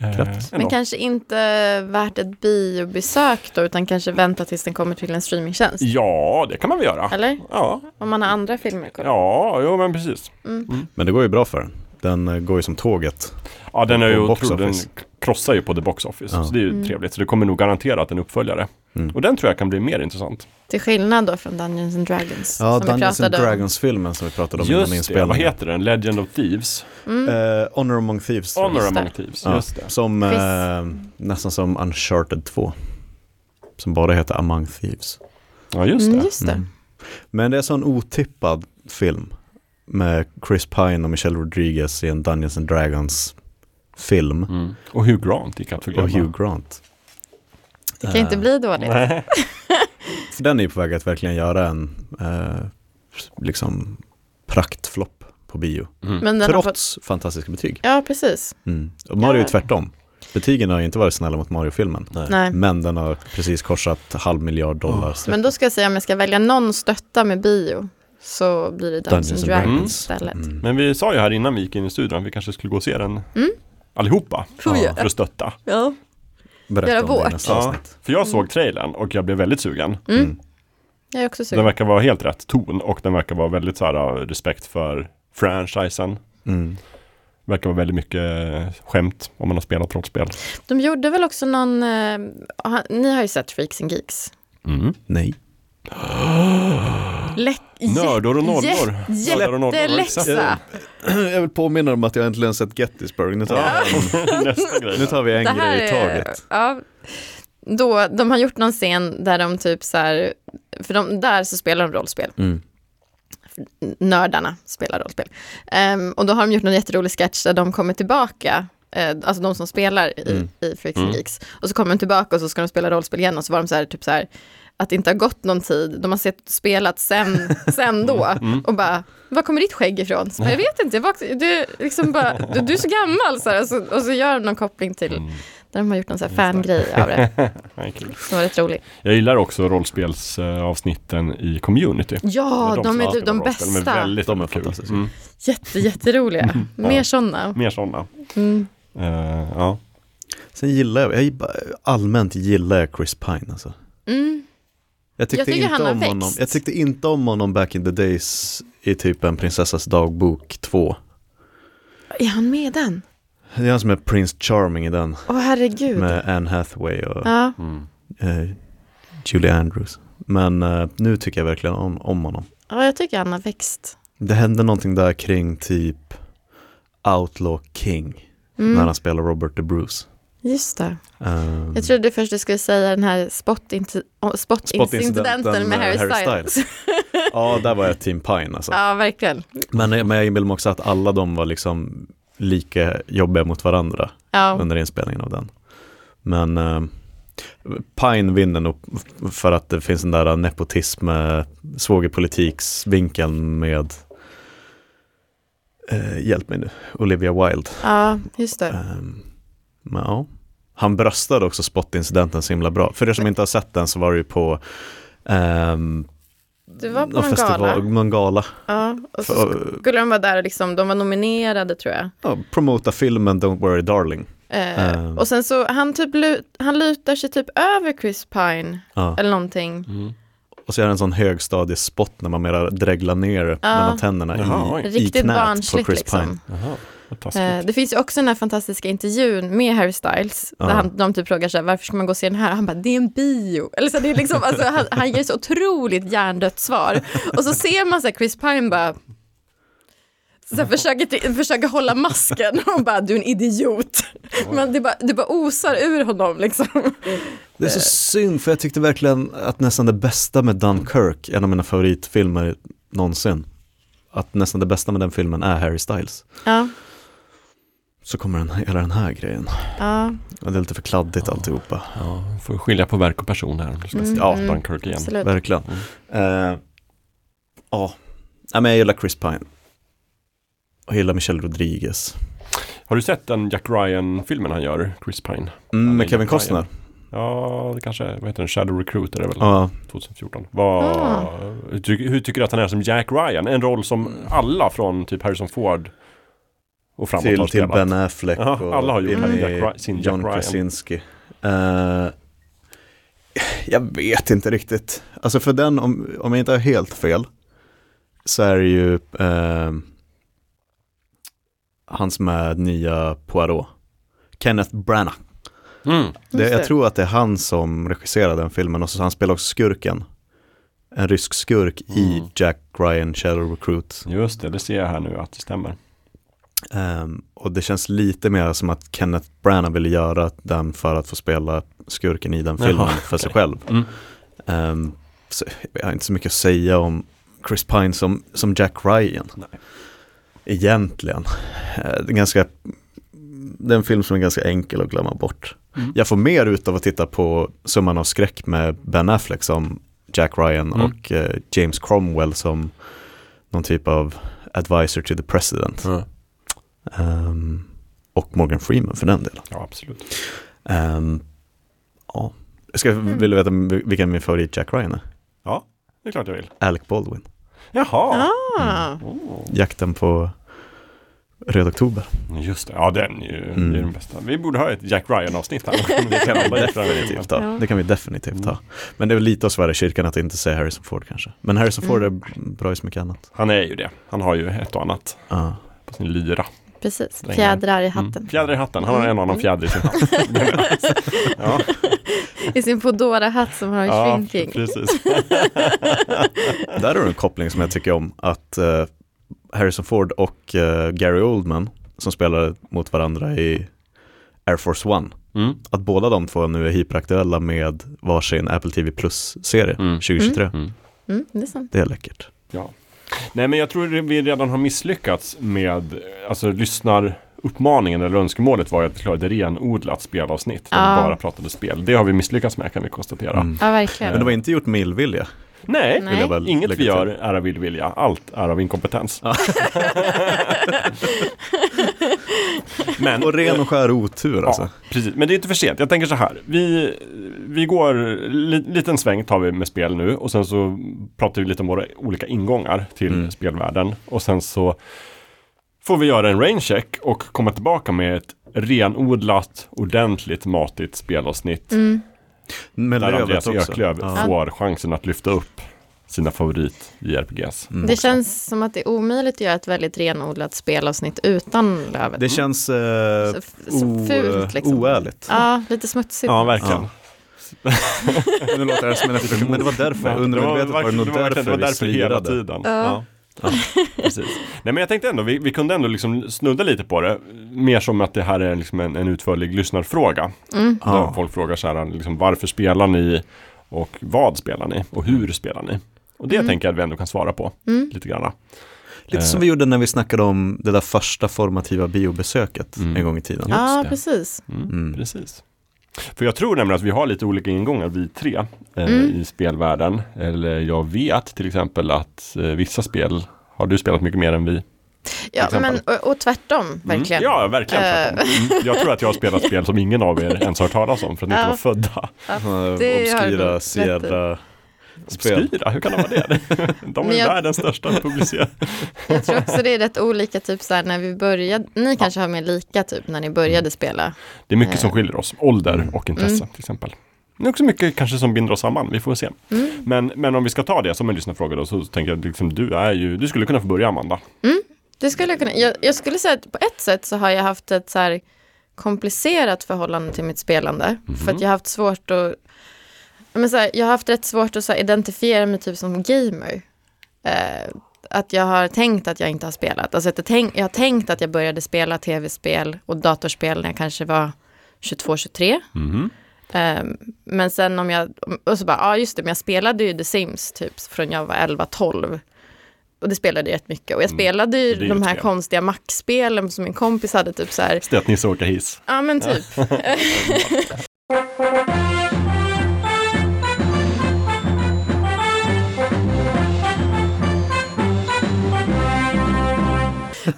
Eh,
Grattis.
ändå.
Men kanske inte värt ett biobesök då, utan kanske vänta tills den kommer till en streamingtjänst.
Ja, det kan man väl göra.
Eller?
Ja,
Om man har andra filmer att kolla.
ja jo, men precis.
Men det går ju bra för den. Den eh, går ju som tåget.
Ja, den, är ju
Och box
otro, den
office.
krossar ju på the box office,
Ja. Mm.
så det är ju
Mm.
trevligt. Så det kommer nog garanterat en uppföljare. Och den tror jag kan bli mer intressant.
Till skillnad då från Dungeons and Dragons.
Ja, Dungeons and
pratade om.
Dragons-filmen som vi pratade om innan
Just det,
inspelningen.
vad heter den? Legend of Thieves?
Eh, Honor among thieves. tror jag.
Honor
det.
among Thieves,
Ja,
just det.
Som
Quiz.
eh, nästan som Uncharted 2. som bara heter Among Thieves.
Ja, just
Mm,
det.
just det.
Men det är en sån otippad film med Chris Pine och Michelle Rodriguez i en Dungeons and Dragons film
Mm. Och Hugh Grant gick att förglömma.
och Hugh Grant.
Det kan inte bli dåligt.
Nej.
För den är ju på väg att verkligen göra en eh, liksom praktflopp på bio.
Mm.
Men den har fått...
Trots fantastiska betyg.
Ja, precis.
Mm. Och Mario är
Ja.
tvärtom. Betygen har ju inte varit snälla mot Mario-filmen.
Nej.
Men den har precis korsat halv miljard dollar.
Men då ska jag säga om jag ska välja någon stötta med bio så blir det Dungeons, and Dragons istället.
Mm.
Men vi sa ju här innan vi gick in i studion att vi kanske skulle gå och se den
Mm.
allihopa.
Får vi
Ja,
göra.
För att stötta.
Ja.
Berätta
Göra
om det
vårt.
i nästa
Ja,
avsnitt.
för jag såg trailern och jag blev väldigt sugen.
Mm.
Mm.
Jag är också
Den
sugen.
verkar vara helt rätt ton och den verkar vara väldigt så här av respekt för franchisen.
Mm.
Verkar vara väldigt mycket eh, skämt om man har spelat rollspel.
De gjorde väl också någon, eh, ha- ni har ju sett Freaks and Geeks.
Mm.
Nej.
Lätt,
Nördor och nollor.
jä-
Nördar och nollor,
Jätteläxa.
*clears throat* Jag vill påminna om att jag äntligen sett Gettysburg. Nu tar,
*laughs* Nästa grej.
nu tar vi en
Det här
grej i
är,
taget.
ja, då, de har gjort någon scen där de typ så här, för de, där så spelar de rollspel.
Mm.
nördarna spelar rollspel. Ehm, och då har de gjort någon jätterolig sketch där de kommer tillbaka, eh, alltså de som spelar i,
Mm.
i Freaks and Geeks. Och så kommer de tillbaka och så ska de spela rollspel igen och så var de så här, typ så här, att det inte har gått någon tid, de har sett,
*laughs*
spelat sen, sen då
Mm.
och bara, var kommer ditt skägg ifrån? Så bara, jag vet inte, jag vak- du, liksom bara, du, du är så gammal. Så här, och, så, och så gör de någon koppling till,
Mm.
där de har gjort någon så här fangrej av det.
Nej, kul.
Det var rätt roligt.
Jag gillar också rollspelsavsnitten i community.
Ja,
*laughs* Det
de,
som
är
alltid
typ de
var rollspel. De är
bästa.
väldigt, Mm.
De är
väldigt kul.
fantastiska.
Mm.
Jätte, jätteroliga. Mer sådana.
Mer sådana.
Mm.
Eh, ja.
Sen gillar jag, jag gillar- allmänt gillar jag Chris Pine alltså.
Mm.
Jag tyckte,
Jag tycker
inte
han har
om honom.
växt.
jag tyckte inte om honom back in the days i typ en prinsessas dagbok 2.
Är han med i den?
Det är han som är Prince Charming i den
Åh herregud.
med Anne Hathaway och
Ja.
Mm.
eh, Julie Andrews. Men eh, nu tycker jag verkligen om, om honom.
ja, jag tycker han har växt.
Det hände någonting där kring typ Outlaw King när
Mm.
han spelar Robert the Bruce.
Just det.
Ehm,
Jag trodde först du skulle säga den här spotinti- oh, spotincidenten
Spotincidenten med
med Harry
Harry
Styles. *laughs*
ja, där var jag Team Pine alltså.
ja, verkligen.
Men, eh, men jag inbillar mig också att alla de var liksom lika jobbiga mot varandra.
Ja.
under inspelningen av den. Men eh, Pine vinner nog för att det finns den där nepotism, eh, svågerpolitiksvinkeln med eh, Hjälp mig nu, Olivia Wilde.
ja, just det.
Eh, men, ja. Han bröstade också spottincidenten så himla bra. För er som inte har sett den så var det ju på ehm,
Du var på
någon
någon gala.
någon gala.
Ja, och så
För,
skulle de vara där och liksom, de var nominerade tror jag.
ja, promota filmen Don't Worry Darling.
Eh,
Eh.
Och sen så, han, typ lut, han lutar sig typ över Chris Pine
Ja.
eller någonting.
Mm.
Och så är det en sån högstadiespott när man mera dreglar ner mellan tänderna
Jaha, oj.
i, i
Riktigt
knät på
barnsligt
Chris Pine.
liksom.
Jaha, vad
Eh,
taskigt.
Det finns ju också den här fantastiska intervjun med Harry Styles,
Ja.
där han, de typ frågar så här, varför ska man gå och se den här? Och han bara, det är en bio. Eller så det är liksom, alltså, han, han ger så otroligt hjärndött svar. Och så ser man så här, Chris Pine bara, så här, försöker, till- försöker hålla masken och bara, du är en idiot. Men det bara, det bara osar ur honom liksom.
Det är så synd för jag tyckte verkligen att nästan det bästa med Dunkirk, en av mina favoritfilmer någonsin, att nästan det bästa med den filmen är Harry Styles.
Ja,
Så kommer den, hela den här grejen.
ja
Och det är lite för kladdigt alltihopa.
Ja, får skilja på verk och person här. Du ska
Mm,
se
ja,
Dunkirk igen.
absolut.
Verkligen.
Mm.
Eh, Ja, Nej, men jag gillar Chris Pine. Och jag gillar Michelle Rodriguez.
Har du sett den Jack Ryan-filmen han gör, Chris Pine?
Mm,
Han är
med Kevin
Jack Ryan.
Costner.
Ja, det kanske, vad heter den, Shadow Recruit är det väl?
Ja,
2014. Vad,
Ah.
hur, tycker- hur tycker du att han är som Jack Ryan? En roll som alla från typ Harrison Ford och framåt har
till, till
spelat.
Ben Affleck
Ja,
och
alla har gjort
in
det.
i
Jack Ry- sin Jack
John
Ryan.
Krasinski. Eh, jag vet inte riktigt. Alltså för den, om, om jag inte har helt fel, så är det ju ehm, han som är nya Poirot, Kenneth Branagh.
Mm.
Det, jag
det.
tror att det är han som regisserade den filmen och så han spelar också skurken. En rysk skurk i
Mm.
Jack Ryan Shadow Recruit.
Just det, det ser jag här nu att det stämmer.
Ehm, och det känns lite mer som att Kenneth Branagh ville göra den för att få spela skurken i den filmen
Jaha,
för sig
okej.
själv.
Mm.
Ehm, så jag har inte så mycket att säga om Chris Pine som, som Jack Ryan.
Nej.
Egentligen. Eh, det, är ganska, det är en film som är ganska enkel att glömma bort.
Mm.
Jag får mer ut av att titta på Summan av skräck med Ben Affleck som Jack Ryan
Mm.
och eh, James Cromwell som någon typ av advisor to the president.
Ja,
Ehm, och Morgan Freeman för den delen.
absolut.
Ehm, ja. Jag ska, vill du veta vilken min favorit Jack Ryan är?
Det är klart jag vill.
Alec Baldwin.
Jaha! Oh,
Ah.
Mm.
Jakten på Röd Oktober.
Just det, ja den är ju
Mm.
det är den bästa. Vi borde ha ett Jack Ryan-avsnitt här. Vi kan hålla Jack Ryan
Definitivt, ja.
Ja.
Det kan vi definitivt ha. Men det är väl lite att svära i kyrkan att inte säga Harrison Ford kanske. Men Harrison Ford är bra i så mycket annat.
Han är ju det. Han har ju ett och annat
Ja.
på sin lyra.
Precis,
Strängar.
fjädrar i hatten.
Mm. Fjäder i hatten. Han har en och annan fjäder i sin
*laughs*
hatt. Den är hans. *laughs* ja,
I sin Foodora-hatt som har en
ja,
shrinking.
precis.
Där har du en koppling som jag tycker om. Att eh, Harrison Ford och eh, Gary Oldman som spelade mot varandra i Air Force One.
Mm.
att båda de två nu är hyperaktuella med varsin Apple TV Plus-serie
Mm.
2023.
Mm.
Mm, det är sant.
Det är läckert.
Ja. Nej men jag tror vi redan har misslyckats med, alltså lyssnar uppmaningen eller önskemålet var ju att det skulle vara ett renodlat spelavsnitt där
Ja.
vi bara pratade spel. Det har vi misslyckats med kan vi konstatera.
Mm.
Ja, verkligen.
Men det var inte gjort med illvilja.
Nej,
Nej.
vill jag väl
inget
lägga
vi
till.
gör är av illvilja. Allt är av inkompetens. *laughs* men,
Och ren och skär otur alltså.
Ja, precis. Men det är inte för sent. Jag tänker så här. Vi, vi går, li, liten sväng tar vi med spel nu och sen så pratar vi lite om våra olika ingångar till
Mm.
spelvärlden. Och sen så får vi göra en raincheck och komma tillbaka med ett renodlat, ordentligt, matigt spelavsnitt.
Mm.
Med
Där
Lövet
Andreas
också.
Eklöf
Ja.
får chansen att lyfta upp sina favorit JRPGs.
Mm.
Det känns som att det är omöjligt att göra ett väldigt renodlat spelavsnitt utan Lövet.
Det känns eh,
så, f- så
o-
fult liksom.
oärligt.
Ja, lite smutsigt.
Ja, verkligen.
Ja. Nu låter det som en efterföljd, men det var därför. Undermedvetet var det nog därför,
det var
vi
därför hela
slirade.
tiden.
Ja.
Precis. Nej men jag tänkte ändå, vi, vi kunde ändå liksom snudda lite på det. Mer som att det här är liksom en, en utförlig lyssnarfråga. Där
Ja.
folk frågar så här, liksom, varför spelar ni? Och vad spelar ni? Och hur spelar ni? Och
Mm.
det tänker jag att vi ändå kan svara på. Lite grann.
Lite
Eh.
som vi gjorde när vi snackade om det där första formativa biobesöket
Mm.
en gång i tiden.
Ja.
Ja,
det.
precis.
Mm,
Mm.
Precis. För jag tror nämligen att vi har lite olika ingångar, vi tre, eh,
Mm.
i spelvärlden. Eller jag vet till exempel att eh, vissa spel har du spelat mycket mer än vi.
Ja,
exempel.
men, och, och
Mm.
tvärtom, verkligen.
Mm.
Eh.
Ja, verkligen. tvärtom. Mm. Jag tror att jag har spelat spel som ingen av er ens har hört talas om för att ni inte
Ja.
var födda.
Ja.
Det har du nog
Obskyra,
rätt i.
Sierra, Spel.
Obskyra, hur kan de vara *laughs* det? De är
Men jag-
världens största publicerare.
Jag tror också det är rätt olika, typ så här när vi började, ni kanske har mer lika typ när ni
Mm.
började spela.
Det är mycket som skiljer oss, ålder och intresse
Mm.
till exempel. Det är också mycket kanske som binder oss samman, vi får se.
Mm.
Men, men om vi ska ta det som en lyssnarfråga då, så tänker jag liksom, du är ju, du skulle kunna få börja Amanda.
Det skulle jag kunna, jag, jag skulle säga att på ett sätt så har jag haft ett så här komplicerat förhållande till mitt spelande.
Mhm.
För att jag har haft svårt att, ja, men så här, jag har haft rätt svårt att så här, identifiera mig typ som gamer. Eh, att jag har tänkt att jag inte har spelat. Alltså att jag, tänk, jag har tänkt att jag började spela tv-spel och datorspel när jag kanske var 22-23.
Mhm.
Ehm, men sen om jag, och så bara, ja just det, men jag spelade ju The Sims typ från jag var 11-12. Och det spelade jag rätt mycket. Och jag spelade ju
Mm. Det är ju
de
ett
här
spel.
konstiga Mac-spelen som min kompis hade typ så här,
Det är att Nisse åker hiss.
ja men typ. *laughs*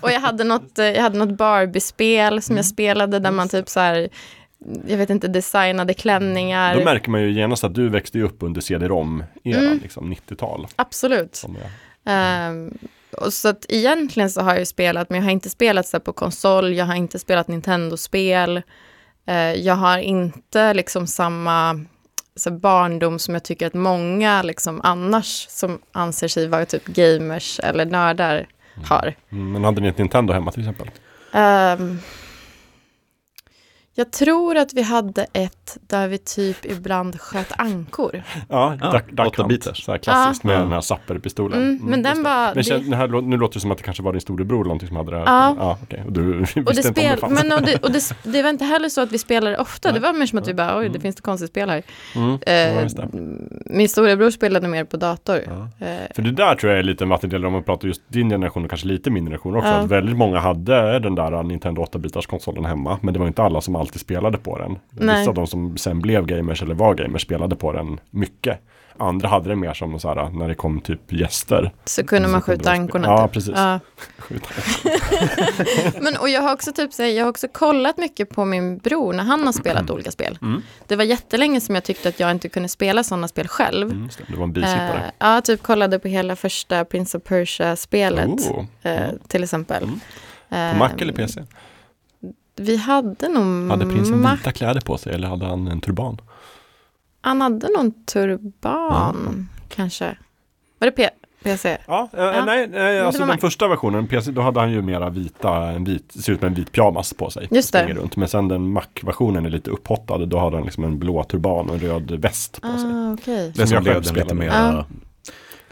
Och jag hade något, eh, jag hade något Barbie-spel som jag spelade där man typ så här, jag vet inte, designade klänningar.
Då märker man ju genast att du växte ju upp under CD-ROM-eran,
Mm.
liksom 90-tal.
Absolut.
Som jag-
Ehm, och så att egentligen så har jag ju spelat, men jag har inte spelat så här på konsol, jag har inte spelat Nintendo-spel, Eh, jag har inte liksom samma så här, barndom som jag tycker att många liksom annars som anser sig vara typ gamers eller nördar har.
Mm, Men hade ni ett Nintendo hemma till exempel?
Ehm, Jag tror att vi hade ett där vi typ ibland sköt ankor.
Ja,
Ja,
Duck, duck
åtta
Hunt.
bitar.
Så här klassiskt
Ja.
med den här sapperpistolen.
Mm, men den var...
Men
det-
kän- det här, lå- nu låter det som att det kanske var din storebror eller någonting som hade det här.
Ja.
ja okej. Och du *laughs* visste
och det,
inte om det
spel,
fanns.
men och det, och
*laughs*
det, s- det var inte heller så att vi spelade ofta, det var mer som att vi bara, oj, det finns ett konstigt spel här.
Mm.
Eh,
ja, just det.
Min storebror spelade mer på dator. Eh,
För det där tror jag är lite en vattendelare om man pratar just din generation och kanske lite min generation också.
Ja.
Att väldigt många hade den där Nintendo 8-bitars-konsolen hemma. Men det var inte alla som alltid spelade på den.
Nej.
Vissa av de som sen blev gamers eller var gamers spelade på den mycket. Andra hade det mer som så här, när det kom typ gäster.
så kunde man
Så Alltså, kunde
skjuta
man spe-
ankorna.
Ja,
typ.
precis.
Ja.
Skjuta.
Mm, Men, och jag har också typ, så här, jag har också kollat mycket på min bror när han har
Mm.
spelat olika spel. Det var jättelänge som jag tyckte att jag inte kunde spela sådana spel själv.
Mm, just det. det var en bisittare.
Eh, ja, typ kollade på hela första Prince of Persia-spelet
Oh. Mm.
eh, till exempel.
På
Eh,
Mac eller PC?
Vi hade nog
Hade prinsen
Mac.
vita kläder på sig eller hade han en turban?
Han hade någon turban kanske. Var det P- PC?
Ja, eh, nej,
Ja.
nej
det
alltså
var
den
Mac.
första versionen, PC, då hade han ju mera vita, en vit, ser ut med en vit pyjamas på sig.
Just det.
Springer Runt. Men sen den Mac-versionen är lite upphottad, då hade han liksom en blå turban och en röd väst på sig.
Ah, okej.
Det som
jag själv
blev den
spelade.
lite mer eh,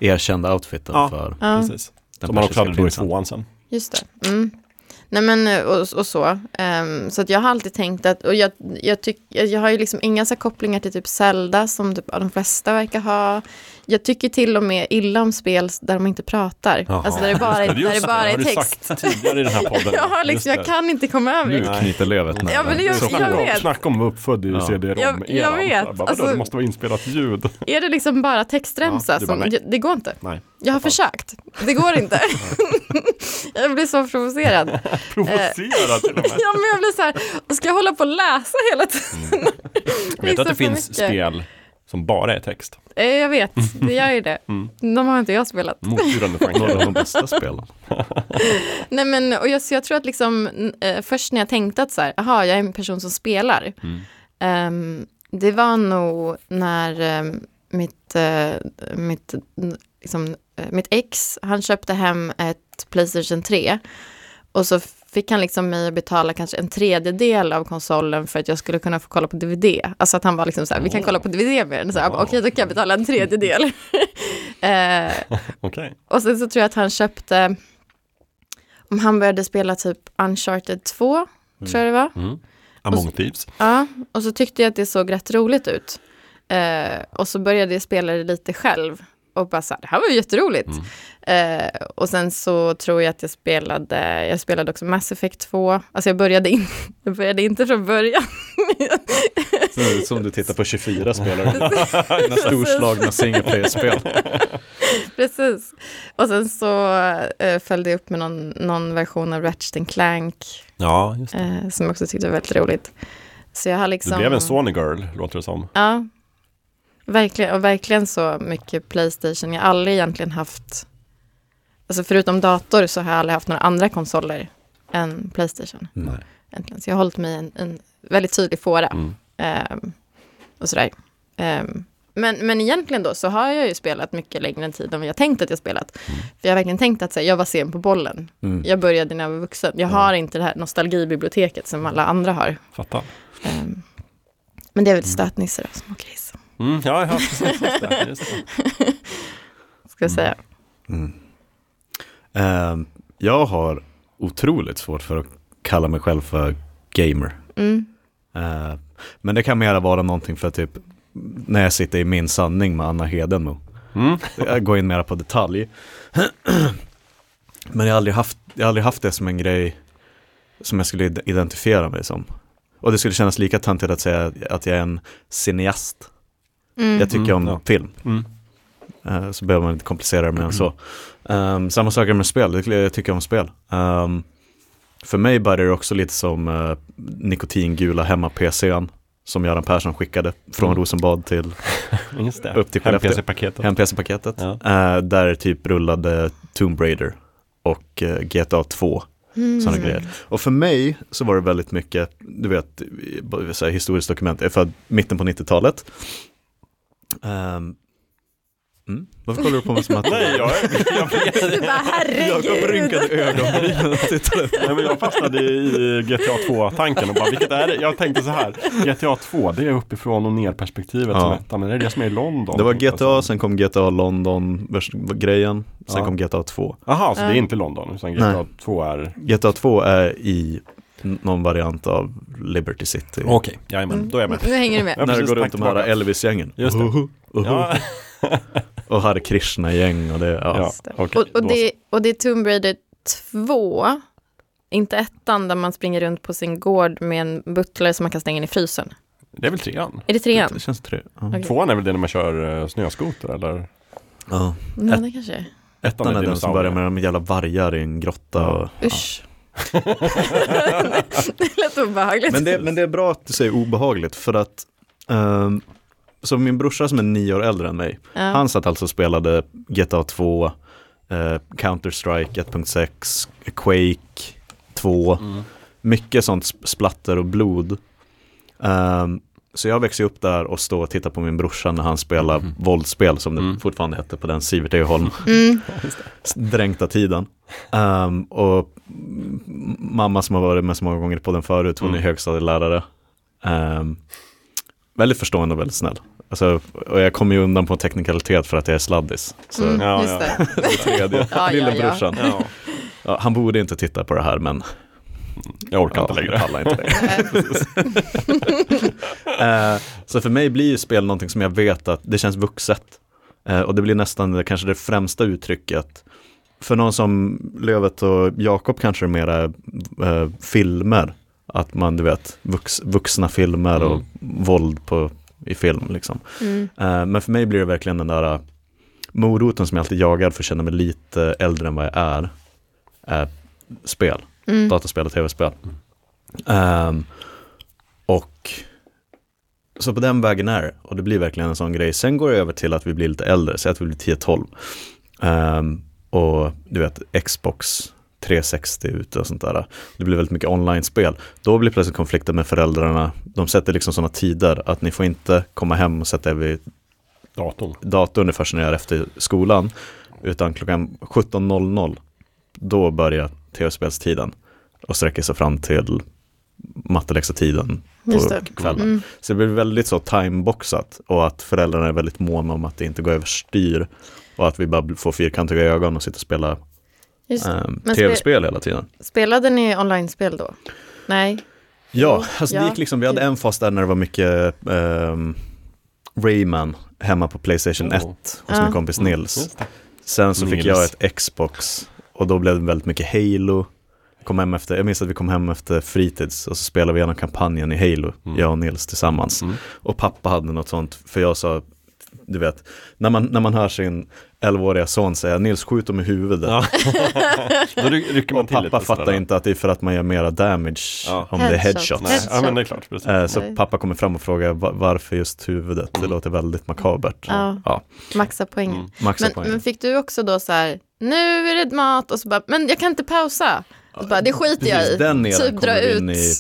Ja.
erkända outfiten
Ja.
för
Ja,
Precis.
den
Som han också
persiska
hade då i
prinsen.
tvåan sen.
just det. Mm. Nej men eh, och, och så. Ehm, så att jag har alltid tänkt att, och jag, jag, tyck, jag jag har ju liksom inga så här kopplingar till typ Zelda som typ de flesta verkar ha. Jag tycker till och med illa om spel där de inte pratar.
Jaha.
Alltså där det bara,
Ja, just
där det bara
har
är
du
text.
sagt tidigare i den här podden.
*laughs* Jag, har
Just
liksom,
det.
jag kan inte komma över det.
Nu knyter lövet nära.
Ja, men det gör-
Så-
jag
Snacka om,
vet.
snacka om att vara uppfödd i
Ja.
CD-ROM.
Jag- jag
eran.
vet.
Så här, Bara,
Alltså-
alltså, det måste vara inspelat ljud. *laughs*
Är det liksom bara textremsa?
Ja, det är bara
som,
nej.
jag- det går inte.
Nej,
Jag har försökt. Det
*laughs*
går inte. *laughs* jag blir så provocerad. Eh.
provocera till och med.
ja, men jag blir så här, ska jag hålla på och läsa hela tiden?
Mm.
*laughs*
Jag vet
Vissa
att det
för
finns
mycket.
spel Mm. som bara är text.
Eh, Jag vet, det gör ju det. De har inte jag spelat.
*laughs* Motbjudande
Några av
tankar.
de bästa spelen.
Nej, men, och jag, så jag tror att liksom, eh, först när jag tänkte att så här, aha, jag är en person som spelar.
Mm.
Ehm, det var nog när ehm, mitt, eh, mitt, n- liksom, eh, mitt ex, han köpte hem ett Playstation 3. Och så fick han liksom mig att betala kanske en tredjedel av konsolen för att jag skulle kunna få kolla på DVD. Alltså att han var liksom så här, vi kan kolla på DVD med den. Så jag bara, Okej, då kan jag betala en tredjedel. *laughs* Eh,
Okej.
och sen så tror jag att han köpte, om han började spela typ Uncharted 2, tror jag det var.
Among Thieves.
Ja, och så tyckte jag att det såg rätt roligt ut. Eh, och så började jag spela det lite själv. Och bara så här, det här var ju jätteroligt.
Mm.
Eh, och sen så tror jag att jag spelade, jag spelade också Mass Effect 2. Alltså jag började, in, *laughs* jag började inte från början. *laughs*
Som du tittar på 24
*laughs*
spelare. Dina storslagna single player-spel.
Precis. Och sen så eh, följde jag upp med någon, någon version av Ratchet and Clank.
Ja, just
eh, som jag också tyckte var väldigt roligt. Så jag har
Du
liksom...
blev en Sony Girl, låter det som.
Ja, verkligen, och verkligen så mycket Playstation. Jag har aldrig egentligen haft, alltså förutom dator så har jag aldrig haft några andra konsoler än Playstation.
*laughs* Nej.
Egentligen. Så jag har hållit mig i en, en väldigt tydlig fåra.
Mm.
Ehm, och sådär. Ehm, men, men egentligen då så har jag ju spelat mycket längre tid än vad jag tänkt att jag spelat. För jag har verkligen tänkt att så här, jag var sen på bollen.
Mm.
Jag började när jag var vuxen. Jag har inte det här nostalgibiblioteket som alla andra har.
Fattar.
Ehm, men det är väl stötnissar och små gris.
Mm, ja, ja, precis. Just det, just det.
ska jag säga.
mm. Ehm, jag har otroligt svårt för att kalla mig själv för gamer.
Mm.
Eh, men det kan mera vara någonting för typ när jag sitter i min sanning med Anna Hedenmo.
Mm.
Jag går in mera på detalj. men jag har, aldrig haft, jag har aldrig haft det som en grej som jag skulle id- identifiera mig som. Och det skulle kännas lika töntigt att säga att jag är en cineast.
Mm.
Jag tycker
Mm,
om
ja.
film.
Mm.
Eh, Så behöver man inte komplicera det mer än så. Ehm, samma sak är med spel, Det- jag tycker om spel. Ehm, för mig började det också lite som eh, nikotingula hemma-PCn som Göran Persson skickade från
Mm.
Rosenbad till
Just det.
Upp till Skellefteå.
PC-paketet.
hem-PC-paketet.
Ja.
Eh, där typ rullade Tomb Raider och eh, GTA 2
Mm.
sådana grejer. Och för mig så var det väldigt mycket, du vet, eh, så här, historiskt dokument, jag är född mitten på 90-talet. Ehm, Mm. Varför kollar du på mig som
*laughs*
att
Nej, jag, jag,
*laughs* Du bara
Jakob rynkade *laughs*
herregud.
ögonbrynen och tittade på
Nej, men jag fastnade i GTA 2-tanken och bara, vilket är det? Jag tänkte så här, GTA 2, det är uppifrån och ner perspektivet
Ja.
som ettan, men det är det som är i London.
Det var
tänkte jag
GTA,
så.
sen kom GTA London-grejen, sen
Ja.
kom GTA 2.
Jaha, så det är inte London, utan GTA
Nej.
2 är...
GTA 2 är i n- någon variant av Liberty City.
Okej, jajamän,
Mm.
då är jag med.
Nu hänger du
Ja.
med.
när du
precis,
går
tack
runt de här
tillbaka.
Elvis-gängen.
Just det.
Uhu, uhu.
Ja,
Och Hare Krishna-gäng och det. Ja.
ja, okej,
och, och,
då
det, och det är Tomb Raider 2, inte ettan där man springer runt på sin gård med en butler som man kan stänga in i frysen.
så. Det är väl trean?
Är det trean?
Det känns tre. Ja.
Okej.
Tvåan är väl det när man kör eh, snöskoter eller?
Ja.
Nej, det kanske är.
Ettan
Den är den som
dinosaurier.
börjar med de jävla vargar i en grotta. Och,
Usch. *laughs* det lät obehagligt.
Men det, men det är bra att du säger obehagligt för att ehm, så min brorsa som är nio år äldre än mig,
Ja.
han satt alltså och spelade GTA 2, eh, Counter-Strike 1.6, Quake 2,
Mm.
mycket sånt sp- splatter och blod. Ehm, så jag växte upp där och stod och tittade på min brorsa när han spelade
Mhm.
våldsspel som det fortfarande hette på den Sivert Öholm
Mm.
dränkta tiden. Ehm, och m- mamma som har varit med så många gånger på den förut, hon är
Mm.
högstadielärare. Ehm, väldigt förstående och väldigt snäll. Alltså, och jag kommer ju undan på en teknikalitet för att jag är sladdis. Så
Mm,
Ja,
just
ja.
det.
tredje,
*laughs* ja, ja.
lillebrorsan. Ja,
Ja,
han borde inte titta på det här men
jag orkar
ja,
inte längre.
jag pallar inte längre. *laughs* Eh, så för mig blir ju spel någonting som jag vet att det känns vuxet. Eh, och det blir nästan det, kanske det främsta uttrycket. För någon som Lövet och Jakob kanske är mera eh, filmer. Att man, du vet, vux, vuxna filmer och våld på, i film liksom.
Mm.
Eh, men för mig blir det verkligen den där eh, moroten som jag alltid jagar för att känna mig lite äldre än vad jag är. Eh, spel,
Mm.
dataspel och tv-spel. Ehm, och så på den vägen är det. Och det blir verkligen en sån grej. Sen går det över till att vi blir lite äldre, säg att vi blir 10-12. Ehm, och du vet, Xbox 360 ute och sånt där. Det blir väldigt mycket online-spel. Då blir plötsligt konflikten med föräldrarna. De sätter liksom sådana tider att ni får inte komma hem och sätta er vid
Datorn.
datorn först när jag är efter skolan. Utan klockan 17.00, då börjar tv-spelstiden. Och sträcker sig fram till matteläxatiden
Just
på
det. Mm.
kvällen. Så det blir väldigt så timeboxat och att föräldrarna är väldigt måna om att det inte går överstyr. Och att vi bara får fyrkantiga ögon och sitter och spelar
Just. det.
ehm,
Men
tv-spel hela tiden.
Spelade ni online-spel då? Nej.
Ja, alltså det
Ja.
gick liksom, vi hade en fas där när det var mycket ehm, Rayman hemma på Playstation
Oh.
1 hos
Ja.
min kompis Nils.
Just det.
Sen så
Nils.
fick jag ett Xbox och då blev det väldigt mycket Halo. Kom hem efter, jag minns att vi kom hem efter fritids och så spelade vi igenom kampanjen i Halo,
Mm.
jag och Nils tillsammans. Och pappa hade något sånt, för jag sa, du vet, när man, när man hör sin 11-åriga son säga Nils skjut dem i huvudet.
Ja. Då ry- rycker man
och
till lite.
pappa fattar
sådär.
inte att det är för att man gör mera damage
Ja.
om det är
Headshot.
headshots.
Nej, ja,
Headshot.
men det är klart. Precis.
Eh, Så
Nej.
pappa kommer fram och frågar "Va- varför just huvudet, det låter väldigt makabert.
Ja.
Ja,
Maxa poängen.
Mm.
maxa
Men,
poäng.
men fick du också då så här, nu är det mat och så bara, men jag kan inte pausa. Och så bara, det skiter jag i.
Precis, den eran
typ dra
kommer
ut.
in i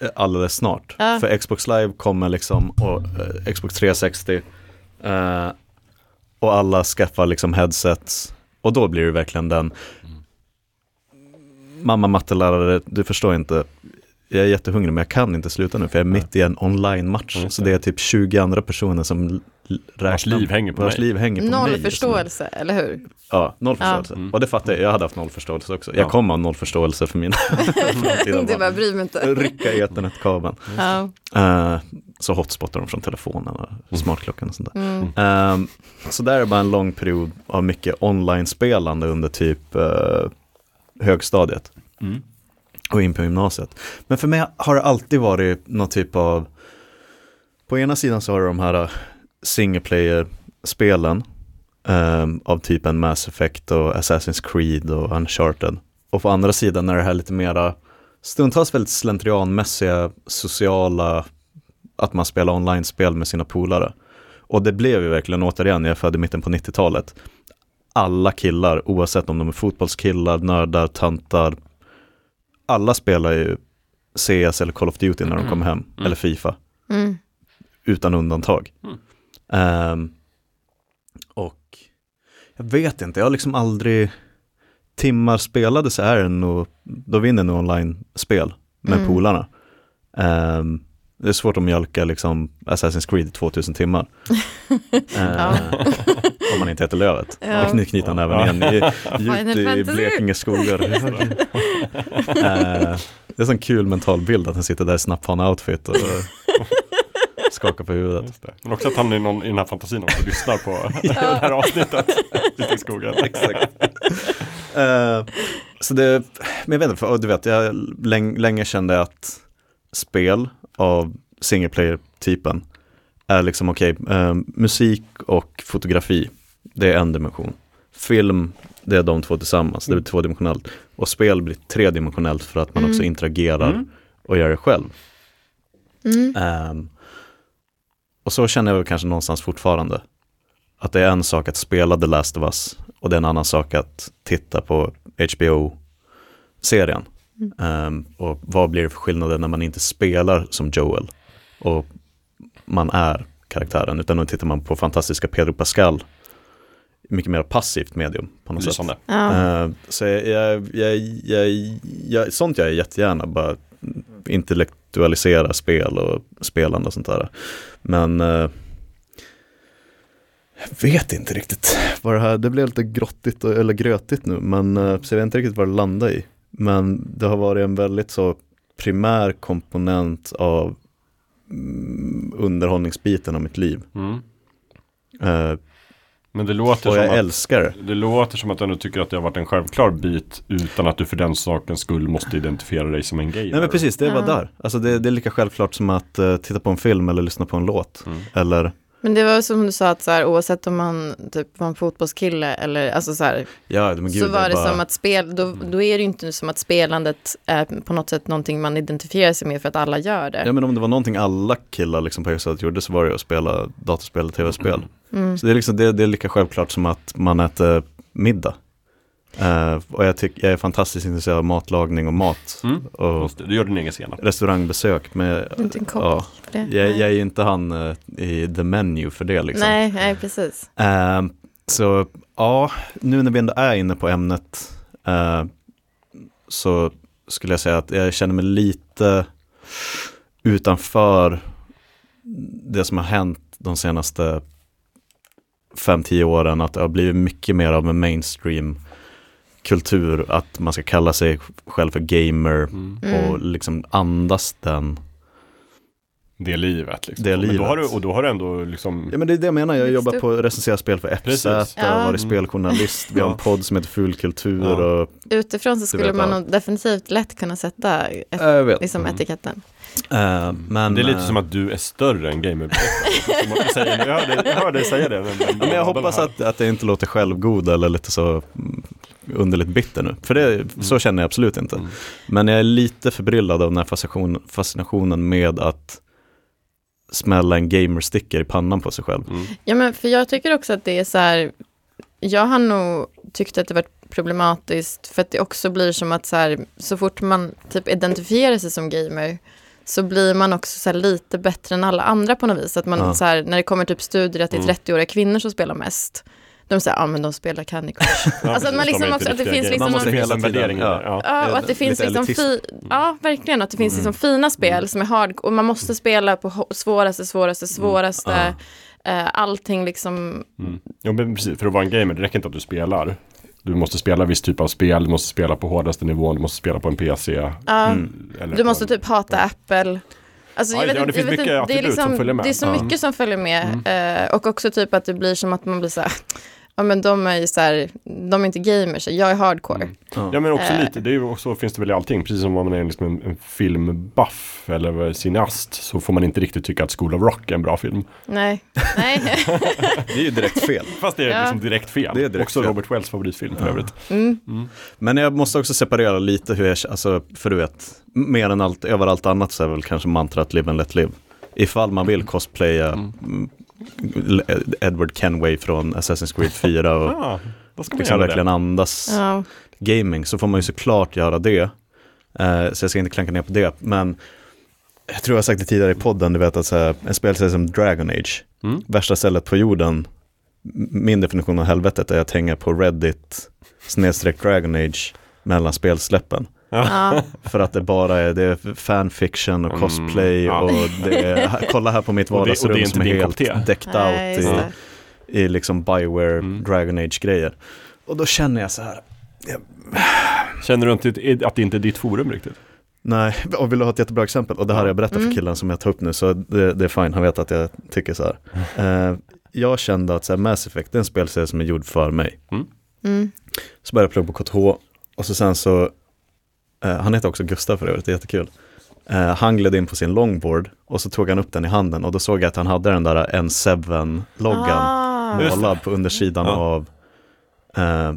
eh, alldeles snart.
Ja.
För Xbox Live kommer liksom, och eh, Xbox 360, eh, och alla skaffar liksom headsets. Och då blir det verkligen den, mamma mattelärare, du förstår inte, jag är jättehungrig men jag kan inte sluta nu för jag är mitt i en online-match.
Just
Så
det.
det är typ 20 andra personer som l- l- räknar.
liv hänger på
vars
mig.
liv hänger på mig
Noll
just nu.
förståelse, eller hur?
Ja, noll förståelse. Och det fattar jag, jag hade haft noll förståelse också. Jag
Ja.
kommer ha noll förståelse för mina *laughs* framtida
Det
barn.
bara, bryr mig inte.
Rycka i ethernetkabeln.
Ja.
Eh, så hotspotar de från telefonen och smartklockan och sånt där.
Mm.
Eh, så där är bara en lång period av mycket online-spelande under typ eh, högstadiet. Mm. Och in på gymnasiet. Men för mig har det alltid varit någon typ av, på ena sidan så har du de här eh, single player-spelen eh, av typen Mass Effect och Assassin's Creed och Uncharted. Och på andra sidan är det här lite mera stundtals väldigt slentrianmässiga sociala, att man spelar online-spel med sina polare. Och det blev ju verkligen, återigen, jag är född i mitten på 90-talet, alla killar, oavsett om de är fotbollskillar, nördar, tantar, alla spelar ju CS eller Call of Duty när de kommer hem, eller Fifa,
Mm.
utan undantag. Ehm, Och jag vet inte, jag har liksom aldrig timmar spelade så är det nog, då vinner nog online-spel med
Mm.
polarna. Ehm, det är svårt att mjölka liksom Assassin's Creed i 2000
*laughs*
timmar. Ehm, om man inte heter Lövet.
Ja.
Och nu knyter han även
Ja.
igen i, djupt
*laughs* Final
i
Fantasy.
Blekinge skogar.
*laughs*
Ehm, det är en sån kul mental bild att han sitter där i snappfana-outfit
*laughs*
och skakar på huvudet.
Just det. Men också att han är någon i den här fantasin också lyssnar på *laughs* det här avsnittet. Ute i skogen.
*laughs* Exakt. Eh, så det, men jag vet inte, för, och du vet, jag läng, länge kände att spel av single player-typen är liksom okej, eh, musik och fotografi, det är en dimension. Film, det är de två tillsammans,
Mm.
det blir tvådimensionellt. Och spel blir tredimensionellt för att man också interagerar
Mm.
och gör det själv.
Mm.
Ehm, och så känner jag väl kanske någonstans fortfarande. Att det är en sak att spela The Last of Us och det är en annan sak att titta på HBO-serien. Ehm, och vad blir det för skillnader när man inte spelar som Joel och man är karaktären, utan då tittar man på fantastiska Pedro Pascal, mycket mer passivt medium på något sätt.
Lysande.
Ja.
Eh, så jag, jag, jag, jag, jag, sånt gör jag jättegärna, bara intellektualisera spel och spelande och sånt där. Men eh, jag vet inte riktigt vad det här, det blev lite grottigt och, eller grötigt nu, men eh, så jag vet inte riktigt vad det landar i. Men det har varit en väldigt så primär komponent av mm, underhållningsbiten av mitt liv.
Mm.
Eh,
Men det låter
och
som
jag
att
älskar det.
det låter som att du ändå tycker att det har varit en självklar bit utan att du för den sakens skull måste identifiera dig som en gay.
Nej men precis, det var
Ja.
där. Alltså det, det är lika självklart som att eh, titta på en film eller lyssna på en låt.
Mm.
Eller,
Men det var som du sa, att så här, oavsett om man typ, var en fotbollskille eller alltså så här,
ja men gud,
så var det
bara,
som att spel, då, då är det ju inte som att spelandet är på något sätt någonting man identifierar sig med för att alla gör det.
Ja men om det var någonting alla killar liksom på högstadiet gjorde så var det ju att spela datorspel och tv-spel.
Mm.
Så det är, liksom, det, det är lika självklart som att man äter middag. Eh, och jag, tycker jag är fantastiskt intresserad av matlagning och mat.
Mm.
Och
Just det, Du gör din egen senap.
restaurangbesök med,
Inte en kock
ja,
för det.
jag,
Nej.
jag är ju inte han eh, i the menu för det liksom.
Nej, nej, precis.
Ehm, så ja, nu när vi ändå är inne på ämnet eh, så skulle jag säga att jag känner mig lite utanför det som har hänt de senaste 5-10 åren, att det har blivit mycket mer av en mainstream kultur, att man ska kalla sig själv för gamer
Mm.
Mm.
och liksom andas den.
Det är livet. Liksom.
Det är
Men
livet.
då har du, och då har du ändå liksom
Ja men det är det jag menar, jag
Växt
jobbar
upp.
på att recensera spel för FZ,
Precis.
jag
Ja.
har varit speljournalist, vi har en
Ja.
podd som heter Fulkultur
Ja.
och
Utifrån så skulle
vet
man
allt.
nog definitivt lätt kunna sätta ett,
Ja, jag vet.
liksom
Mm.
etiketten.
Eh, men,
Det är lite
eh,
som att du är större än
*laughs*
gamer. Som man säger nu. jag, hörde, jag hörde dig säga det. Men,
Ja, men jag hoppas att, att jag inte låter självgod eller lite så mm, underligt bitter nu. För det, så känner jag absolut inte.
Mm.
Men jag är lite förbryllad av den här fascination, fascinationen med att smälla en gamersticker i pannan på sig själv.
Mm.
Ja, men för jag tycker också att det är så här, jag har nog tyckt att det varit problematiskt för att det också blir som att så här, så fort man typ identifierar sig som gamer så blir man också så här lite bättre än alla andra på något vis. Att man
Ja.
så här, när det kommer typ studier att det är
Mm.
30-åriga kvinnor som spelar mest, de säger, ja ah, men de spelar Candy Crush.
Ja,
Alltså att man
precis,
liksom
de är inte
också- att det
riktiga
finns
gamer.
liksom
Man måste
någon-
hela
hela
tiden.
tiden,
värdering i det.
ja.
Ja. Mm.
Ja, och att
Lite
det finns liksom fi- ja, verkligen, att det finns liksom fina spel som är hard och man
Mm.
måste spela på ho- svåraste, svåraste, svåraste. Eh, Allting liksom,
Mm. Jo, men precis. För att vara en gamer, det räcker inte att du spelar. Du måste spela viss typ av spel, du måste spela på hårdaste nivån, du måste spela på en PC.
ja,
Eller
du
på
måste
en...
typ hata Apple. Alltså,
Mm. Ja, ja,
jag vet
det
inte,
finns
jag vet
mycket
inte, det är liksom-
attribut som följer med.
Det är så
Ja. Mm.
mycket som följer med eh, och också typ att det blir som att man blir så här, ja men de är ju så här, de är inte gamers, jag är hardcore.
Ja men
Eh.
också lite, det är ju också, finns det väl i allting. Precis som om man är liksom en, en filmbuff eller vad- cineast så får man inte riktigt tycka att School of Rock är en bra film.
Nej, nej.
*laughs*
Det är ju direkt fel.
Fast det är
Ja.
liksom direkt fel.
Det är direkt
också
fel.
Robert Wells favoritfilm för övrigt.
Mm.
Men jag måste också separera lite hur jag, alltså för du vet, mer än allt, över allt annat så är väl kanske mantrat live and let live. Ifall man vill cosplaya mm, Ed- Edward Kenway från Assassin's Creed 4 och
Ah, då ska man
liksom
göra
verkligen
det.
andas
Ja.
gaming så får man ju såklart göra det. Eh, så jag ska inte klanka ner på det, men jag tror jag har sagt det tidigare i podden, du vet att så här, en spelserie som Dragon Age,
Mm.
värsta stället på jorden m- min definition av helvetet är att hänga på Reddit snedstreck Dragon Age mellan spelsläppen.
Ja.
För att det bara är, det är fanfiction och cosplay
Mm, ja.
och det
*laughs*
är, kolla här på mitt
Och det- och det är
vardagsrum
inte
som är
din
helt
kommitté.
decked
Nej,
out
just
i,
det.
i liksom Bioware
Mm.
Dragon Age-grejer. Och då känner jag så här,
Känner du inte att det inte är ditt forum riktigt?
Nej, och vill du ha ett jättebra exempel? Och det här har jag berättat
Mm.
för killen som jag tar upp nu, så det, det är fine, han vet att jag tycker så här.
*laughs*
Eh, jag kände att så här, Mass Effect, det är en spelserie som är gjord för mig.
Mm.
Så började jag plugga på KTH, och så sen så, eh, han heter också Gustav för övrigt, det är jättekul. Eh, han gled in på sin longboard, och så tog han upp den i handen, och då såg jag att han hade den där N7-loggan
Ah,
Just det.
målad på undersidan
Ja.
av, eh,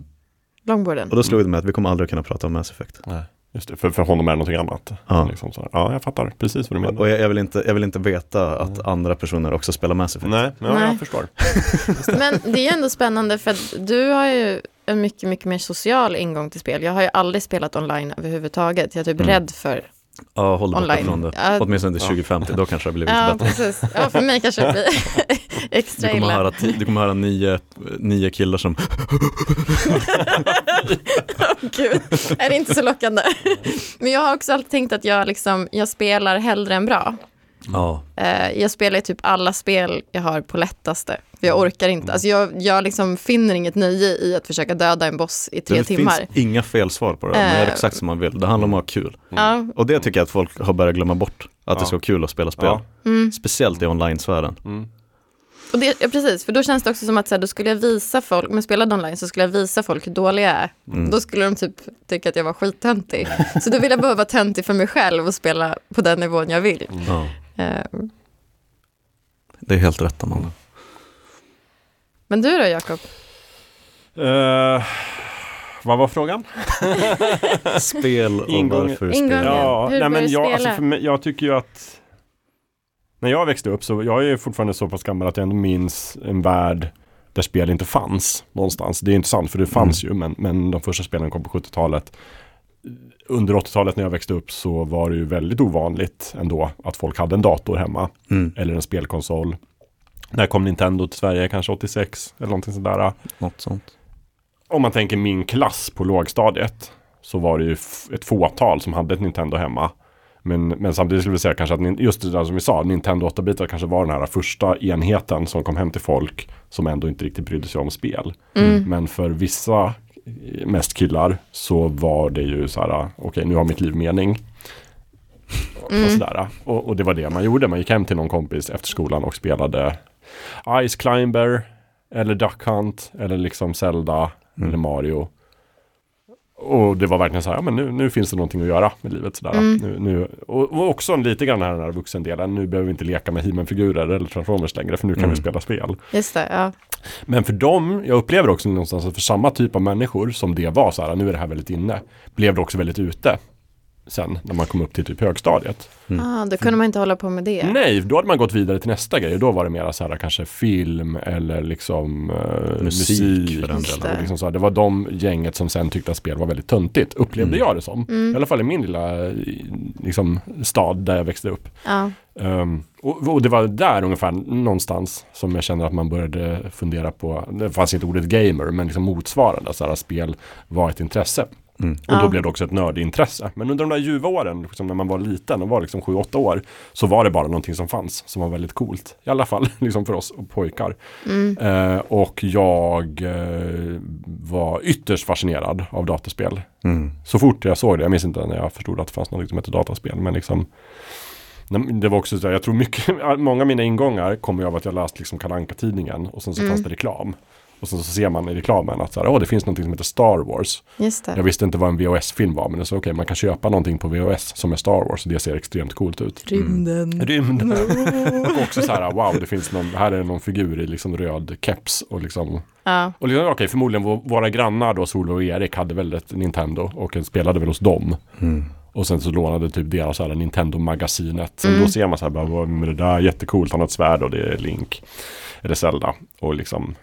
långborden.
och då slog det mig att vi kommer aldrig kunna prata om Mass Effect.
Nej. Just det, för, för honom är det någonting annat.
Ja.
Liksom så här. ja, jag fattar precis vad du menar.
Och jag, jag, vill inte, jag vill inte veta att
Mm.
andra personer också spelar Mass Effect.
Nej, ja,
Nej.
jag förstår.
Men det är ändå spännande för att du har ju en mycket, mycket mer social ingång till spel. Jag har ju aldrig spelat online överhuvudtaget. Jag är typ
Mm.
rädd för...
Ja, håll dig borta
Online.
från det.
Ja.
Åtminstone till
Ja.
2050, då kanske det blir lite
Ja,
bättre.
precis. Ja, för mig kanske
*laughs*
det blir
Du
extra
kommer,
illa. *laughs*
höra, ti- du kommer höra nio, nio killar som,
Gud, är det inte
*laughs*
så lockande? Men jag har också alltid tänkt att jag, liksom, jag spelar hellre än bra.
ja,
Eh, jag spelar ju typ alla spel jag har på lättaste. För
Mm.
jag orkar inte. Alltså jag jag liksom finner inget nöje i att försöka döda en boss i tre
det
timmar.
finns Mm. inga felsvar på det, man gör
Eh.
exakt som man vill. Det handlar om att ha kul.
Ja,
Och det tycker jag att folk har börjat glömma bort, att det
Ja.
ska vara kul att spela spel.
Ja.
mm.
Speciellt i online-sfären.
Mm.
och det, ja, precis. För då känns det också som att så här, då skulle jag visa folk, om jag spelade online så skulle jag visa folk hur dålig jag är.
Mm.
Då skulle de typ tycka att jag var skittöntig. så då vill jag bara vara töntig för mig själv och spela på den nivån jag vill.
Ja.
Mm.
Eh,
Det är helt rätt Amanda.
men du då, Jakob?
Eh, vad var frågan?
Spel och
Ingången.
varför
Ingången.
spel.
Ja. Hur
nej, men
började
jag,
du
alltså,
spela?
för mig, jag tycker ju att när jag växte upp så, jag är ju fortfarande så pass gammal att jag ändå minns en värld där spel inte fanns någonstans. Det är inte sant för det fanns
Mm.
ju men, men de första spelen kom på 70-talet. Under 80-talet när jag växte upp så var det ju väldigt ovanligt ändå att folk hade en dator hemma
Mm.
eller en spelkonsol. När kom Nintendo till Sverige? Kanske 86 eller någonting sådär
Något sånt.
om man tänker min klass på lågstadiet så var det ju f- ett fåtal som hade ett Nintendo hemma. Men, men samtidigt skulle vi säga kanske att nin- just det där som vi sa, Nintendo 8-bitar kanske var den här första enheten som kom hem till folk som ändå inte riktigt brydde sig om spel. Men för vissa, eh, mest killar, så var det ju så här, ah, okej nu har mitt liv mening. Och, sådär. Och, och det var det man gjorde, man gick hem till någon kompis efter skolan och spelade Ice Climber, eller Duck Hunt, eller liksom Zelda, eller Mario. Och det var verkligen så här, ja men nu, nu finns det någonting att göra med livet sådär. Nu, nu, och, och också en lite grann här den här vuxendelen, nu behöver vi inte leka med He-Man-figurer eller Transformers längre, för nu kan vi spela spel.
Just det, ja.
Men för dem, jag upplever också någonstans att för samma typ av människor som det var så här, nu är det här väldigt inne, blev det också väldigt ute. Sen när man kom upp till typ högstadiet.
Ah, då kunde man inte hålla på med det.
Mm. Nej, då hade man gått vidare till nästa grej. Då var det mera så här kanske film eller liksom eh,
Musik,
musik.
för den
och
delen.
liksom så här, det var de gänget som sen tyckte att spel var väldigt töntigt, upplevde jag det som. I alla fall i min lilla eh, liksom, stad där jag växte upp.
Ja.
Ehm, och, och det var där ungefär någonstans som jag kände att man började fundera på, det fanns inte ordet gamer, men liksom motsvarande, så här, spel var ett intresse. Och då blev det också ett nördintresse. Men under de där ljuva åren, liksom när man var liten och var liksom 7-8 år, så var det bara någonting som fanns, som var väldigt coolt. I alla fall *laughs* liksom för oss pojkar. Eh, och jag eh, var ytterst fascinerad av dataspel.
Mm,
Så fort jag såg det, jag minns inte när jag förstod att det fanns något som hette dataspel, men liksom Nej, men Det var också så här, jag tror mycket, *laughs* många av mina ingångar kommer ju av att jag läst liksom Kalle Anka-tidningen och sen så fanns det reklam. Och sen så ser man i reklamen att så här, "Åh, det finns något som heter Star Wars.
Just det.
Jag visste inte vad en VHS-film var, men det så okej, man kan köpa någonting på VHS som är Star Wars och det ser extremt coolt ut.
Rymden.
Mm. Rymden. *laughs* och också så här, wow, det finns någon, här är någon figur i liksom röd keps och liksom
Ja.
och liksom, okej, förmodligen vår, våra grannar då, Sol och Erik, hade väl ett Nintendo och spelade väl hos dem.
mm.
Och sen så lånade typ deras alla Nintendo-magasinet. Sen då ser man så här, bara, "Vad- men det där är jättecoolt, han har ett svärd och det är Link. Eller Zelda. Och liksom,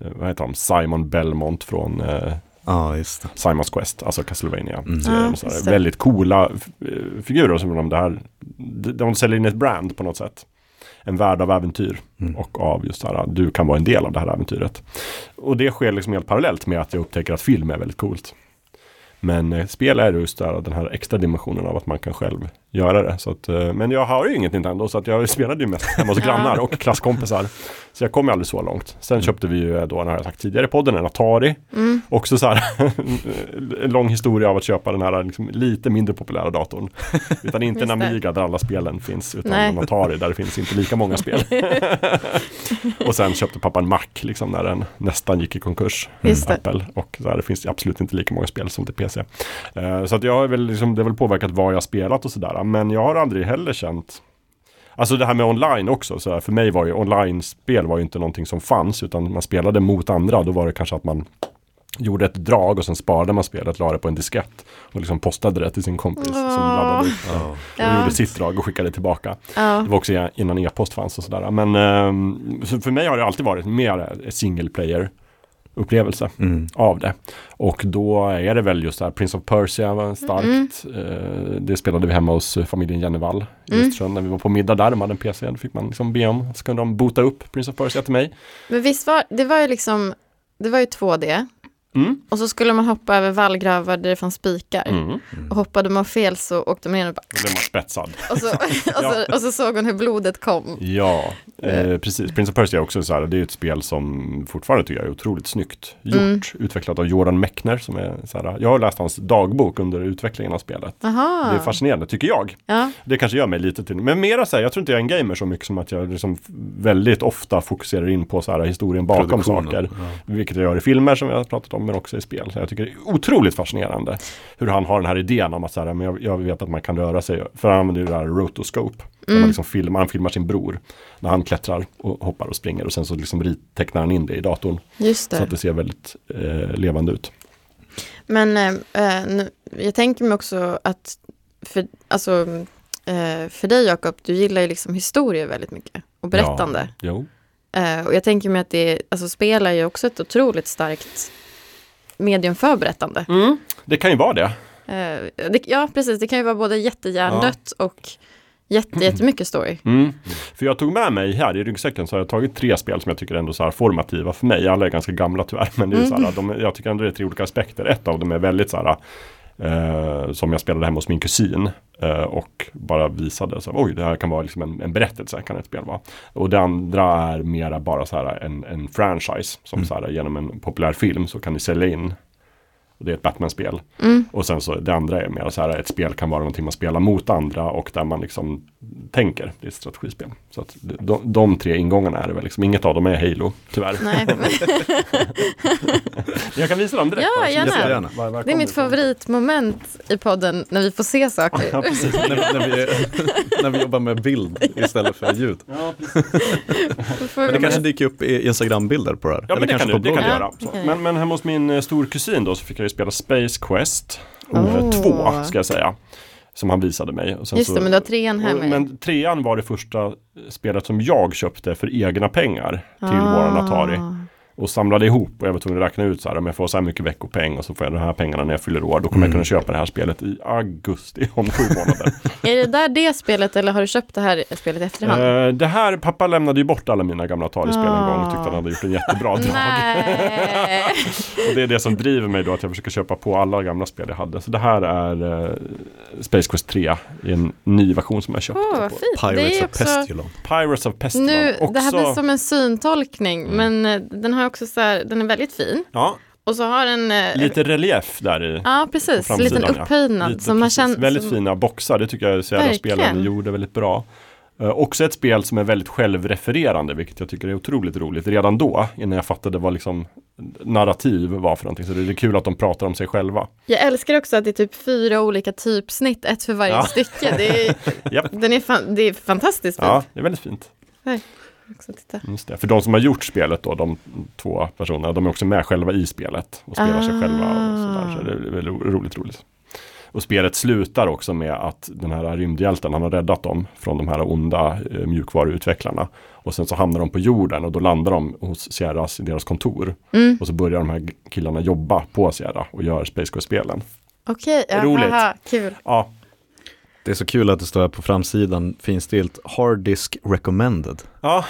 eh, vad heter de, Simon Belmont från eh,
Ja, just det.
Simons Quest, alltså Castlevania. Så
Ja,
är de så
just
här,
det.
väldigt coola f- eh, figurer som de, det här, de, de säljer in ett brand på något sätt. en värld av äventyr. Och av just det här, du kan vara en del av det här äventyret. Och det sker liksom helt parallellt med att jag upptäcker att film är väldigt coolt. Men eh, spel är just där, den här extra dimensionen av att man kan själv göra det. Så att, eh, men jag har ju inget Nintendo så att jag spelade ju mest *laughs* hemma hos grannar och klasskompisar. Så jag kom ju aldrig så långt. Sen köpte vi ju eh, då, när jag sagt tidigare i podden, en Atari.
mm,
Också så här, en *laughs* lång historia av att köpa den här liksom, lite mindre populära
*laughs*
datorn. Utan inte en
Just det.
Amiga där alla spelen finns, utan
Nej.
en Atari där det finns inte lika många
*laughs*
spel. och sen köpte pappa en Mac liksom, när den nästan gick i konkurs. eh,
Just det.
Apple. Och så här, det finns absolut inte lika många spel som till PC. Eh, så att jag har väl liksom, det har väl påverkat vad jag har spelat och sådär. Men jag har aldrig heller känt Alltså det här med online också, så här, för mig var ju online-spel var ju inte någonting som fanns utan man spelade mot andra, då var det kanske att man gjorde ett drag och sen sparade man spelet, la det på en diskett och liksom postade det till sin kompis som
Åh.
laddade upp det och
Ja.
gjorde sitt drag och skickade tillbaka.
Ja.
Det var också i- innan e-post fanns och sådär. Men ehm, så för mig har det alltid varit mer en single player upplevelse
Mm.
av det. Och då är det väl just det här, Prince of Persia var starkt. Eh, det spelade vi hemma hos eh, familjen Jennevall i Östersund. När vi var på middag där, de hade en PC, då fick man liksom be om, så kunde de bota upp Prince of Persia till mig.
Men visst var det var ju liksom, det var ju 2D.
Mm.
Och så skulle man hoppa över vallgravar där det fanns spikar.
Mm.
Och hoppade man fel så åkte man ner och bara,
Då blev man spetsad.
och så, *laughs* och så, och så såg hon hur blodet kom.
Ja, eh, precis. Prince of Persia är också så här, det är ett spel som fortfarande tycker jag är otroligt snyggt gjort. Utvecklat av Jordan Mechner som är så här, jag har läst hans dagbok under utvecklingen av spelet.
Aha.
Det är fascinerande, tycker jag.
Ja,
Det kanske gör mig lite till, men mera så här, jag tror inte jag är en gamer så mycket som att jag liksom väldigt ofta fokuserar in på så här historien bakom
Produktionen,
saker. Vilket jag gör i filmer som jag har pratat om, men också i spel. Så jag tycker det är otroligt fascinerande hur han har den här idén om att så här, men jag, jag vet att man kan röra sig. För han använder ju det här rotoscope. Där man liksom filmar, han filmar sin bror när han klättrar och hoppar och springer och sen så liksom rit- tecknar han in det i datorn.
just
Så
det.
att det ser väldigt eh, levande ut.
Men eh, eh, nu, jag tänker mig också att, för, alltså, eh, för dig Jakob, du gillar ju liksom historier väldigt mycket. Och berättande.
Ja, jo.
Eh, och jag tänker mig att det, alltså spel är ju också ett otroligt starkt medium för berättande.
Det kan ju vara det.
Eh, det, ja, precis. Det kan ju vara både jättehjärndött och jätte, jättemycket story.
*clears throat* Mm. För jag tog med mig här i ryggsäcken så har jag tagit tre spel som jag tycker ändå så här formativa för mig. Alla är ganska gamla tyvärr men det är ju så här, de, jag tycker ändå det är tre olika aspekter. Ett av dem är väldigt så här eh, som jag spelade hemma hos min kusin eh, och bara visade så här, oj det här kan vara liksom en, en berättelse kan ett spel vara. Och det andra är mera bara så här en, en franchise som
Mm.
så här genom en populär film så kan du sälja in och det är ett Batman-spel.
Mm.
Och sen så det andra är mer så här, ett spel kan vara någonting man spelar mot andra och där man liksom tänker. Det är ett strategispel. Så att de, de tre ingångarna är det väl liksom. Inget av dem är Halo, tyvärr.
Nej, *laughs* men
Jag kan visa dem direkt.
Ja,
bara, så
gärna.
ser
Jättegärna.
var- var
det är
kommer
mitt
ifrån.
favoritmoment i podden när vi får se
Ja,
saker.
precis.
när, när, vi, när vi jobbar med bild istället för ljud.
Då *laughs* får
Men det
vi-
kanske dyker upp i Instagram-bilder på det här.
Ja, men det kan,
kanske
du, det kan du
bloggen.
göra. Så.
okej.
Men, men hemma hos min eh, storkusin då så fick jag ju spela Space Quest 2
Oh.
ska jag säga. Som han visade mig. Och sen
Just det,
så-
men du har trean här
Alltså, Och,
med.
men trean var det första spelet som jag köpte för egna pengar till
Ah.
våran Atari. Och samlade ihop och jag var tvungen att räkna ut så här om jag får så här mycket veckopeng och så får jag de här pengarna när jag fyller år. Då kommer
Mm.
jag kunna köpa det här spelet i augusti om sju månader.
*laughs* Är det där det spelet eller har du köpt det här spelet i efterhand?
Eh, det här, pappa lämnade ju bort alla mina gamla Atari-spel en gång och tyckte han hade gjort en
*laughs*
jättebra drag.
Nej.
Och det är det som driver mig då att jag försöker köpa på alla gamla spel jag hade. Så det här är eh, Space Quest 3 i en ny version som jag köpte.
*laughs* Åh, vad
på.
fint.
Pirates
det är
of
också...
Pestilon.
Pirates of Pestilon.
Nu,
också... Mm.
Det här blir som en syntolkning, men eh, den har också så här, den är väldigt fin.
ja,
Och så har den... eh,
lite relief där i.
Ja, precis.
på
En liten
framsidan, ja.
upphöjnad.
Lite,
som man
precis.
känner,
väldigt
som,
fina boxar, det tycker jag Sierra
Verkligen.
spelade gjorde väldigt bra. Eh, också ett spel som är väldigt självrefererande, vilket jag tycker är otroligt roligt. Redan då, innan jag fattade vad liksom narrativ var för någonting. Så det är kul att de pratar om sig själva.
Jag älskar också att det är typ fyra olika typsnitt, ett för varje
Ja.
stycke. Det är,
*laughs* Japp.
den är, fan, det är fantastiskt
Ja,
fint.
det är väldigt fint.
Här, också titta.
Just det. För de som har gjort spelet då, de två personerna, de är också med själva i spelet och spelar sig
Ah.
själva. Och sådär. Så det är väldigt ro- roligt, roligt. Och spelet slutar också med att den här rymdhjälten, han har räddat dem från de här onda eh, mjukvaruutvecklarna. Och sen så hamnar de på jorden och då landar de hos Sierras i deras kontor. Och så börjar de här killarna jobba på Sierra och gör Space Quest-spelen.
Okej, ja,
Roligt.
haha, kul.
Ja,
Det är så kul att det står här på framsidan finstilt Hard disk recommended.
Ja,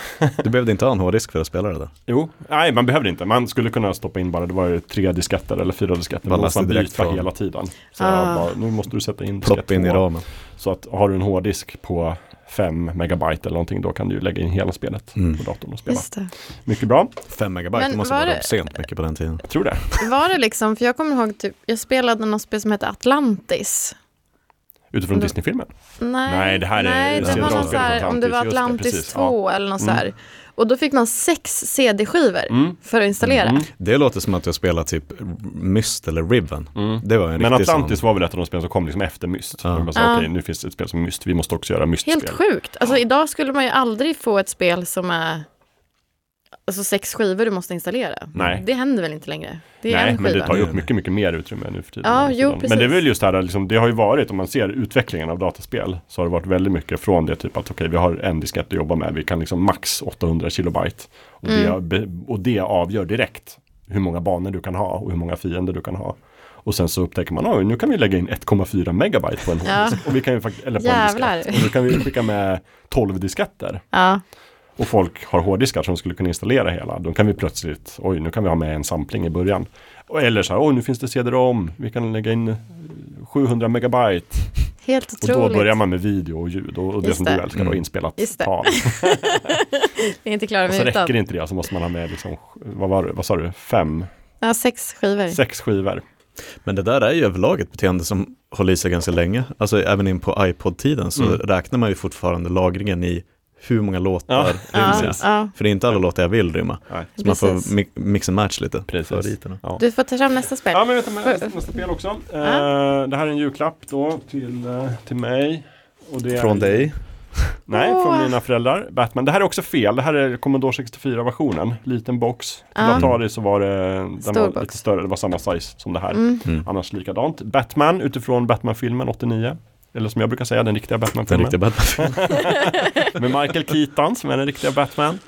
Du behövde inte ha en hårddisk för att spela det där.
jo. Nej, man behövde inte. Man skulle kunna stoppa in bara, det var ju tre disketter eller fyra disketter. Man
Bara
måste man
lasta direkt
byta
från-
hela tiden. Så
Ah.
jag bara, nu måste du sätta in diskett
Plopp in i
två.
ramen.
Så att har du en hårddisk på 5 megabyte eller någonting, då kan du ju lägga in hela spelet
Mm.
på datorn och spela.
Just det.
Mycket bra,
5 megabyte,
Men
det måste
var
vara
det-
obscent mycket på den tiden.
jag tror det.
Var det liksom, för jag kommer ihåg, typ, jag spelade något spel som hette Atlantis.
Utifrån
Mm.
Disney-filmen.
Nej,
Nej, det här är-
nej,
det
det var
är
någon
ett
så här, om det var
Atlantis, just det,
Atlantis
precis, Mm.
2 eller något så här. Och då fick man sex CD-skivor för att installera.
Mm.
Det låter som att jag spelar typ Myst eller Riven. Det var en
Mm. Men
riktig
Atlantis
sån.
var väl ett av de spel som kom liksom efter Myst.
Ja.
Och Man sa,
Ja.
okej, nu finns det ett spel som Myst, vi måste också göra Myst-spel.
Ah. Helt sjukt. Alltså idag skulle man ju aldrig få ett spel som är alltså, sex skivor du måste installera.
Nej.
Det händer väl inte längre? Det är
Nej,
en
men det
skiva.
tar ju upp mycket, mycket mer utrymme nu för tiden.
Ja,
Nu för
jo,
tiden. men det är
precis.
väl just det här, liksom, det har ju varit, om man ser utvecklingen av dataspel, så har det varit väldigt mycket från det typ att okej, vi har en diskett att jobba med, vi kan liksom max 800 kilobyte. Och,
Mm.
det, och det avgör direkt hur många banor du kan ha och hur många fiender du kan ha. Och sen så upptäcker man, "Oj, nu kan vi lägga in 1,4 megabyte på en
Ja.
hårddisk. Och vi kan ju faktiskt, eller på
Jävlar.
en diskett. Och då kan vi skicka med 12 disketter.
Ja,
Och folk har hårddiskar som skulle kunna installera hela. Då kan vi plötsligt, oj nu kan vi ha med en sampling i början. Och- Eller så här, oj nu finns det cd-rom, vi kan lägga in eh, 700 megabyte.
helt
Och då
otroligt.
börjar man med video och ljud och, och det
Just
som
det.
du älskar då,
Mm.
inspelat
Just det. *laughs*
tal.
Det är inte klara
Och så
med
räcker
utan.
inte det, så måste man ha med liksom, vad, var, det- vad sa du, fem,
Ja, sex skivor.
sex skivor.
Men det där är ju överlag ett beteende som håller i sig ganska länge. Alltså även in på iPod-tiden så
Mm.
räknar man ju fortfarande lagringen i hur många låtar
Ja,
ryms.
ja, ja,
För det är inte alla låtar jag vill rymma.
Nej.
Så man får
precis.
mi- mix and match lite.
Precis.
Favoriterna.
Ja.
Du får ta fram nästa spel.
Ja, men vänta, men nästa nästa spel också. Eh, det här är en julklapp då till, eh, till mig. Och det är-
Från dig.
Nej,
Åh.
från mina föräldrar. Batman. Det här är också fel. Det här är Commodore 64-versionen. Liten box. Till
Ja.
Atari så var det den
Ah. Stor
var
box.
lite större. Det var samma size som det här.
Mm.
Annars likadant. Batman utifrån Batman-filmen 89. Eller som jag brukar säga, den riktiga
Den
Batman-filmen.
riktiga Batman.
Med Michael Keaton som är den riktiga Batman.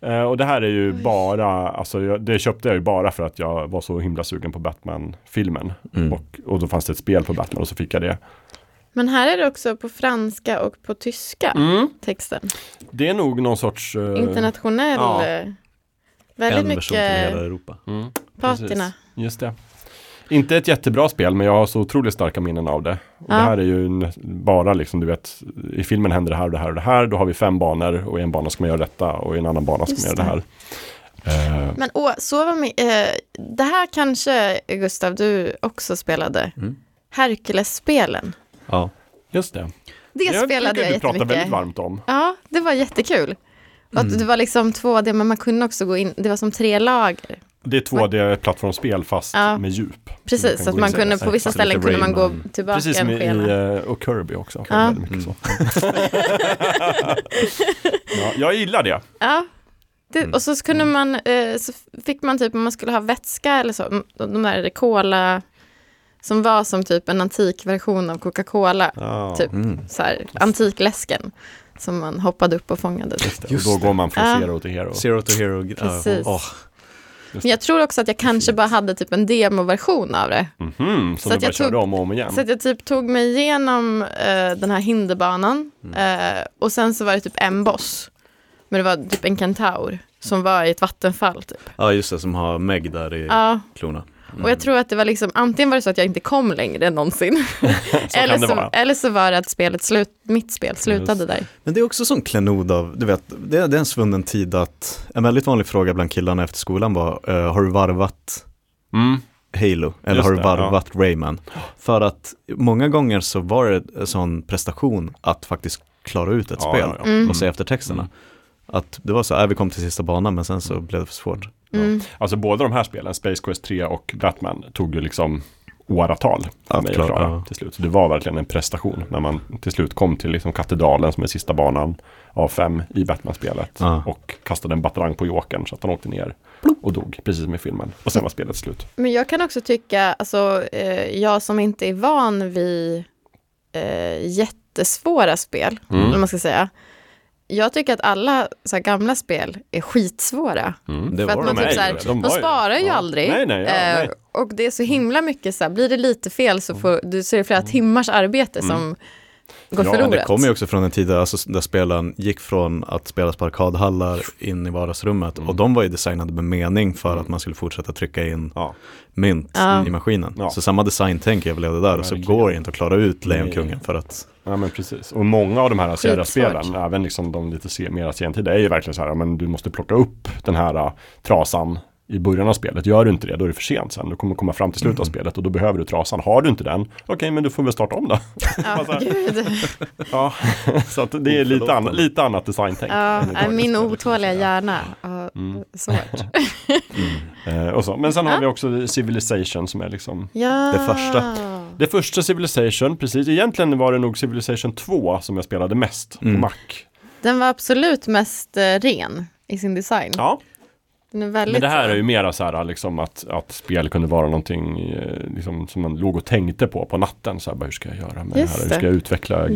Eh, och det här är ju bara, alltså jag, det köpte jag ju bara för att jag var så himla sugen på Batman-filmen.
Mm.
Och, och då fanns det ett spel på Batman och så fick jag det.
Men här är det också på franska och på tyska texten.
Det är nog någon sorts... Mm. eh,
Internationell.
ja.
eh,
En
Väldigt
version till hela
mycket
Europa.
mm.
patina.
Precis. Just det. Inte ett jättebra spel, men jag har så otroligt starka minnen av det. Och
Ja.
Det här är ju en- bara liksom, du vet, i filmen händer det här och det här och det här. Då har vi fem banor och i en bana ska man göra detta och i en annan bana ska
Just
man göra det här. Eh,
Men åh, sova med, eh, det här kanske, Gustav, du också spelade.
Mm.
Hercules-spelen.
Ja.
just det.
Det spelade jag
du prata
jättemycket.
väldigt varmt om. Mm.
Ja, det var jättekul. Och att det var liksom 2D, men man kunde också gå in, det var som tre lager.
Det är 2D-plattformsspel fast
Ja.
med djup. Så du
Precis,
kan
så att
gå
man
in i-
kunde, på vissa
exakt.
ställen
Lite
kunde man gå
Rayman.
tillbaka
Precis som i,
en skena.
i eh, och Kirby också.
Ja.
Väldigt mycket
*laughs*
så. ja, jag gillar det.
Ja.
Mm.
Det, och så kunde man, eh, så fick man typ om man skulle ha vätska eller så, m- de där cola som var som typ en antik version av Coca-Cola, typ
Mm.
så här, antikläsken som man hoppade upp och fångade.
Just
och då
det.
går man från
Ja.
zero till hero.
Zero to hero.
Precis.
Ja. Åh,
Men jag tror också att jag kanske bara hade typ en demoversion av det.
Mhm,
Så
så du
att jag
bara körde
tog-
om och om igen.
Så att jag typ tog mig igenom eh, den här hinderbanan
Mm.
eh, och sen så var det typ en boss. Men det var typ en kentaur som var i ett vattenfall typ.
Ja, just det, som har Meg där i
Ja,
klorna.
och
Mm.
jag tror att det var liksom antingen var det så att jag inte kom längre än någonsin.
*laughs*
eller,
kan det
så,
vara.
eller så var det att spelet slut, mitt spel slutade där.
Men det är också sån klenod av, du vet, det är, det är en svunnen tid att, en väldigt vanlig fråga bland killarna efter skolan var, eh, har du varvat
Mm.
Halo? Eller
Just
har du
det, ja.
varvat Rayman? För att många gånger så var det en sån prestation att faktiskt klara ut ett
Ja,
spel
ja, ja.
och se efter texterna. Att det var så, äh, vi kom till sista banan men sen så blev det för svårt.
Mm.
Alltså båda de här spelen, Space Quest 3 och Batman, tog ju liksom åratal för
Att
mig att
klara,
klara
ja.
till slut. Så det var verkligen en prestation när man till slut kom till liksom katedralen som är sista banan av fem i Batman-spelet
Ja.
och kastade en batarang på jokern så att han åkte ner och dog, precis som i filmen. Och sen var spelet slut.
Men jag kan också tycka, alltså eh, jag som inte är van vid eh, jättesvåra spel,
Mm.
om man ska säga. Jag tycker att alla så här, gamla spel är skitsvåra.
Det
För att
var
man
de
typ
här
så här,
ju.
Mm. de
de,
var ju-
sparar ju
ja.
aldrig.
Nej, nej, ja,
Eh,
nej. Mm.
Och det är så himla mycket så här, blir det lite fel så får du ser flera timmars arbete som Går
Ja, det
Men det
förlorat.
kommer ju också från en tid där, alltså, där spelen gick från att spelas på arkadhallar in i vardagsrummet
Mm.
och de var ju designade med mening för att man skulle fortsätta trycka in
Ja.
mynt
Ja.
i maskinen.
Ja.
Så samma designtänk överlevde där och så
Verkligen.
går det inte att klara ut
Nej.
Lejonkungen för att
Ja men precis. Och många av de här seriespelen,
Skitsvårt.
även liksom de lite se, mera sentida, är ju verkligen så här, ja, men du måste plocka upp den här ah, trasan i början av spelet. Gör du inte det, då är det för sent sen. Du kommer komma fram till
Mm.
slutet av spelet och då behöver du trasan. Har du inte den, okej men du får väl starta om då.
Ja, gud.
Ja, *laughs* så att det är lite, an- lite annat designtänk.
Ja,
än i
nej,
dagens
min
spel.
otåliga hjärna. Ja, Svårt.
Eh, och så. Men sen har vi också Civilization som är liksom
Ja.
Det första.
Det första Civilization, precis. Egentligen var det nog Civilization 2 som jag spelade mest
Mm.
på Mac.
Den var absolut mest eh, ren i sin design.
Ja,
Den är väldigt
men det här är ju mera så här liksom att, att spel kunde vara någonting eh, liksom, som man låg och tänkte på på natten. Så här, bara, hur ska jag göra med
Just
det här? Hur
det. Mm.
ska jag utveckla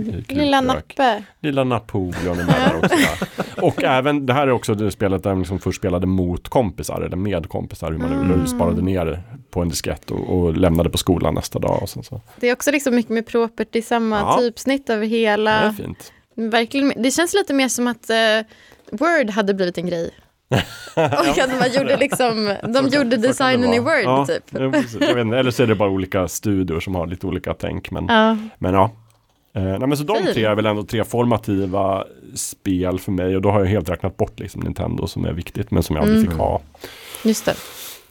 Lilla
napp
Nappe.
Lilla Napoleon är med där också.
*laughs*
ja. Och även, det här är också det spelet där man liksom först spelade mot kompisar eller med kompisar. Hur man mm. sparade ner på en diskett och, och lämnade på skolan nästa dag. Och sen så.
Det är också liksom mycket med property, samma
Ja.
typsnitt över
Det är
hela.
fint.
Verkligen, det känns lite mer som att eh, Word hade blivit en grej. Och att man gjorde liksom, de gjorde designen i Word
Ja,
typ.
ja, precis. jag vet inte. Eller så är det bara olika studior som har lite olika tänk. Men
Ja.
Men ja. Eh, nej, men så de
Fin.
tre är väl ändå tre formativa spel för mig och då har jag helt räknat bort liksom Nintendo som är viktigt men som jag aldrig
Mm.
fick ha.
Just det.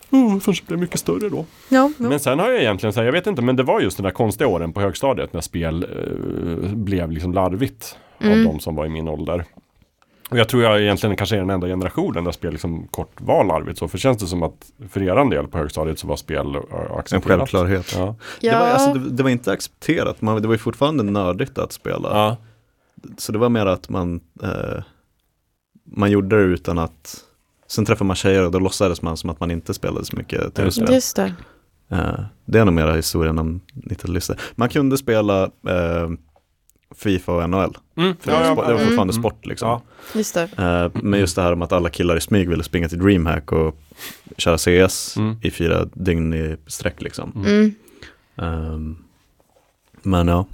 Oh, förrän det blev mycket större då.
Ja,
Men sen har jag egentligen, så här, jag vet inte, men det var just den där konstiga åren på högstadiet när spel eh, blev liksom larvigt
Mm.
av de som var i min ålder. Och jag tror jag egentligen kanske är den enda generationen där spel liksom kort var larvigt så. För känns det som att för eran del på högstadiet så var spel eh,
en
accepterat?
självklarhet.
Ja.
ja.
Det, var, alltså, det, det var inte accepterat, man, det var ju fortfarande nördigt att spela.
Ja.
Så det var mer att man, eh, man gjorde det utan att Sen träffade man tjejer och då låtsades man som att man inte spelade så mycket
Ja, just
tv-spel.
Just det.
Eh, det är nog mera historien om 90-talister. Man kunde spela eh, Fifa och NHL.
Mm.
För det, var spo- det var
Mm.
fortfarande sport liksom.
Ja.
Just det.
Eh, men just det här om att alla killar i smyg ville springa till DreamHack och köra CS
Mm.
i fyra dygn i sträck liksom.
Mm.
Ehm, men ja,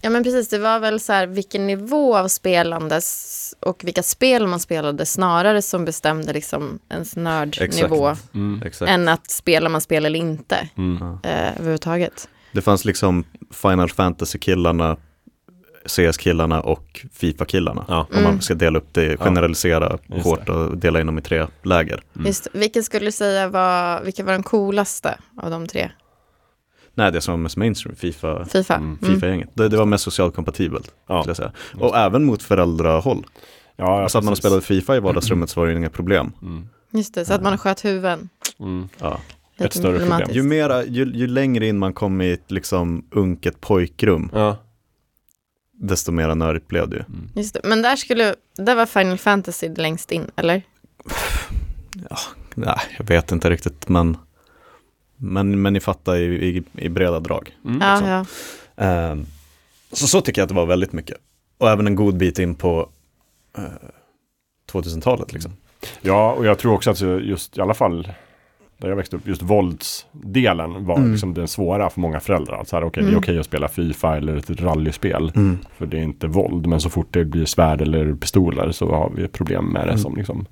Ja men precis, det var väl så här vilken nivå av spelandes och vilka spel man spelade snarare som bestämde liksom ens nördnivå
Exakt. exakt.
än att spelar man spel eller inte
Mm.
eh, överhuvudtaget.
Det fanns liksom Final Fantasy-killarna, CS-killarna och FIFA-killarna.
Ja.
Om man ska dela upp det, generalisera
Just
hårt
det.
och dela in dem i tre läger.
Just, vilken skulle du säga var, vilka var de coolaste av de tre?
Nej, det som var mest mainstream, FIFA.
Fifa? Mm.
Fifa-gänget. Det, det var mest socialt kompatibelt.
Ja.
Skulle jag säga. Och även mot föräldrahåll.
Ja, ja,
alltså att man
precis.
spelade Fifa
*clears throat*
i vardagsrummet så var det ju inga problem.
Just det, så att man sköt huvuden.
Mm.
Ja.
Lite
Ett större problem.
Ju,
problematiskt.
mera, ju, ju längre in man kom i ett liksom unket pojkrum,
Ja.
desto mera nördigt blev det ju.
Mm.
Just det. Men där, skulle, där var Final Fantasy längst in, eller?
Nej, jag vet inte riktigt, men, men, men ni fattar i, i, i breda drag.
Ja, ja.
Ehm, så så tycker jag att det var väldigt mycket. Och även en god bit in på eh, 2000-talet liksom.
ja, och jag tror också att just i alla fall där jag växte upp, just våldsdelen var
Mm.
liksom den svåra för många föräldrar. Så här, okej, det är okej att spela Fifa eller ett rallyspel, för det är inte våld. Men så fort det blir svärd eller pistoler så har vi problem med
Mm.
det som liksom,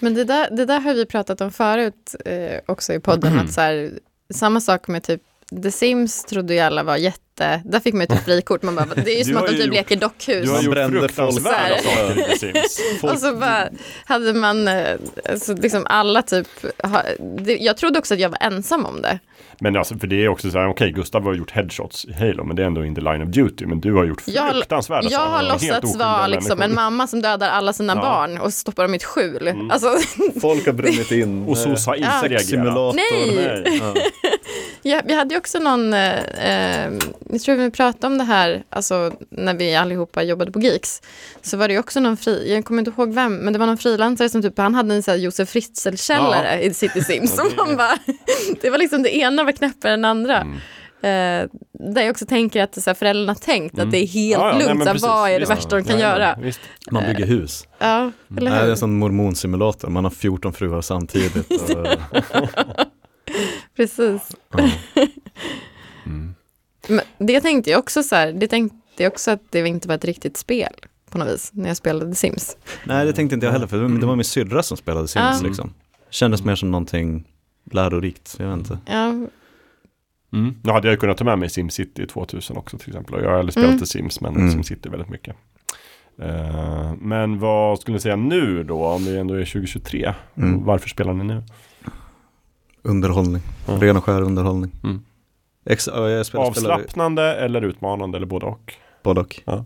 Men det där, det där har vi pratat om förut eh, också i podden, att så här, samma sak med typ The Sims trodde ju alla var jätte... Där fick man ju typ frikort. Man bara, det är
*laughs* Du
ju som
har
att de
ju
typ
gjort-
leker dockhus.
du har
Man
gjort
brände folk.
fruktansvärda
Så
saker i The Sims.
Och så bara hade man, eh, alltså liksom alla typ, ha, det, jag trodde också att jag var ensam om det.
Men alltså, för det är också så här, okej, Gustav har gjort headshots i Halo, men det är ändå inte line of duty. Men du har gjort
Jag,
fruktansvärda saker.
jag har
Helt
låtsats
oskyldiga
vara liksom
människor.
en mamma som dödar alla sina barn och stoppar dem i ett skjul.
Mm.
Alltså,
Folk har brunnit in.
*laughs* Och sossar har inte reagerat.
Simulator.
nej!
Nej.
Ja, vi hade ju också någon, eh, eh, jag tror vi pratade om det här, alltså när vi allihopa jobbade på Geeks, så var det ju också någon, fri, jag kommer inte ihåg vem, men det var någon frilansare som typ, han hade en sån här Josef Fritzl-källare i City Sims. Och man bara, *laughs* det var liksom det ena var knäppare än andra.
Mm.
Eh, där jag också tänker att så här, föräldrarna tänkt att det är helt
Mm. Ja, ja, nej,
lugnt,
men
så
precis. Liksom.
här, vad är det
Visst.
värsta de kan
Ja, ja,
göra?
visst.
Man bygger hus.
Ja,
Nej,
eller
det är
hur?
en sån mormonsimulator. Man har 14 fruar samtidigt. Och,
*laughs* Precis. Men det tänkte jag också så här, det tänkte jag också att det inte var ett riktigt spel på något vis när jag spelade Sims.
*laughs* Nej, det tänkte inte jag heller, för det var min syrra som spelade Sims.
Ja.
Liksom. Kändes mer som någonting lärorikt, jag vet inte.
Ja,
Mm. Nu hade jag ju kunnat ta med mig SimCity 2000 också till exempel. Och Jag har aldrig spelat
Mm.
i Sims men
Mm.
SimCity väldigt mycket. Eh, men vad skulle ni säga nu då om det ändå är 2023?
Mm.
Varför spelar ni nu?
Underhållning,
Ja.
ren och skär underhållning.
Mm.
Ex- ja, jag spelade, spelade
Avslappnande eller utmanande eller både och?
både och.
Ja.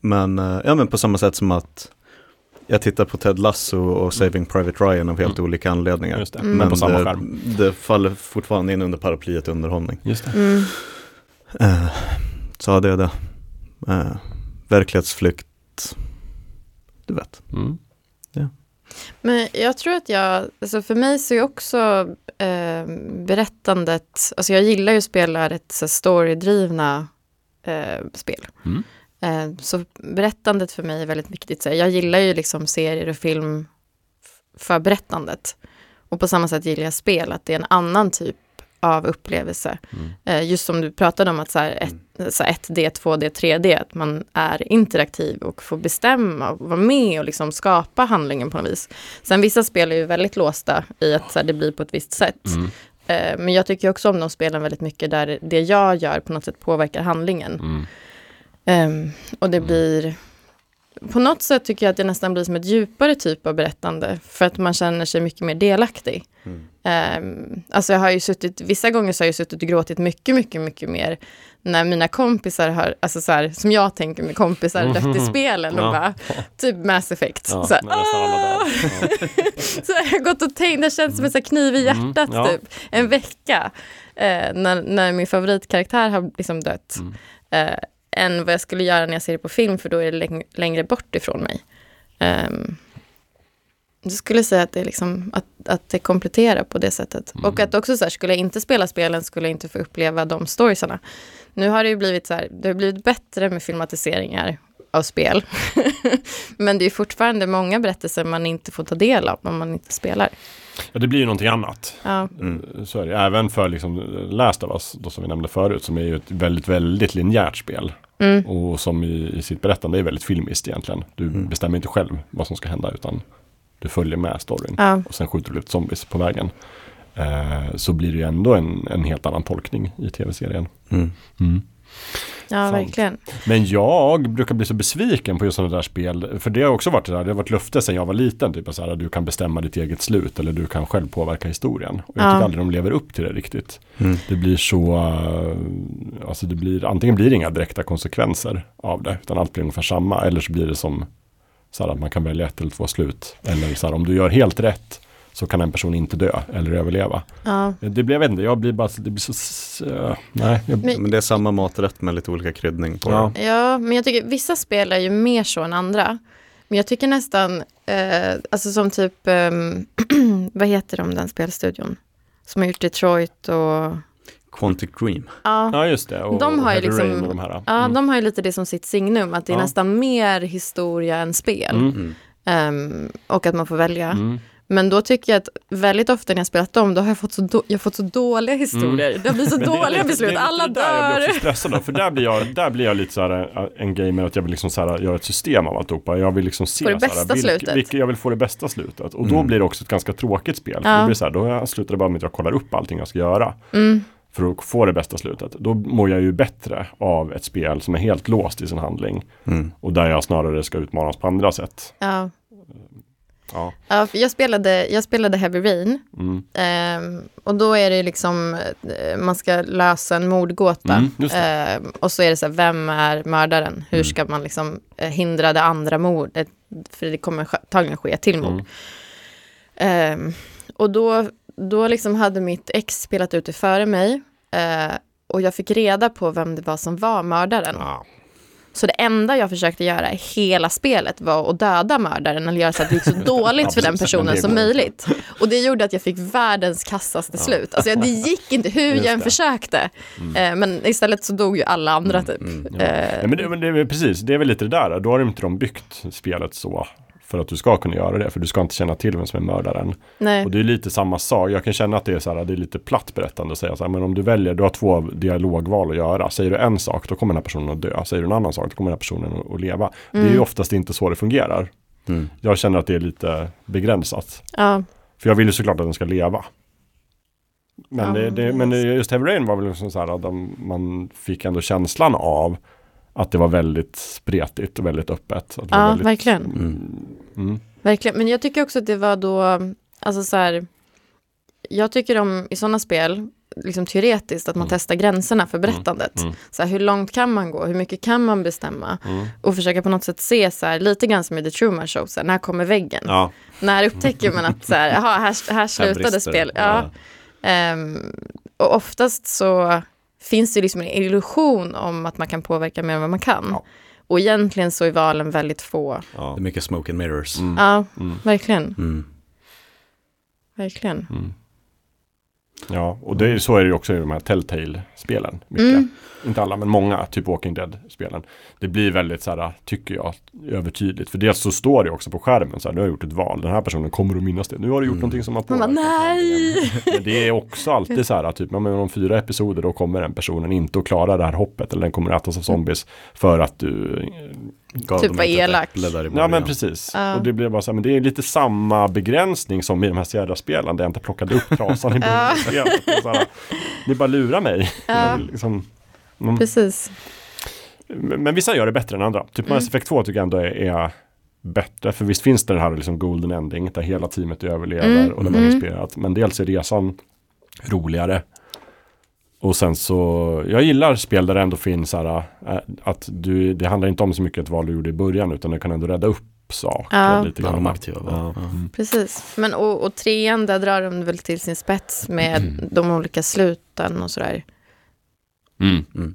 Men, eh, ja, men på samma sätt som att jag tittar på Ted Lasso och Saving Private Ryan av helt
Mm.
olika anledningar.
Just det.
Mm.
Men på samma
det,
skärm.
det faller fortfarande in under paraplyet underhållning.
Just det.
mm.
Eh, så hade jag det. Eh, verklighetsflykt, du vet.
Mm.
Men jag tror att jag, alltså för mig så är också eh, berättandet, alltså jag gillar ju att spela rätt så storydrivna eh, spel.
Mm.
Eh, så berättandet för mig är väldigt viktigt. Så jag gillar ju liksom serier och film f- för berättandet. Och på samma sätt gillar jag spel, att det är en annan typ av upplevelse.
Mm.
Eh, just som du pratade om att så här ett, så här 1D, 2D, 3D, att man är interaktiv och får bestämma och vara med och liksom skapa handlingen på något vis. Sen vissa spel är ju väldigt låsta i att så här, det blir på ett visst sätt.
Mm.
Eh, men jag tycker ju också om de spelen väldigt mycket där det jag gör på något sätt påverkar handlingen.
Mm.
Ehm, och det blir... På något sätt tycker jag att det nästan blir som ett djupare typ av berättande. För att man känner sig mycket mer delaktig.
Mm.
Ehm, alltså jag har ju suttit, vissa gånger så har jag suttit och gråtit mycket, mycket, mycket mer. När mina kompisar har, alltså så här, som jag tänker med kompisar, dött i spelen.
Mm.
Och
Ja.
bara, typ Mass Effect.
Ja,
så här,
men nästan alla
"Ah!"
där. Ja.
så jag har gått och tänkt, det känns som en så här kniv i hjärtat
ja.
typ, en vecka. Eh, när, när min favoritkaraktär har liksom dött. Eh, än vad jag skulle göra när jag ser det på film, för då är det läng- längre bort ifrån mig. Ehm, jag skulle säga att det, är liksom, att, att det kompletterar på det sättet. Och att också så här, skulle jag inte spela spelen skulle jag inte få uppleva de storiesarna. Nu har det ju blivit så här, det har blivit bättre med filmatiseringar av spel. *laughs* Men det är fortfarande många berättelser man inte får ta del av om man inte spelar.
Ja, det blir ju någonting annat.
Ja,
Så är det. Även för liksom Last of Us, då som vi nämnde förut, som är ju ett väldigt, väldigt linjärt spel.
Mm.
Och som i, i sitt berättande är väldigt filmiskt egentligen. Du bestämmer inte själv vad som ska hända utan du följer med storyn.
Ja.
Och sen skjuter du ut zombies på vägen. Eh, så blir det ju ändå en, en helt annan tolkning i tv-serien.
Mm.
ja
Sant.
verkligen.
Men jag brukar bli så besviken på just sådana där spel. För det har också varit det där, det har varit löfte sedan jag var liten. Typ att så här, du kan bestämma ditt eget slut eller du kan själv påverka historien. Och jag
Ja.
tycker aldrig de lever upp till det riktigt. Det blir så, eh, alltså det blir, antingen blir det inga direkta konsekvenser av det. Utan allt blir ungefär samma. Eller så blir det som så här, att man kan välja ett eller två slut. Eller så här, om du gör helt rätt så kan en person inte dö eller överleva.
Ja.
Det blir, jag vet inte, jag blir bara, så- det blir så, s- eh, nej. Jag,
Men-
Men det är samma maträtt med lite olika kryddning på
Ja.
det.
Ja, men jag tycker vissa spel är ju mer så än andra. Men jag tycker nästan, eh, alltså som typ, ehm, *clears throat* vad heter de den spelstudion? Som har gjort Detroit och,
Quantic Dream.
ja,
ja just det, och,
de
och
har ju
Heavy
liksom,
Rain och de här.
ja,
Mm.
de har ju lite det som sitt signum, att det är
Ja.
nästan mer historia än spel.
Mm.
Ehm, och att man får välja. *laughs*
Mm.
Men då tycker jag att väldigt ofta när jag spelat dem, då har jag fått så, då, jag har fått så dåliga historier. Det har blivit så
Men Mm. *laughs* det är
dåliga
lite-
beslut,
det är
alla
lite där Jag blir
dör.
också stressad av, för där blir jag, där blir jag lite så här eh, en grej med att jag vill liksom så här, göra ett system av alltihopa. Jag vill liksom se
Få det
så
bästa
här, vilk-
slutet.
vilk- jag vill få det bästa slutet. Och då blir det också ett ganska tråkigt spel. För
Ja.
då, blir det så här, då jag- slutar det bara med att jag kollar upp allting jag ska göra.
Mm.
För att få det bästa slutet. Då mår jag ju bättre av ett spel som är helt låst i sin handling.
Mm.
Och där jag snarare ska utmanas på andra sätt.
Ja.
Ja.
Ja, för jag, spelade, jag spelade Heavy Rain.
Mm.
Ehm, och då är det liksom, eh, man ska lösa en mordgåta.
Mm, just det. Mm.
Ehm, och så är det så här, vem är mördaren? Hur ska man liksom eh, hindra det andra mordet? För det kommer sk- antagligen ske ett till mord.
Mm.
Ehm, och då, då liksom hade mitt ex spelat ut det före mig. eh, och jag fick reda på vem det var som var mördaren.
Ja.
Så det enda jag försökte göra i hela spelet var att döda mördaren eller göra så
*laughs*
att det gick så dåligt för
Absolut,
den
men
personen
det
som
går inte.
möjligt. Och det gjorde att jag fick världens kassaste slut. Alltså jag- det gick inte hur jag än försökte.
Mm.
Eh, Men istället så dog ju alla andra typ. Eh,
Nej, men, det, men det är väl precis, det är väl lite det där. Då har ju inte de byggt spelet så för att du ska kunna göra det. För du ska inte känna till vem som är mördaren.
Nej.
Och det är lite samma sak. Jag kan känna att det är, så här, det är lite platt berättande att säga så här, men om du väljer, du har två dialogval att göra. Säger du en sak, då kommer den här personen att dö. Säger du en annan sak, då kommer den här personen att- att leva. Det är ju oftast inte så det fungerar.
Mm.
Jag känner att det är lite begränsat.
Ja.
För jag vill ju såklart att den ska leva. Men,
Ja,
det,
men
det, men det- just Heavy Rain var väl liksom så här att de, man fick ändå känslan av att det var väldigt spretigt och väldigt öppet. Att det var
Ja,
väldigt,
verkligen.
Mm.
Verkligen, men jag tycker också att det var då, alltså så här, jag tycker om i sådana spel, liksom teoretiskt, att man testar gränserna för berättandet. Så här, hur långt kan man gå, hur mycket kan man bestämma? Och försöka på något sätt se, så här, lite grann som i The Truman Show, så här, när kommer väggen?
Ja,
När upptäcker man att så här, aha, här, här slutade
brister det.
spel. Ja. Ehm, och oftast så finns det liksom en illusion om att man kan påverka mer än vad man kan.
Ja.
Och egentligen så är valen väldigt få.
Det är mycket smoke and mirrors.
Ja, verkligen.
Mm.
Verkligen.
ja, och det, är- så är det ju också i de här Telltale-spelen. Mycket.
Mm.
Inte alla, men många, typ Walking Dead-spelen. Det blir väldigt så här, tycker jag, övertydligt. För dels så står det också på skärmen så här, nu har jag gjort ett val, den här personen kommer att minnas det. Nu har du gjort någonting som har
Mm. Man bara,
påverkat.
nej!
Men det är också alltid så här, typ, ja, men om fyra episoder då kommer den personen inte att klara det här hoppet eller den kommer att ätas av zombies för att du...
Gav
Typ
dem
var
inte ett
elak.
äpple där i
Ja
början.
men precis. Och det blir bara så här, men det är lite samma begränsning som i de här Sierra-spelen där jag inte plockade upp trasan i början. Det är så här, Ni bara lurar mig. liksom,
Precis.
men men vissa gör det bättre än andra. Typ
Mm.
Mass Effect 2 tycker jag ändå är, är bättre. För visst finns det den här liksom golden ending där hela teamet överlever
Mm,
och de har inspirerat. Men dels är resan roligare. Och sen så, jag gillar spel där det ändå finns så här, äh, att du, det handlar inte om så mycket ett val du gjorde i början utan du kan ändå rädda upp saker.
Ja.
lite
Bland de
grann.
aktiva var.
Ja. Mm.
Ja.
Precis. Men och, och trean, där drar de väl till sin spets med de olika sluten och sådär.
Mm.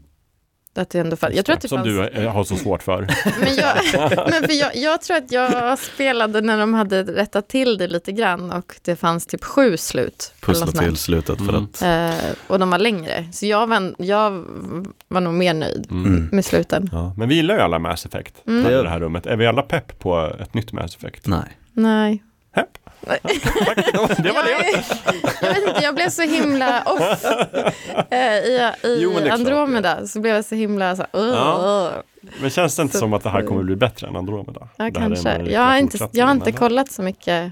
Att det ändå fanns. Jag tror att det
Som
fanns.
du eh, har så svårt för.
Men, jag, men för jag, jag tror att jag spelade när de hade rättat till det lite grann och det fanns typ sju slut. eller något
Pussla
sånt där.
till slutet för
Mm.
att
Eh, och de var längre. Så jag var, jag var nog mer nöjd
*laughs* mm.
med sluten.
Ja. Men vi gillar ju alla Mass Effect
Mm.
här i det här rummet. Är vi alla pepp på ett nytt Mass Effect?
Nej.
Nej.
Hepp.
Nej.
Tack,
*laughs*
det var det.
Jag, jag vet inte, jag blev så himla off. Eh, I i
Jo, men det är klart,
Andromeda så blev jag så himla så här, "Åh,
Ja.
åh."
Men känns det inte
Så-
som att det här kommer bli bättre än Andromeda?
ja,
Det här är en
kanske.
riktig
Jag har inte,
fortsättning,
jag har inte
eller?
kollat så mycket.
Nej.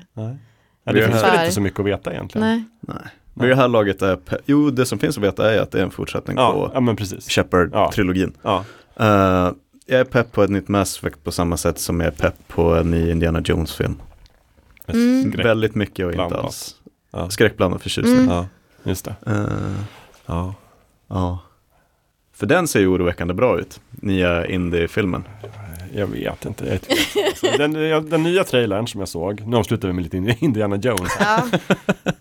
Ja, det
Vi
finns
har-
väl inte så mycket att veta egentligen.
Nej.
Nej. Vid det här laget är, pe- jo det som finns att veta är att det är en fortsättning
Ja,
på
ja, men precis.
Shepard-trilogin.
Ja.
Eh, jag är pepp på ett nytt Mass Effect på samma sätt som jag är pepp på en ny Indiana Jones-film.
Mm. Skräck.
Väldigt mycket och inte
Blandat.
alls.
Ja.
Skräckblandad förtjusning.
Ja, just det.
Mm.
Eh,
Ja.
ja. För den ser ju oroväckande bra ut, nya indie-filmen.
Jag vet inte. Jag är tveksam, alltså. den, ja, den nya trailern som jag såg, nu avslutar vi med lite Indiana Jones. här.
*laughs* Ja.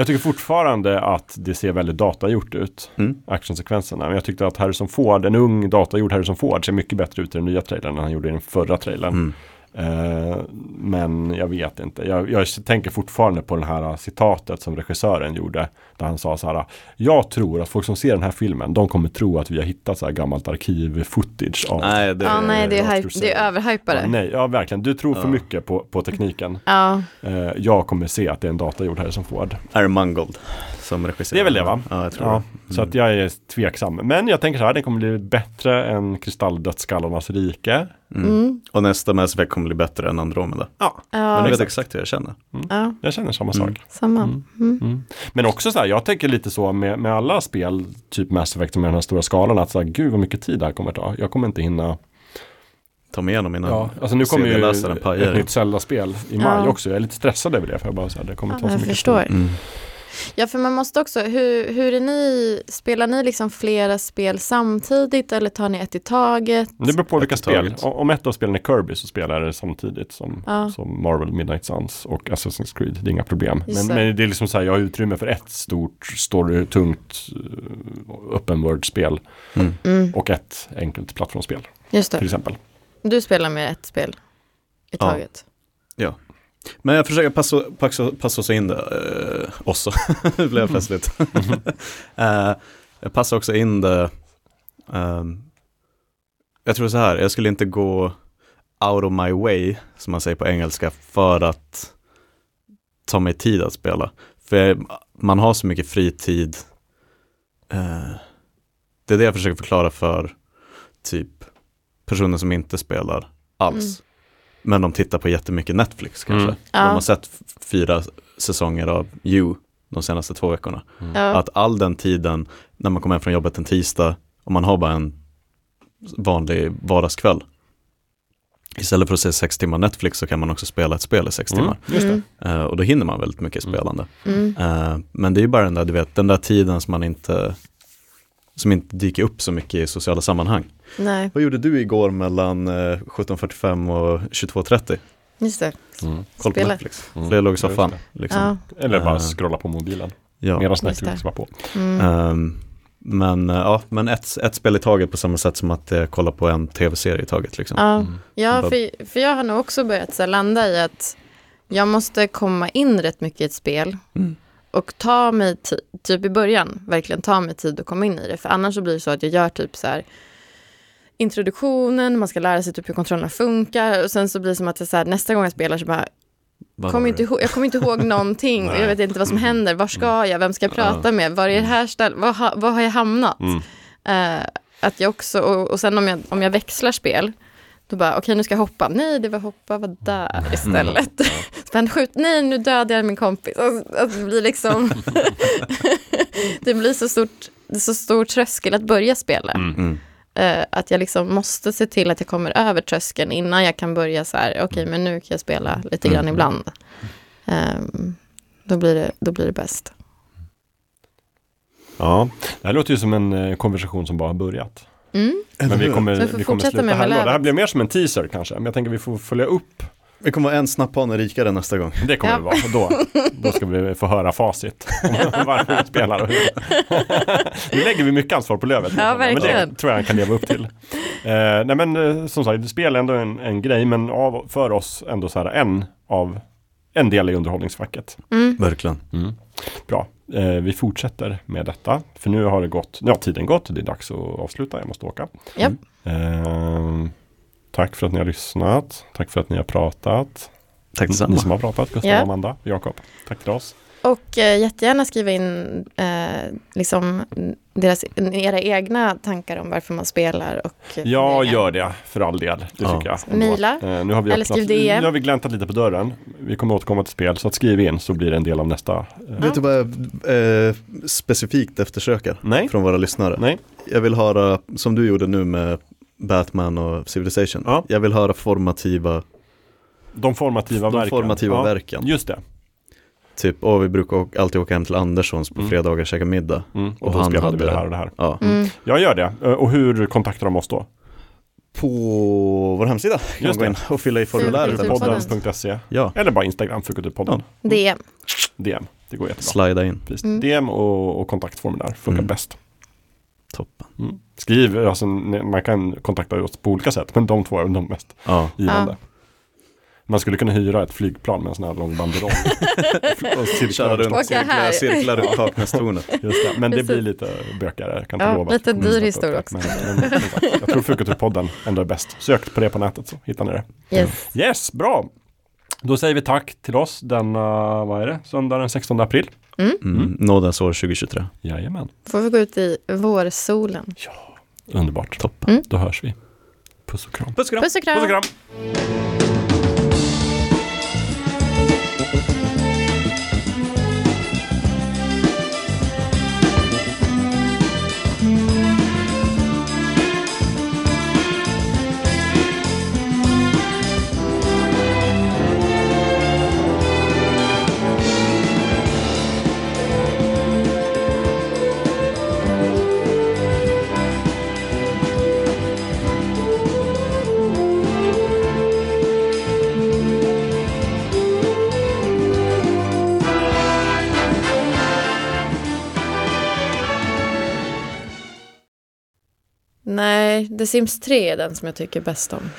Jag tycker fortfarande att det ser väldigt datagjort ut,
Mm.
actionsekvenserna. Men jag tyckte att Harrison Ford, en ung datagjord Harrison Ford, ser mycket bättre ut i den nya trailern än han gjorde i den förra trailern.
Mm.
Eh, men jag vet inte. Jag, jag tänker fortfarande på det här eh, citatet som regissören gjorde. Där han sa så här. "Eh, Jag tror att folk som ser den här filmen, de kommer tro att vi har hittat så här gammalt arkiv-footage av
Nej, det,
Ja, nej, det är,
jag
hype,
tror så.
det är överhypare.
Ja, nej, ja verkligen. Du tror för mycket på, på tekniken.
Ja,
Eh, jag kommer se att det är en datagjord här som Ford.
är Mangold som regisserar.
Det är väl det, va?
Ja, jag tror
Ja,
det.
så att jag är tveksam. Men jag tänker så här, den kommer bli bättre än Kristalldödsskallarnas rike.
Och nästa Mass Effect kommer bli bättre än Andromeda.
Ja,
Men
mm. ja,
jag vet exakt hur jag känner.
ja
jag känner samma sak.
samma.
Mm. Men också så här, jag tänker lite så med, med alla spel, typ Mass Effect med den här stora skalan, att så här, gud vad mycket tid det här kommer ta. Jag kommer inte hinna.
Ta mig igenom innan
Ja, alltså nu kommer ju
CD-läsaren
ett
pajar.
nytt Zelda-spel i maj
Ja.
också. Jag är lite stressad över det, för jag bara så här, det kommer ta
Ja,
så
jag
mycket
förstår.
tid.
Mm.
Ja, för man måste också, hur, hur är ni, spelar ni liksom flera spel samtidigt eller tar ni ett i taget?
Det beror på vilka spel.
taget.
O- Om ett av spelen är Kirby så spelar jag det samtidigt som,
Ja.
som Marvel Midnight Suns och Assassin's Creed. Det är inga problem. Men,
Just det.
men det är liksom så här, jag har utrymme för ett stort, story, tungt, eh, open world-spel.
Mm.
Och ett enkelt plattformsspel,
Mm, Just
till
det,
exempel.
du spelar med ett spel i
Ja.
taget.
Ja. Men jag försöker passa, passa, passa oss in där eh, också. *laughs* Nu blev jag plötsligt. *laughs* Eh, jag passar också in det. ehm, jag tror så här, jag skulle inte gå... out of my way, som man säger på engelska, för att ta mig tid att spela. För man har så mycket fritid. Eh, Det är det jag försöker förklara för typ personer som inte spelar alls.
Mm.
Men de tittar på jättemycket Netflix kanske.
Mm.
De
Ja.
har sett f- fyra säsonger av You de senaste två veckorna
Ja.
att all den tiden när man kommer hem från jobbet en tisdag och man har bara en vanlig vardagskväll. Istället för att se sex timmar Netflix så kan man också spela ett spel i sex
Mm.
timmar.
Just det.
Mm.
Eh, och då hinner man väldigt mycket spelande.
Mm.
Eh, men det är ju bara den där, du vet, den där tiden som man inte som inte dyker upp så mycket i sociala sammanhang.
Nej,
Vad gjorde du igår mellan eh, 17.45 och 22.30?
just det.
Mm.
Koll på
Spela.
Netflix.
Mm.
För jag låg
Ja,
i
just
soffan.
det.
Liksom.
Ja.
Eller bara
Eh.
scrolla på mobilen
Ja.
medan
just det.
Netflix var på.
Mm.
Ehm, men eh, ja, men ett, ett spel i taget på samma sätt som att eh, kolla på en tv-serie i taget. Liksom.
Ja,
Mm.
ja
Bara-
för, för jag har nog också börjat så här, landa i att jag måste komma in rätt mycket i ett spel
Mm.
och ta mig ti- typ i början, verkligen ta mig tid att komma in i det. För annars så blir det så att jag gör typ så här introduktionen, man ska lära sig typ hur kontrollerna funkar och sen så blir det som att jag så här, nästa gång jag spelar så bara,
Vad
kom
var
inte
det?
ihåg, jag kommer
*laughs*
inte ihåg någonting och jag vet inte vad
Mm.
som händer, var ska jag, vem ska jag prata med, var är det här stället, var, ha, var har jag hamnat?
Mm.
Eh, att jag också, och, och sen om jag, om jag växlar spel, då bara, okej nu ska jag hoppa, nej det var hoppa, var där *laughs* istället. Spänn, skjut, nej nu dödade jag min kompis. Alltså, alltså, det blir liksom, *laughs* det blir så stort, det är så stor tröskel att börja spela.
Mm.
Eh, att jag liksom måste se till att jag kommer över tröskeln innan jag kan börja så här, okej men nu kan jag spela lite grann ibland. Ehm, då, blir det, då blir det bäst.
Ja, det här låter ju som en eh, konversation som bara har börjat.
Mm.
Men vi kommer,
Så vi får
vi kommer
fortsätta
sluta
med
här idag. Det här
Malavet.
blir mer som en teaser kanske. Men jag tänker vi får följa upp.
Vi kommer vara en snapphane rikare nästa gång.
Det kommer
Ja.
det vara. Och Då, då ska vi få höra facit. *laughs* om Varför vi
*laughs*
spelar. och hur. nu lägger vi mycket ansvar på Lövet.
Ja,
Men
verkligen.
det tror jag han kan leva upp till. Eh, nej men eh, som sagt, spel är ändå en, en grej. Men av, för oss ändå så här en av en del i underhållningsfacket.
Mm.
Verkligen.
Bra, eh, vi fortsätter med detta. För nu har det gått, ja, tiden gått, det är dags att avsluta, jag måste åka.
Japp.
Ehm, tack för att ni har lyssnat, tack för att ni har pratat.
Tack
Ni
detsamma.
som har pratat, Gustav,
Ja.
Amanda, Jakob. Tack till oss.
Och eh, jättegärna skriva in eh, liksom deras, era egna tankar om varför man spelar och eh,
Ja,
funderingar.
gör det för all del, det
Ja.
tycker jag. ändå.
Mila.
Eh, nu, har vi
Eller
öppnat,
skriv DM.
nu har vi gläntat lite på dörren. Vi kommer återkomma till spel, så att skriv in så blir det en del av nästa. eh,
Vet du vad jag eh, specifikt eftersöker
Nej.
från våra lyssnare?
Nej,
Jag vill höra, som du gjorde nu med Batman och Civilization,
Ja.
jag vill höra formativa,
de formativa
de
verken.
formativa
Ja,
verken.
Just det.
Typ, åh vi brukar å- alltid åka hem till Anderssons på fredagar och käka middag.
Mm. Och,
Och
då
han
spelade vi
hade-
det här och det här.
Ja.
Mm.
Jag gör det. Eh, Och hur kontaktar de oss då?
På vår hemsida kan man
Just
gå
det.
in och fylla i formuläret. där.
Fulkulturpodden.
Podden.se
Ja,
E? Eller bara Instagram, Fukulturpodden.
DM.
DM. Det går jättebra.
slida in.
Precis.
Mm.
DM och, och kontaktformulär funkar
Mm.
bäst.
Toppen.
Mm. Skriv, alltså, ni- man kan kontakta oss på olika sätt, men de två är väl de mest
Ja,
givande. Man skulle kunna hyra ett flygplan med en sån här lång
*laughs*
banderoll. Och cirkla
köra runt,
Åka
cirkla,
här.
cirkla runt Kaknästornet.
Just det. Men det
Precis.
blir lite bökigare. Jag kan inte
Ja,
lova att
lite
det kommer
dyr
att
historia
släppa upp det, Men, men, som sagt, jag tror Fukulturpodden ändå är bäst. Sök på det på nätet så hittar ni det.
Yes.
Yes, bra! Då säger vi tack till oss denna, vad är det, söndag den 16 april.
Mm. Nådens år 2023.
Jajamän.
Får vi gå ut i vårsolen.
Underbart.
Toppen.
Då hörs vi. Puss och kram.
Puss och kram.
Puss och kram.
Puss och kram.
Nej, The Sims 3 är den som jag tycker bäst om.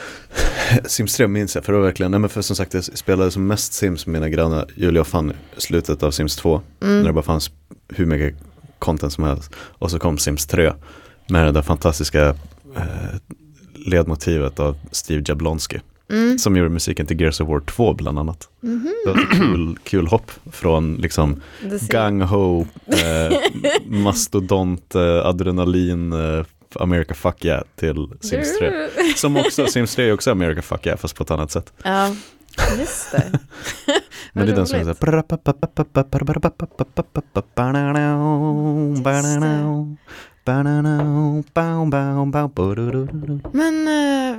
Sims 3 minns jag, för det var verkligen, nej men för som sagt jag spelade som mest Sims med mina grannar, Julia och Fanny, i slutet av Sims 2.
Mm.
När det bara fanns hur mycket content som helst. Och så kom Sims 3
Mm.
med det där fantastiska eh, ledmotivet av Steve Jablonski. som gjorde musiken till Gears of War 2 bland annat.
Mhm.
Det var ett kul, kul hopp från liksom
Det ser-
gung-ho,
*laughs*
eh, mastodont, eh, adrenalin, eh, America fuck yeah till Sims
Mm.
3. Som också, Sims 3 är också America fuck yeah fast på ett annat sätt.
*laughs* Ja, just det.
Men
Vad
det är den som är
roligt.
såhär...
Men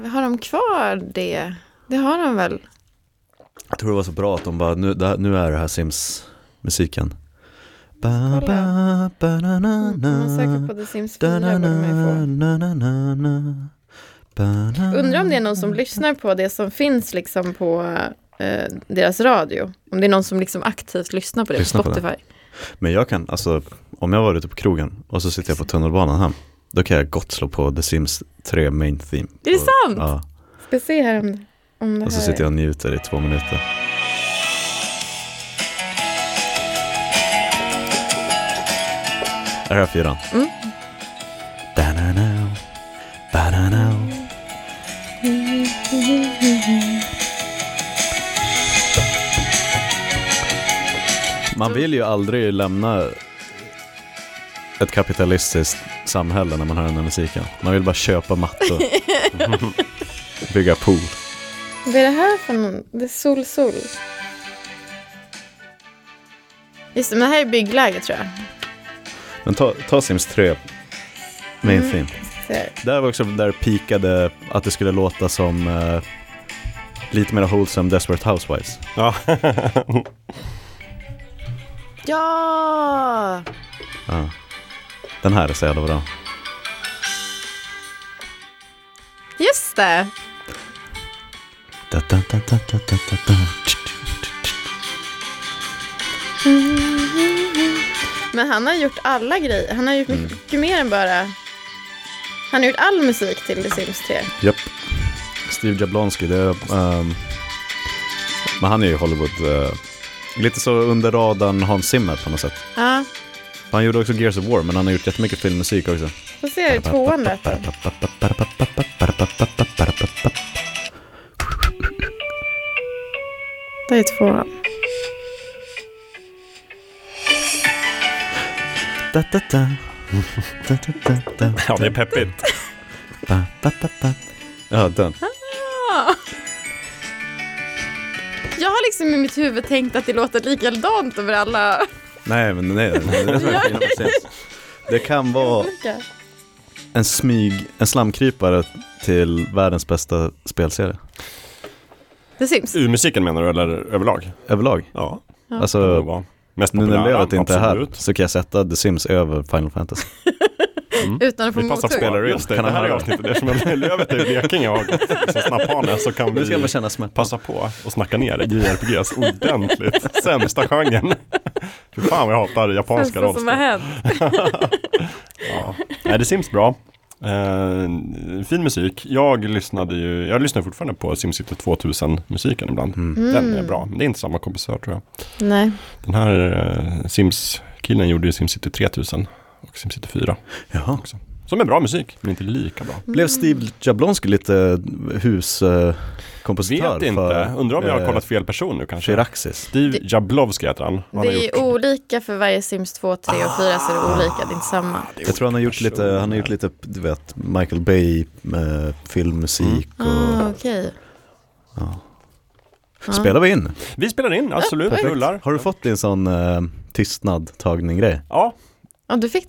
eh, har de kvar det? Det har de väl?
Jag tror det var så bra att de bara, nu, det här, nu är det här Sims-musiken. Ba, ba, ba, na, na,
Om Mm, man söker
na.
på The Sims 4
Da, na,
borde man ju få.
na, na, na, na, na. Ba, na,
Undrar om det är någon som lyssnar på det som finns liksom på eh, deras radio. Om det är någon som liksom aktivt lyssnar på det
Lyssnar på
på
det.
Spotify.
Men jag kan, alltså om jag var ute på krogen och så sitter jag på tunnelbanan hem, då kan jag gott slå på The Sims 3 main theme.
Är det
Och-
sant?
Ja,
Ska se här om, om det
och så
här
sitter
är-
jag och njuter i två minuter. Är det här fyran?
Mm.
Da-na-na, ba-na-na. Man vill ju aldrig lämna ett kapitalistiskt samhälle när man hör den här musiken. Man vill bara köpa mattor. Bygga pool.
Vad är det här för någon? Det är Sol Sol. Just det, men det här är byggläge tror jag.
Men ta, ta Sims 3, main theme.
Så här.
Där var också där pikade att det skulle låta som eh, lite mer wholesome Desperate Housewives.
Ja. *laughs*
Ja!
Den här är så jävla bra.
Just det!
Da, da, da, da, da, da, da, da.
Men han har gjort alla grejer. Han har gjort
Mm.
mycket mer än bara... Han har gjort all musik till The Sims 3.
Japp. Steve Jablonski, det är... ehm, men han är ju Hollywood... eh, lite så under radarn Hans Zimmer på något sätt.
Ja,
Han gjorde också Gears of War, men han har gjort jättemycket filmmusik också.
får se hur
*laughs*
tvåan lät då. Det är tvåan.
Da, da, da. Da, da, da,
ja, det är peppigt.
da. Ba, ba, ba. Ja, den.
Ja. Jag har liksom i mitt huvud tänkt att det låter likadant över alla
Nej, men nej, nej, nej, det är så här fina precis. Det kan vara
olika.
en smyg, en slamkrypare till världens bästa spelserie.
The Sims.
U-musiken menar du, eller överlag?
Överlag.
Ja, det
Alltså,
var mest
nu när
populära.
Levet inte är här
absolut.
så kan jag sätta The Sims över Final Fantasy.
Utan att få
Mm. Vi passar på att
mothugg.
spela in.
Just det,
Kan det
det
här
här
är
är
avsnittet. Eftersom Lövet är i Blekinge och har gått liksom snapphane så kan
Nu ska
vi
man känna smärta.
passa på och snacka ner JRPGs ordentligt. Sämsta genren. Fy fan vad jag hatar japanska
Första som har
rollspel.
hänt.
Ja. Nej, det Sims bra. Eh, fin musik. Jag lyssnade ju, jag lyssnar fortfarande på SimCity 2000 musiken ibland.
Mm.
Den är bra, men det är inte samma kompositör tror jag.
Nej.
Den här eh, Sims-killen gjorde ju SimCity 3000 och SimCity 4.
Jaha.
Som är bra musik, men inte lika bra.
Blev Steve Jablonski lite huskompositör
Vet inte, undrar om jag
eh,
har kollat fel person nu kanske.
Firaxis?
Steve Jablowski heter han. han
Det
har
är
gjort- Ah.
olika för varje Sims 2, 3 och 4 så är det olika, det är inte samma.
Jag tror han har gjort lite, han har gjort lite, du vet, Michael Bay eh, filmmusik och...
Ah, okej.
Spelar vi in?
Vi spelar in, absolut, rullar.
Har du fått din sån eh, tystnad tagning grej?
Ja,
Ja, du fick det?